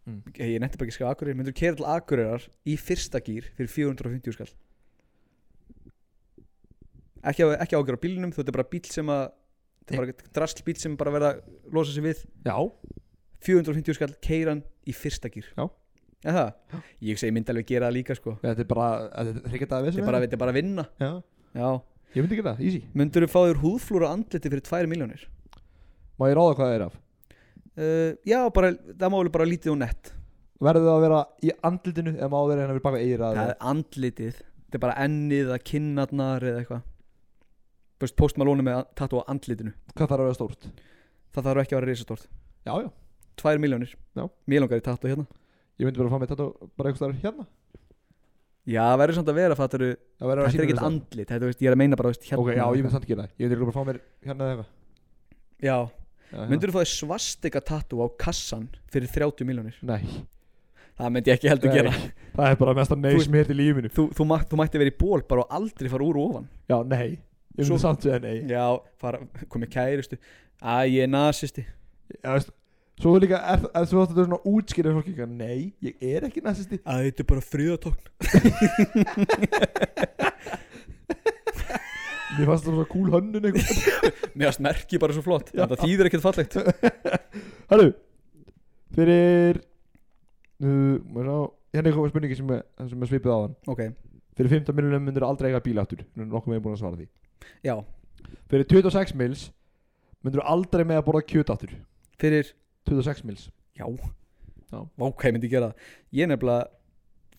Mm.
Ég nefndi bara ekki að skrifa Akureyri Myndur keira til Akureyrar í fyrsta gýr fyrir 450 skall Ekki, á- ekki ágjör á bílnum Þú þetta er bara bíl sem að Þetta er bara drastl bíl sem bara verða að losa sig við
Já
450 skall keiran í fyrsta gýr
Já.
Er það? Ég segi myndi alveg gera það líka sko
Þetta er bara, þetta er þryggja dagar
Þetta er bara, þetta er bara að vinna
Já,
Já
ég myndi ekki það, easy
Myndur þú fá þér húðflúra andliti fyrir 2 miljónir?
Má ég ráða hvað það er af?
Uh, já, bara, það má alveg bara lítið og nett
Verður það að vera í andlitinu eða má það vera hérna við baka eigir að
Það er andlitið Þetta er bara ennið eða kinnarnar eða eitthvað Þú veist, postmalónu með tattu á andlitinu
Hvað þarf að vera stórt?
Það þarf ekki að vera risastort
Já, já,
2 miljónir
Já.
Mér langar í tattu hérna
ég myndi bara að fá mig þetta bara eitthvað starf hérna
Já, verður samt að vera fattaru
Það verður
Þetta er
að sýna
ekkert
þetta.
andlit Þetta, þú veist, ég er að meina bara, þú veist, hérna
Ok, já, ég myndi samt ekki það Ég myndi bara að fá mér hérna eða eitthvað
Já,
Já, já.
myndur þú fá þér svastika tattu á kassan fyrir 30 miljónir?
Nei,
Það myndi ég ekki heldur
Nei.
gera
það er bara mesta nei
Þú-
sem heitir lífinu
þú, þú, mætt, þú mætti verið í ból bara og aldrei fara úr og ofan
Já, nei, ég myndi
Svo-
samt segja nei
Já, fara, komið kæristu Æ, ég er nasisti
Já, veist Svo líka, ef ef þú ætti að svona útskýra fólki eitthvað, Nei, ég er ekki næsisti
Æ, þetta er bara friðatókn
Mér fannst það svona cool hönnun eitthvað
Mér varst merki bara svo flott Þetta þýðir ekkert fallegt
Herru, fyrir uh, maður sá, Hérna er komið spurningi sem, er- sem er svipið á hann
Ok,
Fyrir 15 miljonum myndir aldrei eiga bíl aftur Nú er nokkuð meginn búin að svara því
já,
Fyrir 26 mils myndir aldrei með að borða kjöt aftur
fyrir
26 mils
Já,
Já.
ok, myndi ég gera það Ég er nefnilega,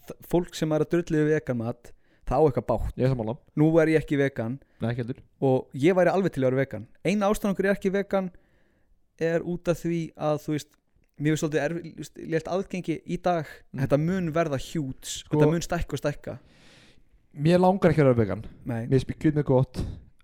þ- fólk sem er að drullu við veganmat Það á eitthvað bátt
Ég er sammála
Nú er ég ekki vegan
Nei, ekki heldur
og ég væri alveg til að vera vegan eina ástæðan okkur er ekki vegan er út af því að þú veist mér finnst svolítið erfitt létt aðgengi í dag
Mm. Sko-
þetta mun verða hjút þetta mun stækka og stækka
Mér langar ekki að vera vegan
nei,
Mér spyr kjöt með gott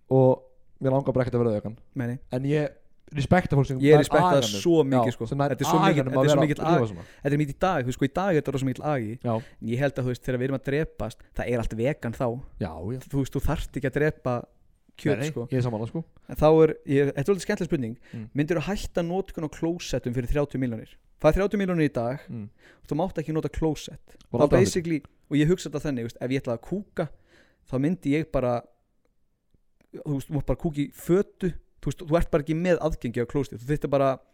Og mér langar bara ekki að vera vegan
meni,
En ég respekta fólk sem
ég
nær
er respektað
aganum.
svo mikið
Já,
sko.
sem nær
þetta er svo mikið
aganum að
þetta er svo
vera
mikið
að
ag
lifa svona.
þetta er mikið í dag, þú veist, sko, í dag er þetta rosa mikið agi
Já,
en ég held að þú veist, þegar við erum að drepast það er allt vegan þá,
já, já
þú veist, þú þarft ekki að drepa kjöt,
Nei,
sko
Ég er sammála sko
en þá er, ég, þetta er alveg skemmtileg spurning
Mm.
myndir þú hætta nótkun á klósettum fyrir 30 miljonir það er 30 miljonir í dag
Mm.
og þú mátt ekki nota klósett
Var
þá
aldrei aftur.
basically, og ég hugsa þetta þannig veist, ef ég ætlaði að kúka, þá myndi ég bara þú veist, þú mátt bara kúka í fötu þú veist, þú ert bara ekki með aðgengi á klósett þú þurftir bara að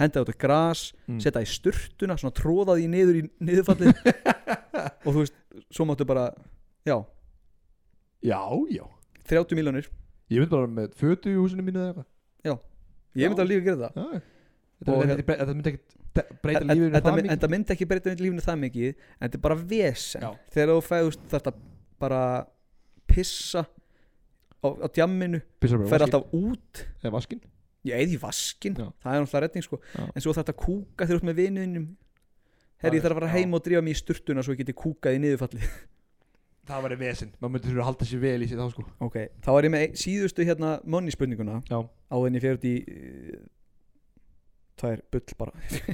henda þetta gras
Mm.
setja það í sturtuna, svona tróða því niður í niðurfallið og þú veist, svo máttu bara já,
Já, já
30 miljonir,
Ég myndi bara með fötu í húsinu mínu eða eitthvað
ég myndi
Já.
að líka gera það
Já, já.
Og
Þetta
hérna-
myndi- þetta myndi ekki de- breyta
En- en-
lífinu
þetta
það
mynd- en
mikið
það myndi ekki breyta lífinu það mikið en þetta er bara vesen
Já.
þegar þú fæðust þetta bara pissa á, á djamminu,
Pissar bara í
fer
vaskinn.
alltaf út
Eða vaskinn
ég eði í vaskin,
Já.
það er náttúrulega redning sko.
Já.
en svo þetta kúka þegar þú ert með vinuðinum
Það
herri ég
er-
þarf að fara
já.
heim og drífa mig í sturtuna svo ég geti kúkað í niðurfalli
Það væri vesinn Maður myndi þurfa að halda sér vel í sér þá sko
ok, þá er ég með ein- síðustu hérna money spurninguna
Já.
á þenni fyrir út í eh, það er bull bara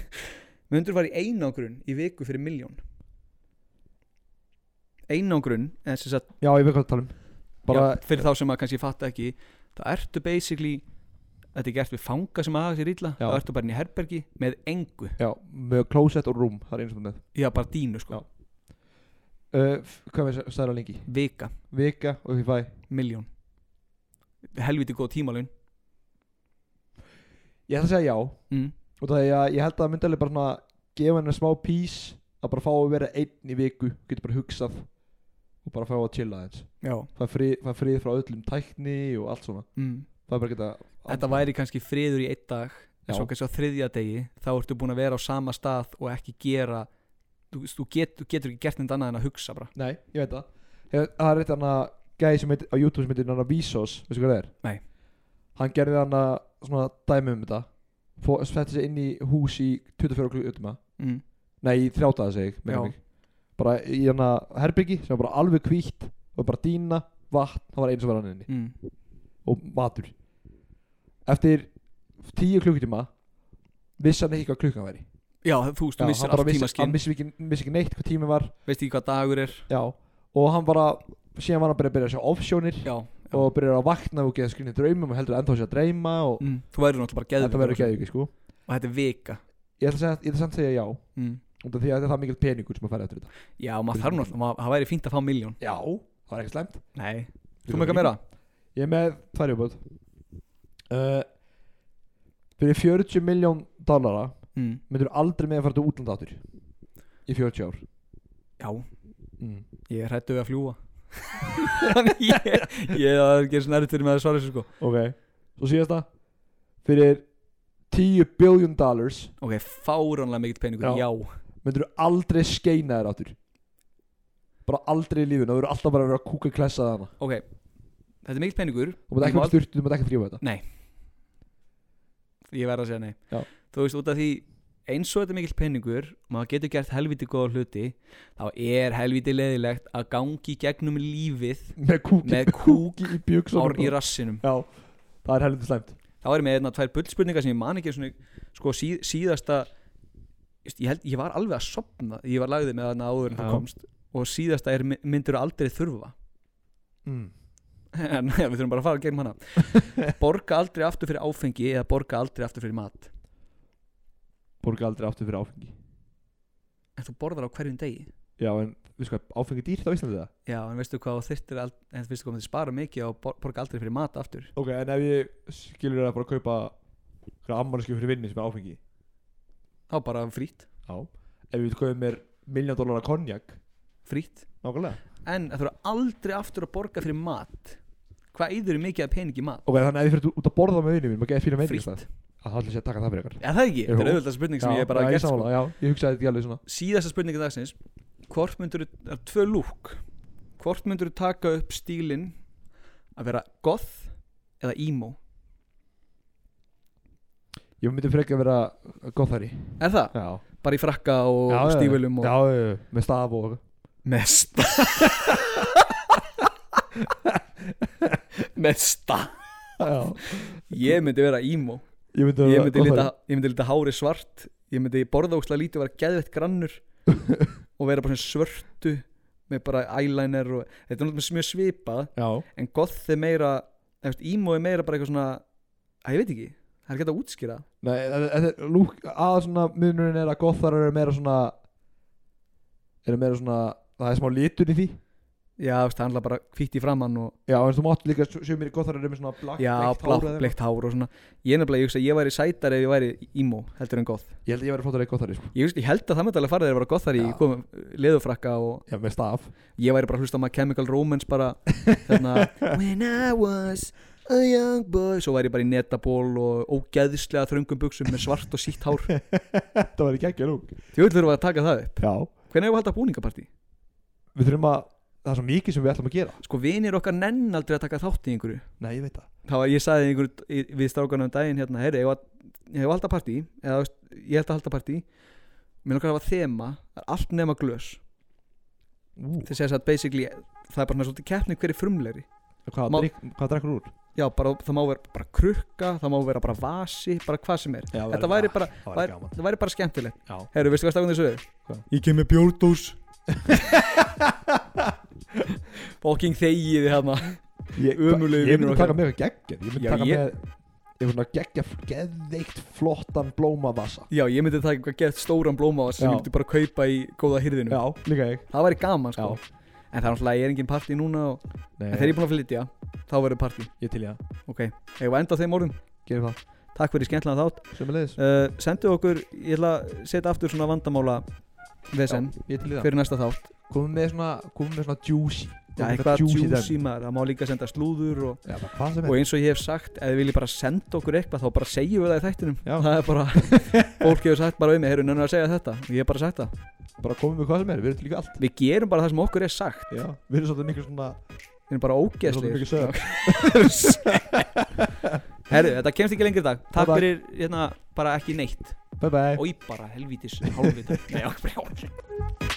myndur fara í einangrun í viku fyrir miljón einangrun en sem sagt
Já, ég veit hvað það tala um Bara
já, fyrir þá sem að kannski fatta ekki það ertu basically þetta er gert við fanga sem aðeins er illa
Já.
þá ertu bara inn í herbergi með engu
Já, með closet og room Það er eins og með
já bara dínu sko,
Já. uh, f- Hvað er stæðra lengi?
vika,
Vika og ég fæ
miljón helviti góð tímalun
Ég ætla að segja já Og
mm.
það er að ég held að það myndi alveg bara svona Gefa henni smá pís Að bara fá að vera einn í viku Getur bara hugsað Og bara fá að chilla aðeins
já
Fæ frið, fæ frið frá öllum tækni og allt svona
mm.
Það er bara geta
þetta væri kannski friður í einn dag en
Já.
svo kannski á þriðja degi þá ertu búin að vera á sama stað og ekki gera þú, þú, get, þú getur ekki gert neitt annað en að hugsa bara
Nei, ég veit það Ég- Það er eitt hann að Gæði sem heitir á YouTube sem heitir hann að Vsauce Veistu hvað það er?
Nei.
Hann gerði hann að Svona dæmi um þetta Fó- Setti sig inn í hús í 24 klukkutíma
mm.
Nei, í þrjá daga segi ég meina
Já.
mig. Bara í hann að herbyggi Sem var bara alveg hvítt Og bara dýna Vatn Það var eins og var hann inni
Mm.
Og matur Eftir 10 klukkutíma Vissi hann ekki hvað klukkan væri
já þú veist, þú
Já, hann
missir
bara
allt
vissi- Hann
tímaskinn
vissi ekki, vissi ekki neitt hvað tími var
veist ekki hvað dagur er
Já Og hann bara Síðan var hann bara að byrja að sjá offsjónir
já, já.
og byrjar að vakna og geða skrinni draumum og heldur ennþá sér að dreyma og
mm. þú verður náttúrulega bara geðveikur
þetta verður geðviki sko
og þetta er vika
ég ætla að segja, ég ætla samt að segja já út
mm.
af því að þetta er það mikill peningur sem að fara eftir þetta
já, maður þarf náttúrulega, maður- það væri fínt að fá miljón
já, það var ekki slæmt
nei,
Þú
þú með
ekki?
eitthvað meira
ég er með Eh, tvær uppátt uh, fyrir 40 miljón dollara
mm.
myndur aldrei með að fara til útlanda áttur í 40 ár
Já,
mm.
ég er hættu við að fljúa Þannig ég, ég það er ekki svona erfitt fyrir mig að svara þessu sko
ok svo síðasta fyrir 10 billion dollars
Ok, fáránlega mikill peningur,
Já.
já,
myndur aldrei skeina þér áttur bara aldrei í lífun og þú eru alltaf bara að vera að kúka klessa þarna
Ok, þetta er mikill peningur
þú
Ég
mátt ekki
má-
með styrtu, þú mátt ekki þrýfa þetta
Ég verð að segja nei
Já.
Þú veist, út af því eins og þetta er mikill penningur og maður getur gert helviti góða hluti þá er helviti leðilegt að gangi gegnum lífið
með kúki,
með kúk
í
ár í
bjöksunum
rassinum
já, það er helviti slæmt
þá er ég með einna tvær bullspurningar sem ég man ekki svona, sko síð, síðasta ég, held, ég var alveg að sopna ég var lagðið með þarna áður en það
Já.
komst og síðasta er myndur aldrei þurfa
mm.
en við þurfum bara að fara gegnum hana borga aldrei aftur fyrir áfengi eða borga aldrei aftur fyrir mat
borga aldrei aftur fyrir áfengi
en þú borðar á hverjum degi
já, en við sko, áfengi er dýrt á Íslandi það
Já, en veistu hvað þú þyrtir ald- en veistu hvað þú myndir spara mikið og bor- borga aldrei fyrir mat aftur
ok, en ef ég skilur það bara að kaupa hverja ammarskjöf fyrir vinni sem er áfengi
þá bara frýtt,
já, ef ég vil kaupa mér miljón dólar að konjak
frýtt
nákvæmlega
en það þurfa aldrei aftur að borga fyrir mat hvað eyður þú mikið af pening í mat?
ok, þannig að ef ég fyrir út að borða með vinni mín maður geði fína meðin
Frítt.
að það ætla sér að taka það fyrir ykkur
Er það ekki?
Jú.
Þetta er auðvitað spurning sem ég er bara
já,
að
ég,
gert sko.
sammála, já, ég hugsaði þetta ekki alveg svona
síðasta spurningi dagsins hvort myndur þú, tvö lúk hvort myndur þú taka upp stílinn að vera goth eða emo?
ég myndi frekja að vera gott þar í
Er það?
já,
Bara í frakka og
Já, já,
stífölum og
já, já, já, með staf og
með sta með sta
já,
ég myndi vera emo
ég myndi,
ég
vera
myndi,
gothari.
lita, ég myndi lita hári svart ég myndi borða ókslega lítið og vera geðveitt grannur og vera bara svona svörtu með bara eyeliner og þetta er náttúrulega mjög svipað
já,
en goth er meira eða, veist, emo er meira bara eitthvað svona að ég veit ekki, það er ekki hægt að útskýra
Nei, þetta þetta er lúk að svona munurinn er að gothar eru meira svona eru meira svona það er smá litur í því
já, veist, það er handla bara hvítt í framann og
Já, en þú mátt líka sjöfum mér gothar eru með svona blakk
já,
bleikt hár eða
blátt,
eitthvað.
bleikt hár og svona ég er nefnilega, ég hugsa, að ég væri sætar ef ég væri emo heldur en goth
Ég held að ég væri flottur að gothari sko
ég, hugsa- ég held að það myndi alveg fara þegar að vera goth þar í
Já.
komum leðufrakka og
Já, með staf
ég væri bara að hlusta á My Chemical Romance bara þarna When I was a young boy svo væri ég bara í netaból og ógeðislega þröngum buksum með svart og sítt hár
Þetta var ekki ekki lúk
því öll þurfum við að taka það upp
Já,
hvernig er við að halda búningapartí?
við þurfum að það er svo mikið sem við ætlum að gera
sko vinir okkar nenn aldrei að taka þátt í einhverju
Nei, ég veit það
það var ég sagði einhverju í- við strákanum um daginn hérna heyri, ég, var, ég hef halda partí eða þú veist, ég held að halda partí mér okkar hafa þema það er allt nema glös
Ú,
þeir segja að basically það er bara svona svolítið keppni hverju frumlegri
hvað,
Má-
drykk, hvað drekkur úr?
já bara það má vera bara krukka það má vera bara vasi bara hvað sem er
Já,
Þetta væri bara-
Það væri
væri,
gaman
það væri bara skemmtilegt
Já.
Herru, veistu hvað stakum þessu
Hvað?
er? Ég kem með bjórdós Fokking þegiði hérna
Ég,
Ömurlegur
ég
vinur
myndi
okkar.
taka með eitthvað geggjað Ég myndi
Já,
taka
ég-
með eitthvað svona geggjað, geðveikt flottan blómavasa
Já, ég myndi taka eitthvað gett stóran blómavas sem
Já.
ég myndi bara kaupa í góða hyrðinu
Já, líka ég
Það væri gaman sko
Já.
En það er náttúrulega, ég er engin partí núna og... En þegar ég er búin að flytja, þá verður partí
Ég til ég að
Ok, ég var enda á þeim orðum
Gerum það
Takk fyrir skemmtilega þátt
Sjömmulegis
uh, Sendu okkur, ég ætla að setja aftur svona vandamála Vesen
Ég til ég það
fyrir næsta þátt
Komum með svona Komum með svona juicy
Já,
Komum með
eitthvað
juicy dæmi.
juicy maður Það má líka senda slúður og
Já, bara hvað sem
og
er
eins og ég hef sagt ef þið viljið bara senda okkur eitthvað þá bara segjum við það í þættinum
Já.
það er bara, fólk hefur sagt bara um mig heyrðu nennar að segja þetta, og ég hef bara sagt það
Bara komum með hvað sem er Við erum til líka allt
við gerum bara það sem okkur er sagt
Já Við erum svolítið mikil svona
við erum bara
Við erum svolítið mikil
ógeðslir
sög
herru, þetta kemst ekki lengri í dag takk
Bye-bye.
fyrir, hérna, bara ekki neitt
Bye bye
og bara helvítis, hálfvita nei, ok, bara hálfvita